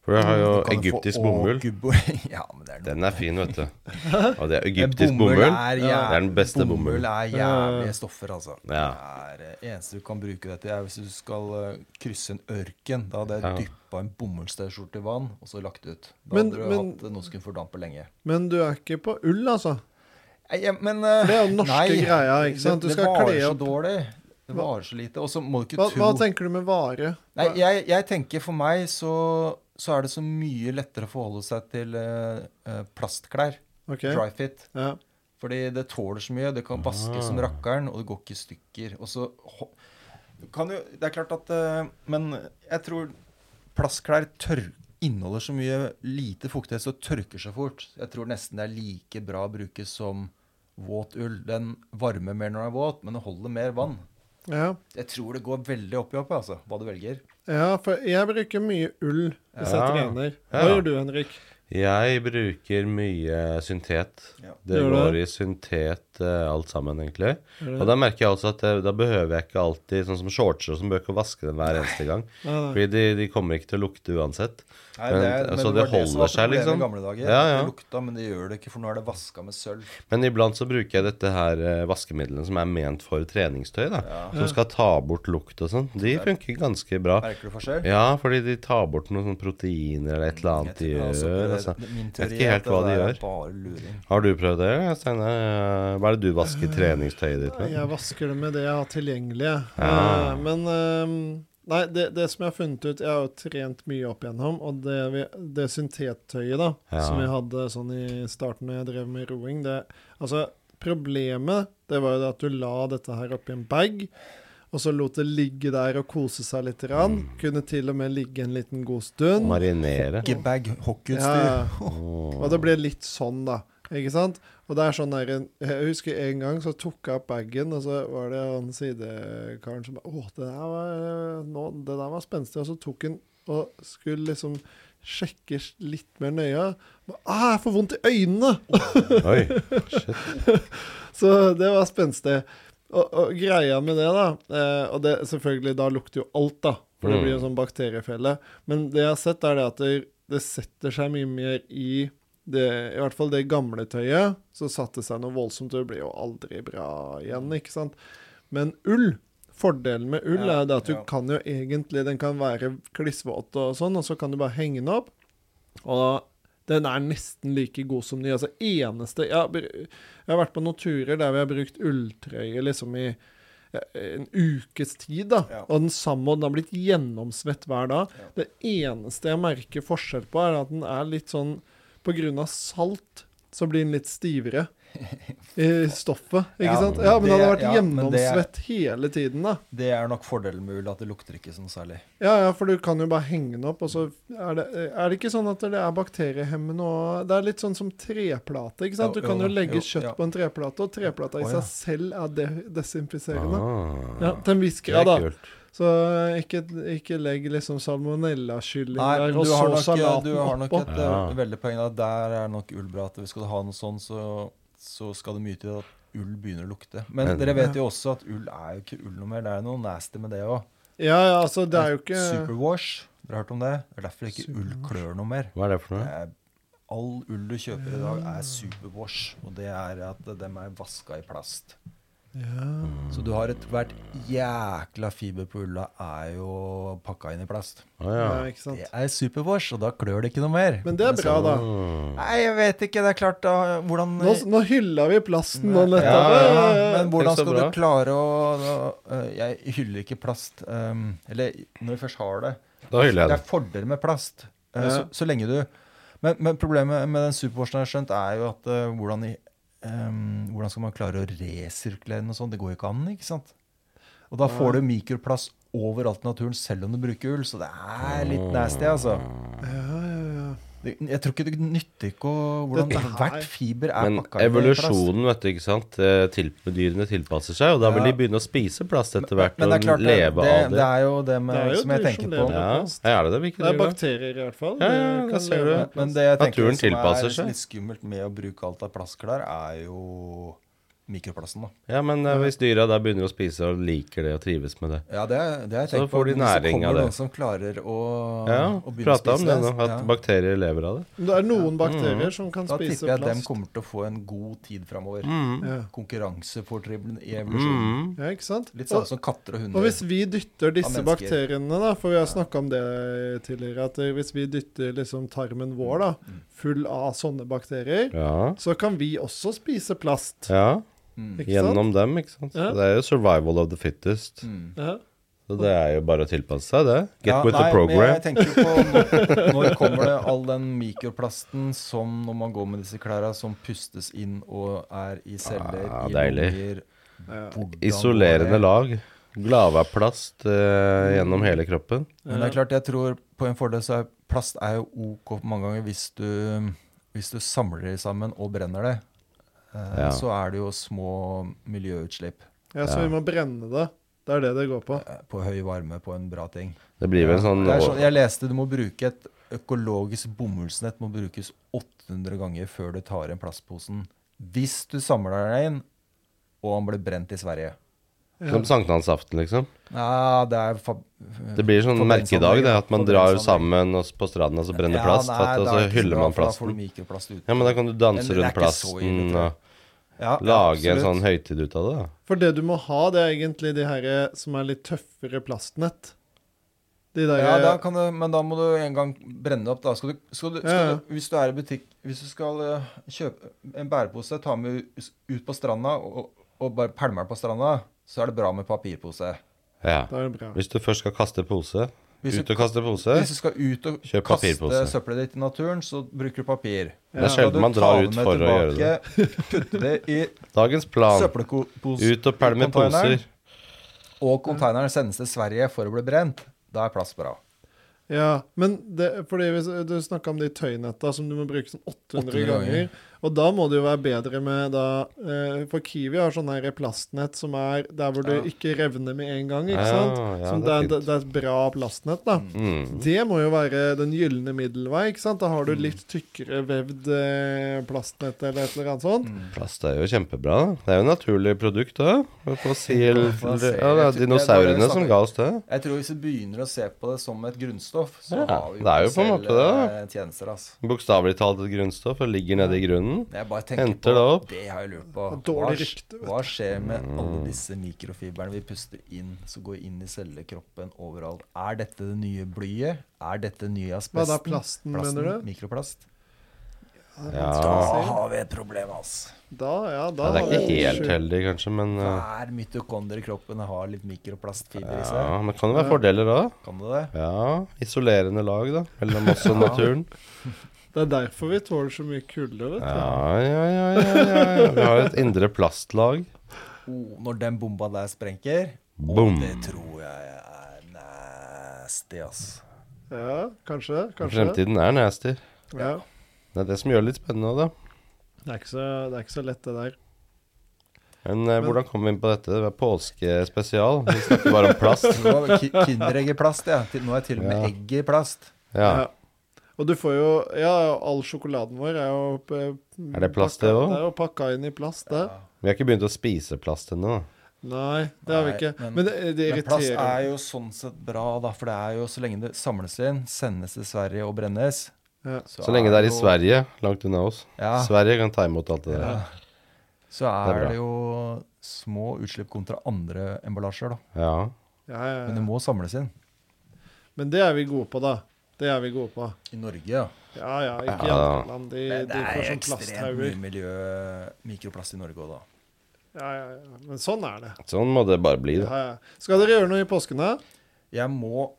[SPEAKER 2] For jeg har
[SPEAKER 1] Du
[SPEAKER 2] jo
[SPEAKER 1] kan jo få
[SPEAKER 2] egyptisk
[SPEAKER 1] å-
[SPEAKER 2] bomull.
[SPEAKER 1] gubbo- ja, men det er noe.
[SPEAKER 2] Den er fin, vet du. Og det er egyptisk
[SPEAKER 1] Men
[SPEAKER 2] bomull.
[SPEAKER 1] er
[SPEAKER 2] Det
[SPEAKER 1] jæv-
[SPEAKER 2] er den beste bomull.
[SPEAKER 1] Bomull er
[SPEAKER 3] Ja.
[SPEAKER 1] jævlige stoffer, altså.
[SPEAKER 2] Ja.
[SPEAKER 1] Det er, eh, eneste du kan bruke det til, er hvis du skal eh, krysse en ørken. Da hadde jeg
[SPEAKER 2] Ja.
[SPEAKER 1] dyppet dyppa en bomullsskjorte i vann, og så lagt det ut. Da
[SPEAKER 3] Men-
[SPEAKER 1] hadde du
[SPEAKER 3] men-
[SPEAKER 1] hatt eh, noe som kunne fordampe lenge.
[SPEAKER 3] Men du er ikke på ull, altså?
[SPEAKER 1] Nei, ja, men eh,
[SPEAKER 3] Det er jo den norske greia, ikke sant? Du
[SPEAKER 1] det,
[SPEAKER 3] skal
[SPEAKER 1] det varer
[SPEAKER 3] kle
[SPEAKER 1] så
[SPEAKER 3] opp.
[SPEAKER 1] dårlig. Det varer så lite. Og så må du ikke
[SPEAKER 3] Hva,
[SPEAKER 1] tro
[SPEAKER 3] hva tenker du med vare?
[SPEAKER 1] Nei, jeg, jeg tenker for meg så, så er det så mye lettere å forholde seg til eh, eh, plastklær.
[SPEAKER 3] Ok,
[SPEAKER 1] Dry fit.
[SPEAKER 3] ja.
[SPEAKER 1] Fordi det tåler så mye, det kan vaskes som rakkeren, og det går ikke i stykker. Og så ho- kan jo Det er klart at eh, Men jeg tror plastklær tør, inneholder så mye lite fuktighet, så det tørker seg fort. Jeg tror nesten det er like bra å bruke som våt ull. Den varmer mer når den er våt, men den holder mer vann.
[SPEAKER 3] ja.
[SPEAKER 1] Jeg tror det går veldig opp i opp, altså, hva du velger.
[SPEAKER 3] Ja, for jeg bruker mye ull hvis jeg
[SPEAKER 2] Ja.
[SPEAKER 3] trener. Hva
[SPEAKER 2] Ja.
[SPEAKER 3] gjør du, Henrik?
[SPEAKER 2] Jeg bruker mye syntet.
[SPEAKER 1] Ja.
[SPEAKER 2] Det
[SPEAKER 3] Gjør du
[SPEAKER 2] går
[SPEAKER 3] det?
[SPEAKER 2] i syntet eh, alt sammen, egentlig.
[SPEAKER 3] Gjør du
[SPEAKER 2] Og da merker jeg også at eh, da behøver jeg ikke alltid sånn som shortser og som bør ikke vaske den hver eneste gang.
[SPEAKER 3] Nei, nei.
[SPEAKER 2] Fordi de, de kommer ikke til å lukte uansett.
[SPEAKER 1] Nei,
[SPEAKER 2] Men,
[SPEAKER 1] er-
[SPEAKER 2] altså,
[SPEAKER 1] var
[SPEAKER 2] det
[SPEAKER 1] som
[SPEAKER 2] holder
[SPEAKER 1] var
[SPEAKER 2] seg,
[SPEAKER 1] problemet
[SPEAKER 2] liksom.
[SPEAKER 1] I gamle dager.
[SPEAKER 2] Ja, ja.
[SPEAKER 1] Det lukta, men det gjør det ikke, for nå er det vaska med sølv.
[SPEAKER 2] Men iblant så bruker jeg dette her eh, vaskemidlene som er ment for treningstøy, da. Som skal ta bort lukt og sånn. De funker ganske bra.
[SPEAKER 1] Merker du forskjell?
[SPEAKER 2] Ja, fordi de tar bort noen sånne proteiner eller et eller annet de
[SPEAKER 1] Jeg tror- altså,
[SPEAKER 2] gjør.
[SPEAKER 1] det-
[SPEAKER 2] Altså.
[SPEAKER 1] det- Min
[SPEAKER 2] Jeg vet
[SPEAKER 1] teori
[SPEAKER 2] ikke
[SPEAKER 1] er at
[SPEAKER 2] helt hva
[SPEAKER 1] det
[SPEAKER 2] de
[SPEAKER 1] der er
[SPEAKER 2] gjør.
[SPEAKER 1] Bare luring.
[SPEAKER 2] Har du prøvd det, eller, Steinar? Eh, Hva er det du vasker treningstøyet ditt med?
[SPEAKER 3] Jeg vasker det med det jeg har tilgjengelig. jeg.
[SPEAKER 2] Ja.
[SPEAKER 3] Eh, Men eh, Nei, det, det som jeg har funnet ut Jeg har jo trent mye opp igjennom, og det, vi- det syntettøyet da,
[SPEAKER 2] Ja.
[SPEAKER 3] som jeg hadde sånn i starten når jeg drev med roing det, Altså, problemet det var jo det at du la dette her oppi en bag, og så lot det ligge der og kose seg litt. Rann.
[SPEAKER 2] Mm.
[SPEAKER 3] Kunne til og med ligge en liten god stund.
[SPEAKER 2] Marinere?
[SPEAKER 1] Gebag hockeyutstyr.
[SPEAKER 3] Ja, ja.
[SPEAKER 2] Åh.
[SPEAKER 3] Og det ble litt sånn, da. Ikke sant? Og det er sånn der, Jeg husker en gang så tok jeg opp bagen, og så var det han sidekaren som bare, Å, det der var, nå, det der var spenstig. Og så tok han og skulle liksom sjekke litt mer nøye. Bare, ah, jeg får vondt i øynene!
[SPEAKER 2] Oi, shit.
[SPEAKER 3] Så det var spenstig. Og, og greia med det, da eh, Og det, selvfølgelig, da lukter jo alt, da. For det
[SPEAKER 2] Mm.
[SPEAKER 3] blir jo en sånn bakteriefelle. Men det jeg har sett, er det at det, det setter seg mye mer i det, I hvert fall det gamle tøyet, så satte det seg noe voldsomt, og det ble jo aldri bra igjen, ikke sant. Men ull Fordelen med ull
[SPEAKER 1] Ja,
[SPEAKER 3] er det at du
[SPEAKER 1] ja.
[SPEAKER 3] kan jo egentlig Den kan være klissvåt og sånn, og så kan du bare henge den opp. Og den er nesten like god som ny. Altså eneste Jeg har, br- jeg har vært på noen turer der vi har brukt ulltrøye liksom i eh, en ukes tid, da.
[SPEAKER 1] Ja.
[SPEAKER 3] Og den samme, og den har blitt gjennomsvett hver dag. Det eneste jeg merker forskjell på, er at den er litt sånn På grunn av salt så blir den litt stivere i stoffet, ikke
[SPEAKER 1] Ja,
[SPEAKER 3] sant? Ja, men den
[SPEAKER 1] det-
[SPEAKER 3] hadde vært
[SPEAKER 1] ja, men det er-
[SPEAKER 3] gjennomsvett hele tiden, da.
[SPEAKER 1] Det er nok fordelen med ull, at det lukter ikke sånn særlig.
[SPEAKER 3] Ja, ja, for du kan jo bare henge den opp, og så er det, er det ikke sånn at det er bakteriehemmende og Det er litt sånn som treplate, ikke sant?
[SPEAKER 1] Jo,
[SPEAKER 3] Du kan
[SPEAKER 1] jo
[SPEAKER 3] jo
[SPEAKER 1] da,
[SPEAKER 3] legge
[SPEAKER 1] jo,
[SPEAKER 3] kjøtt
[SPEAKER 1] ja.
[SPEAKER 3] på en treplate, og treplata i
[SPEAKER 1] Å, ja.
[SPEAKER 3] seg selv er de desinfiserende.
[SPEAKER 2] Ah,
[SPEAKER 3] Ja, til en viss
[SPEAKER 2] det er
[SPEAKER 3] grad, da.
[SPEAKER 2] kult.
[SPEAKER 3] Så ikke, ikke legg liksom salmonellakylling
[SPEAKER 1] Nei, men
[SPEAKER 3] der, og
[SPEAKER 1] du har
[SPEAKER 3] så
[SPEAKER 1] nok, eh, du
[SPEAKER 3] salaten
[SPEAKER 1] har nok
[SPEAKER 3] oppå.
[SPEAKER 1] et
[SPEAKER 2] Ja.
[SPEAKER 1] eh, veldig poeng. Da. Der er nok ull bra. At hvis du skal ha noe sånn, så, så skal det mye til at ull begynner å lukte. Men
[SPEAKER 2] Men-
[SPEAKER 1] dere vet jo også at ull er jo ikke ull noe mer. Det er noe nasty med det òg.
[SPEAKER 3] Ja, ja, altså, det er jo ikke
[SPEAKER 1] Superwash, dere har hørt om det? Det er derfor ikke ull klør noe mer.
[SPEAKER 2] Hva er det for
[SPEAKER 1] Det
[SPEAKER 2] noe?
[SPEAKER 1] er, all ull du kjøper i dag, er superwash. Og det er at dem er vaska i plast.
[SPEAKER 3] ja.
[SPEAKER 1] Så du har et hvert jækla fiber på ulla er jo pakka inn i plast.
[SPEAKER 2] Å
[SPEAKER 3] ja,
[SPEAKER 2] ja.
[SPEAKER 3] ikke sant.
[SPEAKER 1] Det er superwash, og da klør det ikke noe mer.
[SPEAKER 3] Men det er bra, da.
[SPEAKER 2] Mm.
[SPEAKER 1] Nei, jeg vet ikke. Det er klart, da Hvordan
[SPEAKER 3] Nå, nå hyller vi plasten nå
[SPEAKER 1] ja,
[SPEAKER 3] nettopp.
[SPEAKER 1] ja, Men hvordan
[SPEAKER 2] Tenk så
[SPEAKER 1] skal
[SPEAKER 2] bra.
[SPEAKER 1] du klare å da, eh, Jeg hyller ikke plast. ehm, eller når vi først har det
[SPEAKER 2] Da hyller
[SPEAKER 1] Det
[SPEAKER 2] jeg
[SPEAKER 1] er fordeler med plast. eh,
[SPEAKER 3] Ja.
[SPEAKER 1] så, så lenge du Men, men problemet med den superwashen jeg har skjønt, er jo at eh, hvordan, i, ehm, hvordan skal man klare å resirkulere den og sånn? Det går jo ikke an, ikke sant? Og da får du mikroplast overalt i naturen selv om du bruker ull, så det er
[SPEAKER 2] Ah.
[SPEAKER 1] litt nasty, altså.
[SPEAKER 3] Ja, ja, ja.
[SPEAKER 1] Det- Jeg tror ikke det nytter ikke å hvordan
[SPEAKER 3] Dette her-
[SPEAKER 1] hvert fiber er
[SPEAKER 2] Men
[SPEAKER 1] pakka inn i plast.
[SPEAKER 2] evolusjonen, vet du, ikke sant. Eh, Til, dyrene tilpasser seg, og da vil
[SPEAKER 1] Ja.
[SPEAKER 2] de begynne å spise plast etter hvert.
[SPEAKER 1] Men det er klart,
[SPEAKER 2] og
[SPEAKER 1] det,
[SPEAKER 2] leve
[SPEAKER 1] det, det
[SPEAKER 2] av det.
[SPEAKER 1] er jo det med,
[SPEAKER 3] Det er jo
[SPEAKER 1] som jeg
[SPEAKER 3] dyr
[SPEAKER 1] tenker
[SPEAKER 3] som
[SPEAKER 1] på.
[SPEAKER 3] lever.
[SPEAKER 2] Ja, er det det vi ikke
[SPEAKER 3] Det er
[SPEAKER 2] driver med?
[SPEAKER 3] bakterier i hvert fall.
[SPEAKER 2] Ja, ja,
[SPEAKER 3] Det
[SPEAKER 2] det
[SPEAKER 3] kan
[SPEAKER 2] ser
[SPEAKER 3] leve
[SPEAKER 2] du.
[SPEAKER 3] med
[SPEAKER 1] Men
[SPEAKER 3] plast.
[SPEAKER 1] det jeg tenker
[SPEAKER 2] Naturen
[SPEAKER 1] som
[SPEAKER 2] tilpasser
[SPEAKER 1] er
[SPEAKER 2] seg.
[SPEAKER 1] litt skummelt med å bruke alt av plastklær, er jo mikroplasten, da.
[SPEAKER 2] Ja, men eh, hvis dyra da begynner å spise og liker det og trives med det
[SPEAKER 1] Ja, det, er- det har jeg
[SPEAKER 2] Så
[SPEAKER 1] tenkt på.
[SPEAKER 2] får de
[SPEAKER 1] men hvis
[SPEAKER 2] næring
[SPEAKER 1] kommer
[SPEAKER 2] av det.
[SPEAKER 1] Noen som klarer å,
[SPEAKER 2] Ja,
[SPEAKER 1] å begynne å
[SPEAKER 2] prata om
[SPEAKER 1] spise
[SPEAKER 2] det nå, at
[SPEAKER 1] ja.
[SPEAKER 2] bakterier lever av det.
[SPEAKER 3] Men Det er noen bakterier som kan
[SPEAKER 1] Mm. Da
[SPEAKER 3] spise
[SPEAKER 1] tipper jeg at dem
[SPEAKER 3] plast.
[SPEAKER 1] kommer til å få en god tid framover.
[SPEAKER 2] Mm.
[SPEAKER 3] Ja.
[SPEAKER 1] Konkurransefortribbelen i evolusjonen.
[SPEAKER 3] ja, ikke sant?
[SPEAKER 1] Litt
[SPEAKER 3] Og,
[SPEAKER 1] samme som katter og
[SPEAKER 3] og
[SPEAKER 1] hunder.
[SPEAKER 3] hvis vi dytter disse
[SPEAKER 1] Av mennesker.
[SPEAKER 3] bakteriene, da, for vi har snakka om det tidligere, at eh, hvis vi dytter liksom tarmen vår da,
[SPEAKER 1] Mm.
[SPEAKER 3] full av sånne bakterier,
[SPEAKER 2] Ja.
[SPEAKER 3] så kan vi også spise plast.
[SPEAKER 2] ja.
[SPEAKER 1] Mm.
[SPEAKER 3] Ikke
[SPEAKER 2] Gjennom dem, ikke sant.
[SPEAKER 3] Ja.
[SPEAKER 2] Så Det er jo 'survival of the fittest'.
[SPEAKER 1] Mm.
[SPEAKER 3] sant? Ja.
[SPEAKER 2] Så det er jo bare å tilpasse seg det. Get
[SPEAKER 1] Ja,
[SPEAKER 2] with the
[SPEAKER 1] nei, Men
[SPEAKER 2] program.
[SPEAKER 1] jeg tenker jo på når, når kommer det all den mikroplasten som når man går med disse klærne, som pustes inn og er i celler,
[SPEAKER 2] Ah,
[SPEAKER 1] i
[SPEAKER 2] deilig.
[SPEAKER 1] lunger hvordan
[SPEAKER 2] Isolerende
[SPEAKER 1] går det?
[SPEAKER 2] lag. Lavaplast eh, gjennom hele kroppen.
[SPEAKER 1] Men det er klart, jeg tror på en fordel så er plast er jo ok mange ganger hvis du, hvis du samler det sammen og brenner det. eh,
[SPEAKER 2] Ja.
[SPEAKER 1] Så er det jo små miljøutslipp
[SPEAKER 3] ja, så vi må brenne det. Det er det det går på.
[SPEAKER 1] eh, på høy varme på en bra ting.
[SPEAKER 2] Det blir vel sånn,
[SPEAKER 1] Det er sånn, jeg leste du må bruke et økologisk bomullsnett må brukes 800 ganger før du tar igjen plastposen. Hvis du samler deg inn, og han ble brent i Sverige.
[SPEAKER 2] som sankthansaften, liksom.
[SPEAKER 1] Ja, det er fa
[SPEAKER 2] Det blir sånn merkedag, det. At man
[SPEAKER 1] sånn
[SPEAKER 2] drar sammen og s- på stranden og så brenner plast. at- og så hyller man
[SPEAKER 1] Da får
[SPEAKER 2] plasten.
[SPEAKER 1] du mikroplast ut.
[SPEAKER 2] Ja, men da kan du
[SPEAKER 1] Men
[SPEAKER 2] danse
[SPEAKER 1] det er
[SPEAKER 2] rundt
[SPEAKER 1] ikke så ille, tror
[SPEAKER 2] plasten
[SPEAKER 1] jeg.
[SPEAKER 2] og
[SPEAKER 1] Ja, ja,
[SPEAKER 2] lage en
[SPEAKER 1] absolutt.
[SPEAKER 2] sånn høytid ut av det. da.
[SPEAKER 3] For det du må ha, det er egentlig de her eh, som er litt tøffere plastnett. De der,
[SPEAKER 1] Ja, da kan du, men da må du en gang brenne det opp. Da. Skal du, skal du, skal
[SPEAKER 3] Ja, ja.
[SPEAKER 1] du, hvis du er i butikk Hvis du skal eh, kjøpe en bærepose, ta med us- ut på stranda og, og bare pælme den på stranda, så er det bra med papirpose.
[SPEAKER 2] Ja.
[SPEAKER 3] eh, da er det bra.
[SPEAKER 2] Hvis du først skal kaste pose,
[SPEAKER 1] Hvis du
[SPEAKER 2] ut og kaste pose
[SPEAKER 1] Hvis du skal ut og
[SPEAKER 2] Kjøp
[SPEAKER 1] kaste
[SPEAKER 2] papirpose.
[SPEAKER 1] søppelet ditt i naturen, så bruker du papir.
[SPEAKER 2] Det er sjelden man drar ut for å gjøre det.
[SPEAKER 1] Putte det i
[SPEAKER 2] Dagens plan.
[SPEAKER 1] søppelposen
[SPEAKER 2] Ut og pælme
[SPEAKER 1] Containeren.
[SPEAKER 2] poser.
[SPEAKER 1] og konteineren sendes til Sverige for å bli brent. Da er plass bra.
[SPEAKER 3] eh, Ja, men det, fordi hvis du snakka om de tøynetta som du må bruke sånn 800,
[SPEAKER 1] 800 ganger.
[SPEAKER 3] ganger. Og da må det jo være bedre med da eh, For Kiwi har sånn her plastnett som er der hvor det
[SPEAKER 1] Ja.
[SPEAKER 3] ikke revner med en gang, ikke
[SPEAKER 2] Ja,
[SPEAKER 3] sant?
[SPEAKER 2] Ah, ja,
[SPEAKER 3] som
[SPEAKER 2] det
[SPEAKER 3] det,
[SPEAKER 2] er
[SPEAKER 3] er det, det er et bra plastnett, da.
[SPEAKER 2] Mm.
[SPEAKER 3] Det må jo være den gylne middelvei, ikke sant? Da har du litt tykkere vevd eh, plastnett eller et eller annet sånt.
[SPEAKER 2] Plast er jo kjempebra. da. Det er jo et naturlig produkt òg. Fossil
[SPEAKER 1] Fossil.
[SPEAKER 2] Ja, det er dinosaurene som ga oss det.
[SPEAKER 1] Jeg tror hvis vi begynner å se på det som et grunnstoff, så
[SPEAKER 2] Ja,
[SPEAKER 1] har vi
[SPEAKER 2] det er jo på en måte det,
[SPEAKER 1] eh, tjenester, altså.
[SPEAKER 2] Bokstavelig talt et grunnstoff og ligger nede i grunnen.
[SPEAKER 1] Jeg bare tenker
[SPEAKER 2] Henter det
[SPEAKER 1] på
[SPEAKER 2] opp.
[SPEAKER 1] Det har jeg lurt på.
[SPEAKER 3] Det er dårlig
[SPEAKER 1] Hva-
[SPEAKER 3] rykte, vet du.
[SPEAKER 1] Hva skjer med alle disse mikrofibrene vi puster inn, som går inn i cellekroppen overalt? Er dette det nye blyet? Er dette nye asbesten?
[SPEAKER 3] Hva da, plasten, mener du?
[SPEAKER 1] Mikroplast? Da
[SPEAKER 2] Ja.
[SPEAKER 1] har vi et problem, altså.
[SPEAKER 3] Da, ja, da
[SPEAKER 2] ja det er
[SPEAKER 3] har
[SPEAKER 2] ikke
[SPEAKER 3] vi-
[SPEAKER 2] helt heldig, kanskje, men eh,
[SPEAKER 1] Hver mitokonder i kroppen har litt mikroplastfiber i
[SPEAKER 2] ja,
[SPEAKER 1] seg.
[SPEAKER 2] Men det kan jo være fordeler òg.
[SPEAKER 1] Kan det det?
[SPEAKER 2] Ja. Isolerende lag, da. Mellom oss og naturen.
[SPEAKER 3] Det er derfor vi tåler så mye kulde, vet du.
[SPEAKER 2] Ja, ja, ja, ja, ja, ja. Vi har et indre plastlag.
[SPEAKER 1] Oh, når den bomba der sprenker
[SPEAKER 2] Boom.
[SPEAKER 1] Og det tror jeg er nasty, ass.
[SPEAKER 3] Ja, kanskje. kanskje.
[SPEAKER 2] Fremtiden er nasty.
[SPEAKER 3] Ja.
[SPEAKER 2] Det er det som gjør det litt spennende òg, da.
[SPEAKER 3] Det, er ikke så, det er ikke så lett, det der.
[SPEAKER 2] Men eh, hvordan kom vi inn på dette? Det var påskespesial. Vi snakker bare om plast.
[SPEAKER 1] Det var ki- Kinderegg i plast, ja. Til- Nå er til og med
[SPEAKER 2] Ja.
[SPEAKER 1] egget i plast.
[SPEAKER 2] Ja.
[SPEAKER 3] Ja. Og du får jo Ja, all sjokoladen vår er jo eh,
[SPEAKER 2] Er det plast,
[SPEAKER 3] pakka-
[SPEAKER 2] det også?
[SPEAKER 3] Det er jo pakka inn i plast, det.
[SPEAKER 2] Vi har ikke begynt å spise plast ennå. da.
[SPEAKER 3] Nei, det har vi
[SPEAKER 1] Nei,
[SPEAKER 3] ikke.
[SPEAKER 1] men-
[SPEAKER 3] Men, det, det
[SPEAKER 1] Men plast er
[SPEAKER 3] irriterer
[SPEAKER 1] jo sånn sett bra, da. For det er jo så lenge det samles inn, sendes til Sverige og brennes
[SPEAKER 3] Ja.
[SPEAKER 2] Så lenge det er i
[SPEAKER 1] jo-
[SPEAKER 2] Sverige, langt unna oss.
[SPEAKER 1] Ja.
[SPEAKER 2] Sverige kan ta imot alt det der.
[SPEAKER 1] Ja. Så
[SPEAKER 2] Det er
[SPEAKER 1] er
[SPEAKER 2] bra.
[SPEAKER 1] det jo små utslipp kontra andre emballasjer, da.
[SPEAKER 2] Ja.
[SPEAKER 3] Ja, ja,
[SPEAKER 1] Men det
[SPEAKER 3] ja.
[SPEAKER 1] må samles inn.
[SPEAKER 3] Men det er vi gode på, da. Det er vi gode på.
[SPEAKER 1] I Norge, ja.
[SPEAKER 3] Ja ja, ikke i
[SPEAKER 2] Ja.
[SPEAKER 3] andre land. De,
[SPEAKER 1] Det
[SPEAKER 3] de
[SPEAKER 1] er
[SPEAKER 3] får sånn
[SPEAKER 1] ekstremt
[SPEAKER 3] plasthauger.
[SPEAKER 1] mye miljø, mikroplast i Norge òg, da.
[SPEAKER 3] Ja, ja, ja. Men sånn er det.
[SPEAKER 2] Sånn må det bare bli, da.
[SPEAKER 3] Ja, ja. Skal dere gjøre noe i påsken, da?
[SPEAKER 1] Jeg må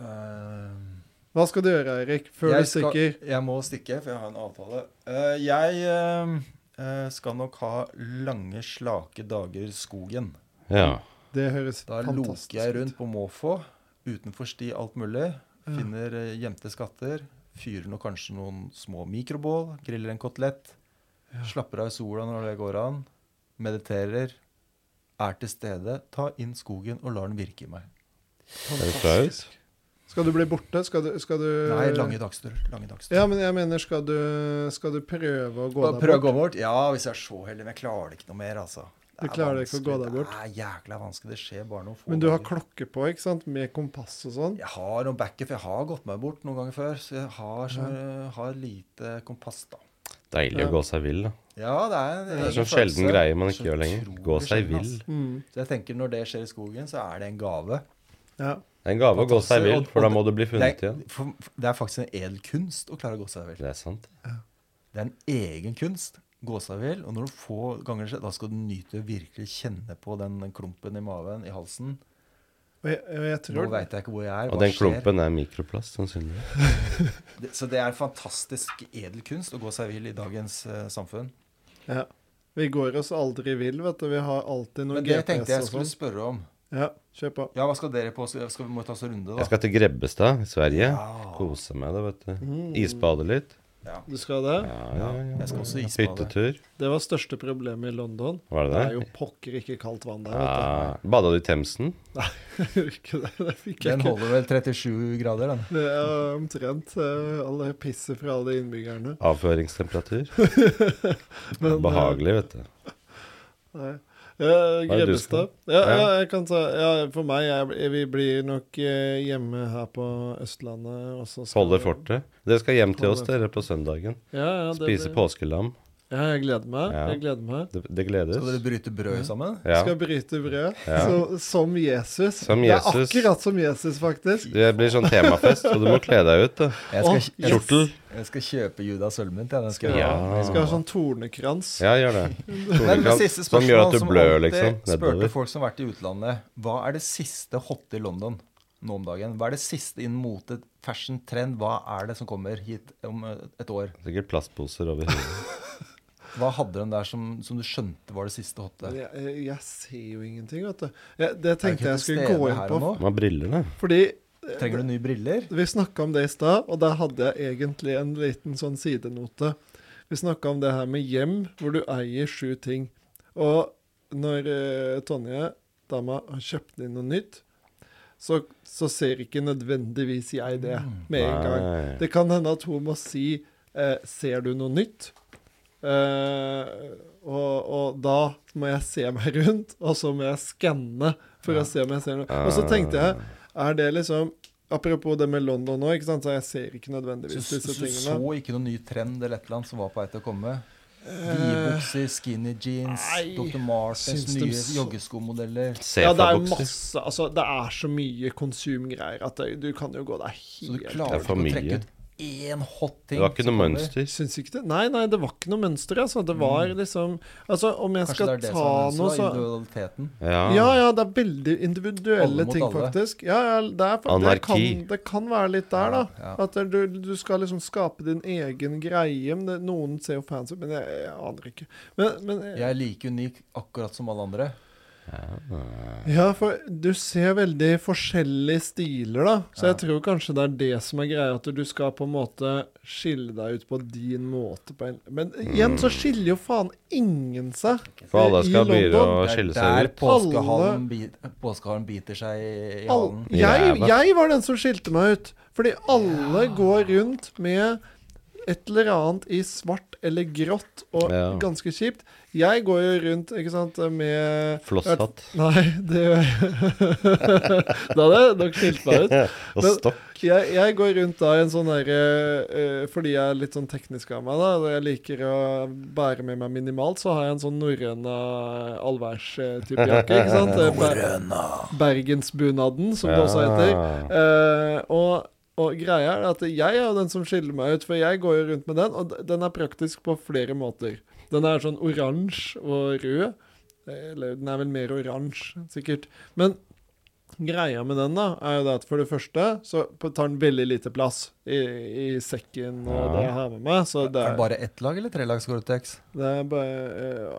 [SPEAKER 1] øh,
[SPEAKER 3] Hva skal du gjøre, Eirik, før
[SPEAKER 1] jeg
[SPEAKER 3] du stikker?
[SPEAKER 1] Skal, jeg må stikke, for jeg har en avtale. Eh, jeg eh, eh, skal nok ha lange, slake dager i skogen.
[SPEAKER 2] Ja.
[SPEAKER 3] Det høres
[SPEAKER 1] Da loker
[SPEAKER 3] fantastisk
[SPEAKER 1] jeg rundt på måfå, utenfor sti alt mulig. Finner eh, gjemte skatter. Fyrer nå kanskje noen små mikrobål. Griller en kotelett. Slapper av i sola når det går an. Mediterer. Er til stede. Ta inn skogen og lar den virke i meg.
[SPEAKER 2] Høres bra ut.
[SPEAKER 3] Skal du bli borte? Skal du, skal du
[SPEAKER 1] Nei, lange dagsturer. Lange dagsturer.
[SPEAKER 3] Ja, men jeg mener, skal du, skal du prøve å gå
[SPEAKER 1] Bare
[SPEAKER 3] deg
[SPEAKER 1] prøve å
[SPEAKER 3] bort?
[SPEAKER 1] gå bort? Ja, hvis jeg er så heldig. Men jeg klarer det ikke noe mer, altså.
[SPEAKER 3] Du
[SPEAKER 1] er
[SPEAKER 3] klarer ikke å gå
[SPEAKER 1] vanskelig.
[SPEAKER 3] deg bort?
[SPEAKER 1] Det er jækla vanskelig. Det skjer bare noen få
[SPEAKER 3] Men du har
[SPEAKER 1] ganger.
[SPEAKER 3] klokke på, ikke sant? Med kompass og sånn?
[SPEAKER 1] Jeg har noen backup. Jeg har gått meg bort noen ganger før, så jeg har, så, har lite kompass, da.
[SPEAKER 2] Deilig å gå seg vill, da.
[SPEAKER 1] Ja, det er en
[SPEAKER 2] Det er
[SPEAKER 1] egen
[SPEAKER 2] sånn sjelden
[SPEAKER 1] følelse.
[SPEAKER 2] greie man ikke
[SPEAKER 1] Så
[SPEAKER 2] gjør lenger.
[SPEAKER 1] utrolig
[SPEAKER 2] Gå seg
[SPEAKER 1] sjelden,
[SPEAKER 2] vill.
[SPEAKER 1] ass.
[SPEAKER 3] Mm.
[SPEAKER 1] Så jeg tenker når det skjer i skogen, så er det en gave.
[SPEAKER 3] Ja.
[SPEAKER 2] Det er en gave å gå seg vill, for da må du bli
[SPEAKER 1] Det
[SPEAKER 2] funnet
[SPEAKER 1] er,
[SPEAKER 2] igjen.
[SPEAKER 1] for, det er faktisk en edel kunst å klare å gå seg vill.
[SPEAKER 2] Det er sant.
[SPEAKER 1] Det er en egen kunst. Gå seg vill. Og når du får ganger skjer, da skal du nyte virkelig kjenne på den klumpen i maven, i halsen.
[SPEAKER 3] Og jeg, og jeg
[SPEAKER 1] Nå
[SPEAKER 3] tror
[SPEAKER 1] veit jeg ikke hvor jeg er.
[SPEAKER 2] Og
[SPEAKER 1] hva
[SPEAKER 2] den
[SPEAKER 1] skjer?
[SPEAKER 2] klumpen er mikroplast, sannsynligvis.
[SPEAKER 1] Det- Så det er fantastisk edel kunst å gå seg vill i dagens eh, samfunn.
[SPEAKER 3] ja. Vi går oss aldri vill, vet du. Vi har alltid noe
[SPEAKER 1] Men det tenkte jeg
[SPEAKER 3] GPS og
[SPEAKER 1] skulle
[SPEAKER 3] sånn.
[SPEAKER 1] spørre om.
[SPEAKER 3] Ja, kjør på.
[SPEAKER 1] Ja, hva skal dere på? Skal skal vi må ta oss en runde,
[SPEAKER 2] Jeg
[SPEAKER 1] da?
[SPEAKER 2] skal til Grebbestad i Sverige.
[SPEAKER 1] Ja.
[SPEAKER 2] Kose meg da, vet du. Isbade litt.
[SPEAKER 1] Ja.
[SPEAKER 3] Du skal det?
[SPEAKER 2] Ja, ja, ja.
[SPEAKER 1] Jeg skal også isbade.
[SPEAKER 2] Hyttetur.
[SPEAKER 3] Det var største problemet i London.
[SPEAKER 2] Var det
[SPEAKER 3] Det
[SPEAKER 2] det? Ah.
[SPEAKER 3] er jo pokker ikke kaldt vann der, vet
[SPEAKER 2] Ja. Bada du i Themsen?
[SPEAKER 3] du. Ikke det, det fikk jeg
[SPEAKER 1] Den
[SPEAKER 3] ikke.
[SPEAKER 1] holder vel 37 grader, den.
[SPEAKER 3] Det er omtrent eh, alle pisser fra alle innbyggerne.
[SPEAKER 2] Avføringstemperatur.
[SPEAKER 3] Men, eh,
[SPEAKER 2] Behagelig, vet du.
[SPEAKER 3] Nei. Eh,
[SPEAKER 2] Hva er det du
[SPEAKER 3] Grebbestad. Ja, ja, jeg kan ta ja, For meg, jeg, vi blir nok eh, hjemme her på Østlandet. Og så skal
[SPEAKER 2] Holde
[SPEAKER 3] vi-
[SPEAKER 2] fortet. Dere skal hjem til oss
[SPEAKER 3] Holde
[SPEAKER 2] dere på søndagen.
[SPEAKER 3] Ja, ja, det
[SPEAKER 2] Spise
[SPEAKER 3] blir-
[SPEAKER 2] påskelam.
[SPEAKER 3] Ja, jeg gleder meg.
[SPEAKER 2] Ja.
[SPEAKER 3] Jeg gleder meg.
[SPEAKER 2] Det, det
[SPEAKER 1] Skal dere
[SPEAKER 2] gledes.
[SPEAKER 1] bryte brødet sammen?
[SPEAKER 2] Ja.
[SPEAKER 3] Skal bryte brød.
[SPEAKER 2] Ja.
[SPEAKER 3] Så, som Jesus.
[SPEAKER 2] Som
[SPEAKER 3] Det er
[SPEAKER 2] Jesus.
[SPEAKER 3] akkurat som Jesus, faktisk.
[SPEAKER 2] Det blir sånn temafest, og du må kle deg ut. da.
[SPEAKER 1] Jeg
[SPEAKER 3] Åh,
[SPEAKER 1] skal, jeg,
[SPEAKER 2] Kjortel.
[SPEAKER 1] jeg skal kjøpe Judas sølvmynt, jeg. Den skal jeg
[SPEAKER 2] Ja.
[SPEAKER 1] ha.
[SPEAKER 3] Vi skal ha sånn tornekrans.
[SPEAKER 2] Ja, gjør det.
[SPEAKER 1] Men det
[SPEAKER 2] Tornekrans,
[SPEAKER 1] siste
[SPEAKER 2] Som gjør at
[SPEAKER 1] spørsmålet
[SPEAKER 2] du
[SPEAKER 1] som
[SPEAKER 2] blør,
[SPEAKER 1] alltid
[SPEAKER 2] liksom.
[SPEAKER 1] spurte
[SPEAKER 2] Nedover.
[SPEAKER 1] folk som har vært i utlandet, hva er det siste hotte i London nå om dagen? Hva er det siste innen mote, fashion, trend? Hva er det som kommer hit om eh, et år?
[SPEAKER 2] Sikkert plastposer over hodet.
[SPEAKER 1] Hva hadde de der som, som du skjønte var det siste hotte?
[SPEAKER 3] Jeg, jeg- jeg ser jo ingenting, vet du. Jeg, det
[SPEAKER 1] Er du ikke
[SPEAKER 3] tenkte jeg
[SPEAKER 1] til
[SPEAKER 3] skulle
[SPEAKER 1] stede
[SPEAKER 3] gå inn
[SPEAKER 1] her
[SPEAKER 3] på.
[SPEAKER 1] og nå?
[SPEAKER 2] Må ha briller, da.
[SPEAKER 3] Fordi
[SPEAKER 1] Trenger du nye briller?
[SPEAKER 3] Vi snakka om det i stad, og der hadde jeg egentlig en liten sånn sidenote. Vi snakka om det her med hjem, hvor du eier sju ting. Og når eh, Tonje, dama, har kjøpt inn noe nytt, så, så ser ikke nødvendigvis jeg det med en gang.
[SPEAKER 2] Nei.
[SPEAKER 3] Det kan hende at hun må si eh, Ser du noe nytt? Eh, og, og da må jeg se meg rundt, og så må jeg skanne for å se om jeg ser noe. Og så tenkte jeg, er det liksom Apropos det med London nå, ikke sant? så jeg ser ikke
[SPEAKER 1] Så,
[SPEAKER 3] nødvendigvis
[SPEAKER 1] så,
[SPEAKER 3] disse
[SPEAKER 1] så, så
[SPEAKER 3] tingene.
[SPEAKER 1] ikke noen ny trend eller et eller annet som var på vei til å komme? Vidbukser, skinny jeans,
[SPEAKER 3] Eh. nei,
[SPEAKER 1] Dr. Martens,
[SPEAKER 3] syns de
[SPEAKER 1] nye
[SPEAKER 3] så-
[SPEAKER 1] joggeskomodeller.
[SPEAKER 2] Se
[SPEAKER 3] Ja, det er jo
[SPEAKER 2] bukser.
[SPEAKER 3] masse Altså, det er så mye konsumgreier at det, du kan jo gå deg
[SPEAKER 1] Så du
[SPEAKER 3] helt
[SPEAKER 1] klarer
[SPEAKER 2] Det er for
[SPEAKER 1] ikke å
[SPEAKER 2] mye.
[SPEAKER 1] trekke ut én hot ting.
[SPEAKER 2] Det var ikke
[SPEAKER 1] som
[SPEAKER 2] noe
[SPEAKER 1] kommer.
[SPEAKER 2] mønster.
[SPEAKER 3] Syns ikke det? Nei, nei, det var ikke noe mønster, altså. Det var liksom Altså, om jeg
[SPEAKER 1] Mm. Kanskje det
[SPEAKER 3] skal
[SPEAKER 1] er det
[SPEAKER 3] ta
[SPEAKER 1] som er
[SPEAKER 3] noe,
[SPEAKER 1] mønsteret,
[SPEAKER 3] så
[SPEAKER 1] individualiteten.
[SPEAKER 2] Ja.
[SPEAKER 3] Ja, ja, det er veldig individuelle
[SPEAKER 1] Alle mot
[SPEAKER 3] ting,
[SPEAKER 1] alle.
[SPEAKER 3] faktisk. Ja, ja, det, er, for- Det,
[SPEAKER 2] Anarki.
[SPEAKER 3] kan, det kan være litt der, da.
[SPEAKER 1] Ja, ja.
[SPEAKER 3] At det- du, du skal liksom skape din egen greie. Men det, noen ser jo fans ut, men jeg, jeg aner ikke. Men, men
[SPEAKER 1] Jeg er like unik akkurat som alle andre.
[SPEAKER 3] Ja, for du ser veldig forskjellige stiler, da. Så jeg tror kanskje det er det som er greia, at du skal på en måte skille deg ut på din måte. På en. Men igjen så skiller jo faen ingen seg
[SPEAKER 2] For alle Mm.
[SPEAKER 3] i
[SPEAKER 2] skal begynne
[SPEAKER 3] London.
[SPEAKER 2] å
[SPEAKER 1] Det er
[SPEAKER 2] skille
[SPEAKER 1] der
[SPEAKER 2] seg ut.
[SPEAKER 1] påskeharen, bit, påskeharen biter seg i, i
[SPEAKER 3] Al-
[SPEAKER 1] halen.
[SPEAKER 3] jeg,
[SPEAKER 2] Jævla.
[SPEAKER 3] jeg var den som skilte meg ut. Fordi alle går rundt med et eller annet i svart eller grått, og
[SPEAKER 2] Ja.
[SPEAKER 3] ganske kjipt. Jeg går jo rundt ikke sant, med
[SPEAKER 2] Flosshatt
[SPEAKER 3] Nei, det gjør jeg. Da hadde jeg nok skilt meg ut.
[SPEAKER 2] og
[SPEAKER 3] Men-
[SPEAKER 2] stokk.
[SPEAKER 3] Jeg, jeg går rundt da i en sånn derre eh, Fordi jeg er litt sånn teknisk av meg, da, og jeg liker å bære med meg minimalt, så har jeg en sånn eh, norrøna allværstype jakke, ikke sant? Eh, Ber Bergensbunaden, som det også heter.
[SPEAKER 2] Ja.
[SPEAKER 3] Eh, og, og greia er at jeg er jo den som skiller meg ut, for jeg går jo rundt med den, og d- den er praktisk på flere måter. Den er sånn oransje og rød. Eh, Eller den er vel mer oransje, sikkert. Men greia med den, da, er jo det at for det første så på- tar den veldig lite plass i, i sekken og
[SPEAKER 2] Ja.
[SPEAKER 3] det jeg har med meg. Så det
[SPEAKER 1] Er det
[SPEAKER 3] er,
[SPEAKER 1] bare ett lag eller tre lags Gore-Tex?
[SPEAKER 3] det er bare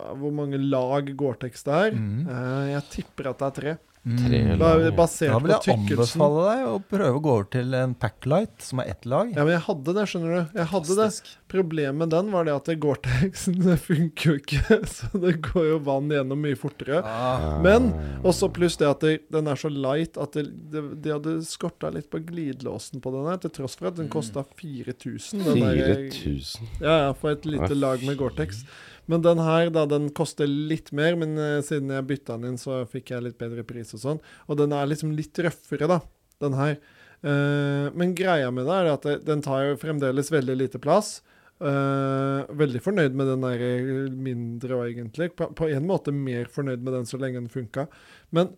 [SPEAKER 3] eh, Hvor mange lag Gore-Tex det er?
[SPEAKER 1] Mhm.
[SPEAKER 3] Eh, jeg tipper at det er tre.
[SPEAKER 2] Tre
[SPEAKER 3] Bare
[SPEAKER 2] lag.
[SPEAKER 1] Mm. Da
[SPEAKER 3] basert
[SPEAKER 1] vil
[SPEAKER 3] på
[SPEAKER 1] jeg
[SPEAKER 3] tykkelsen.
[SPEAKER 1] anbefale deg å prøve å gå over til en Packlight, som er ett lag.
[SPEAKER 3] Ja, men jeg hadde det, skjønner du. Jeg hadde det.
[SPEAKER 1] Fantastisk.
[SPEAKER 3] Problemet med den var det at Gore-Texen det funker jo ikke, så det går jo vann gjennom mye fortere.
[SPEAKER 1] Ah,
[SPEAKER 3] Men også pluss det at det, den er så light at det, det, de hadde skorta litt på glidelåsen på den her, til tross for at den kosta 4000. Den der-
[SPEAKER 2] 4000.
[SPEAKER 3] ja, ja, for et lite
[SPEAKER 2] Ja,
[SPEAKER 3] lag med Gore-Tex. Men den her, da, den koster litt mer, men eh, siden jeg bytta den inn, så fikk jeg litt bedre pris og sånn. Og den er liksom litt røffere, da, den her. Eh, men greia med det er at det- den tar jo fremdeles veldig lite plass. Eh, veldig fornøyd med den der eh, mindre og egentlig. På, på en måte mer fornøyd med den så lenge den funka. Men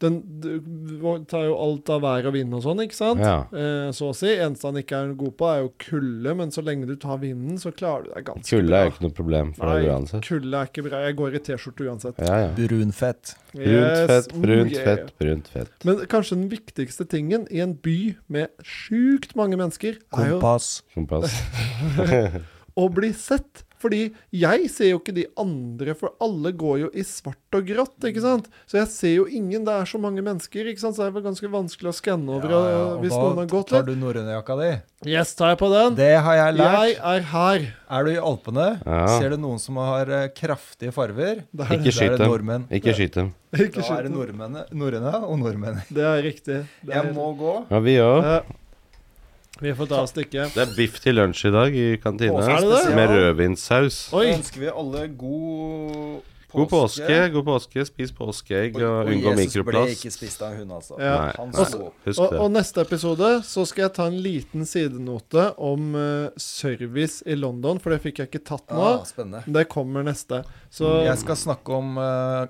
[SPEAKER 3] den d- tar jo alt av vær og vind og sånn, ikke sant?
[SPEAKER 2] Ja.
[SPEAKER 3] Eh, så å si. Eneste han ikke er god på, er jo kulde, men så lenge du tar vinden, så klarer du deg ganske
[SPEAKER 2] Kulde
[SPEAKER 3] bra.
[SPEAKER 2] er jo ikke noe problem for deg uansett.
[SPEAKER 3] kulde er ikke bra. Jeg går i T-skjorte uansett.
[SPEAKER 2] Ja, ja.
[SPEAKER 1] Brunfett.
[SPEAKER 3] Yes,
[SPEAKER 2] Brunt fett,
[SPEAKER 3] oh
[SPEAKER 2] brunt
[SPEAKER 3] yeah.
[SPEAKER 2] fett, brunt fett.
[SPEAKER 3] Men kanskje den viktigste tingen i en by med sjukt mange mennesker, er jo
[SPEAKER 1] Kompass.
[SPEAKER 2] Kompass.
[SPEAKER 3] å bli sett. Fordi jeg ser jo ikke de andre, for alle går jo i svart og grått, ikke sant? Så jeg ser jo ingen. Det er så mange mennesker, ikke sant? Så det er vel ganske vanskelig å skanne over
[SPEAKER 1] Ja, ja,
[SPEAKER 3] og-
[SPEAKER 1] og
[SPEAKER 3] hvis
[SPEAKER 1] da
[SPEAKER 3] noen har gått
[SPEAKER 1] tar
[SPEAKER 3] litt.
[SPEAKER 1] du norrønejakka di.
[SPEAKER 3] Yes, tar jeg på den.
[SPEAKER 1] Det har jeg
[SPEAKER 3] Jeg
[SPEAKER 1] lært.
[SPEAKER 3] er her.
[SPEAKER 1] Er du i Alpene,
[SPEAKER 2] Ja.
[SPEAKER 1] ser du noen som har eh, kraftige farver,
[SPEAKER 3] Det er,
[SPEAKER 2] Ikke
[SPEAKER 1] da er
[SPEAKER 2] skyt
[SPEAKER 1] det
[SPEAKER 2] dem.
[SPEAKER 1] nordmenn.
[SPEAKER 2] Ikke skyt dem.
[SPEAKER 3] ikke
[SPEAKER 1] Da er det
[SPEAKER 3] skyt.
[SPEAKER 1] nordmennene, norrøne og nordmenn.
[SPEAKER 3] Det er riktig. Det er,
[SPEAKER 1] Jeg må gå.
[SPEAKER 2] Ja, vi òg.
[SPEAKER 3] Ja. vi får ta og stikke.
[SPEAKER 2] Det er biff til lunsj i dag i kantina.
[SPEAKER 3] Er det det?
[SPEAKER 2] Med rødvinssaus.
[SPEAKER 1] Da
[SPEAKER 3] Oi!
[SPEAKER 1] ønsker vi alle god påske.
[SPEAKER 2] God påske, god påske. Spis påskeegg
[SPEAKER 1] Og,
[SPEAKER 2] og unngå
[SPEAKER 1] Jesus ble
[SPEAKER 2] mikroplast.
[SPEAKER 1] ikke spist av en hund, altså.
[SPEAKER 3] Ja.
[SPEAKER 2] Nei,
[SPEAKER 1] Han
[SPEAKER 2] nei.
[SPEAKER 1] så opp.
[SPEAKER 2] Husk
[SPEAKER 3] Og,
[SPEAKER 2] det.
[SPEAKER 3] og neste episode så skal jeg ta en liten sidenote om eh, service i London, for det fikk jeg ikke tatt nå.
[SPEAKER 1] Ah, spennende.
[SPEAKER 3] Det kommer neste. Så
[SPEAKER 1] Jeg skal snakke om uh,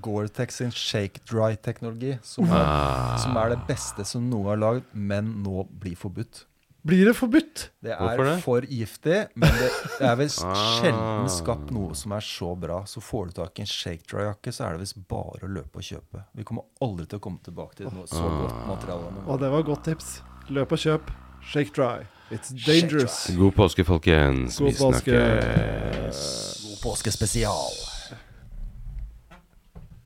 [SPEAKER 1] Gore-Tex sin shake-dry-teknologi, som, er-
[SPEAKER 2] Ah.
[SPEAKER 1] som er det beste som noen har lagd, men nå blir forbudt.
[SPEAKER 3] blir det forbudt.
[SPEAKER 1] Det er
[SPEAKER 2] Hvorfor det?
[SPEAKER 1] for giftig, men det, det er visst
[SPEAKER 2] Ah.
[SPEAKER 1] sjelden skapt noe som er så bra. Så får du tak i en shake-dry-jakke, så er det visst bare å løpe og kjøpe. Vi kommer aldri til å komme tilbake til noe så
[SPEAKER 2] Ah.
[SPEAKER 1] godt materiale. noen
[SPEAKER 3] Og
[SPEAKER 1] gang.
[SPEAKER 3] det var godt tips. Løp og kjøp. Shake dry. It's dangerous.
[SPEAKER 2] God påske, folkens.
[SPEAKER 3] God
[SPEAKER 2] Vi
[SPEAKER 3] påske.
[SPEAKER 2] snakkes.
[SPEAKER 1] God påskespesial.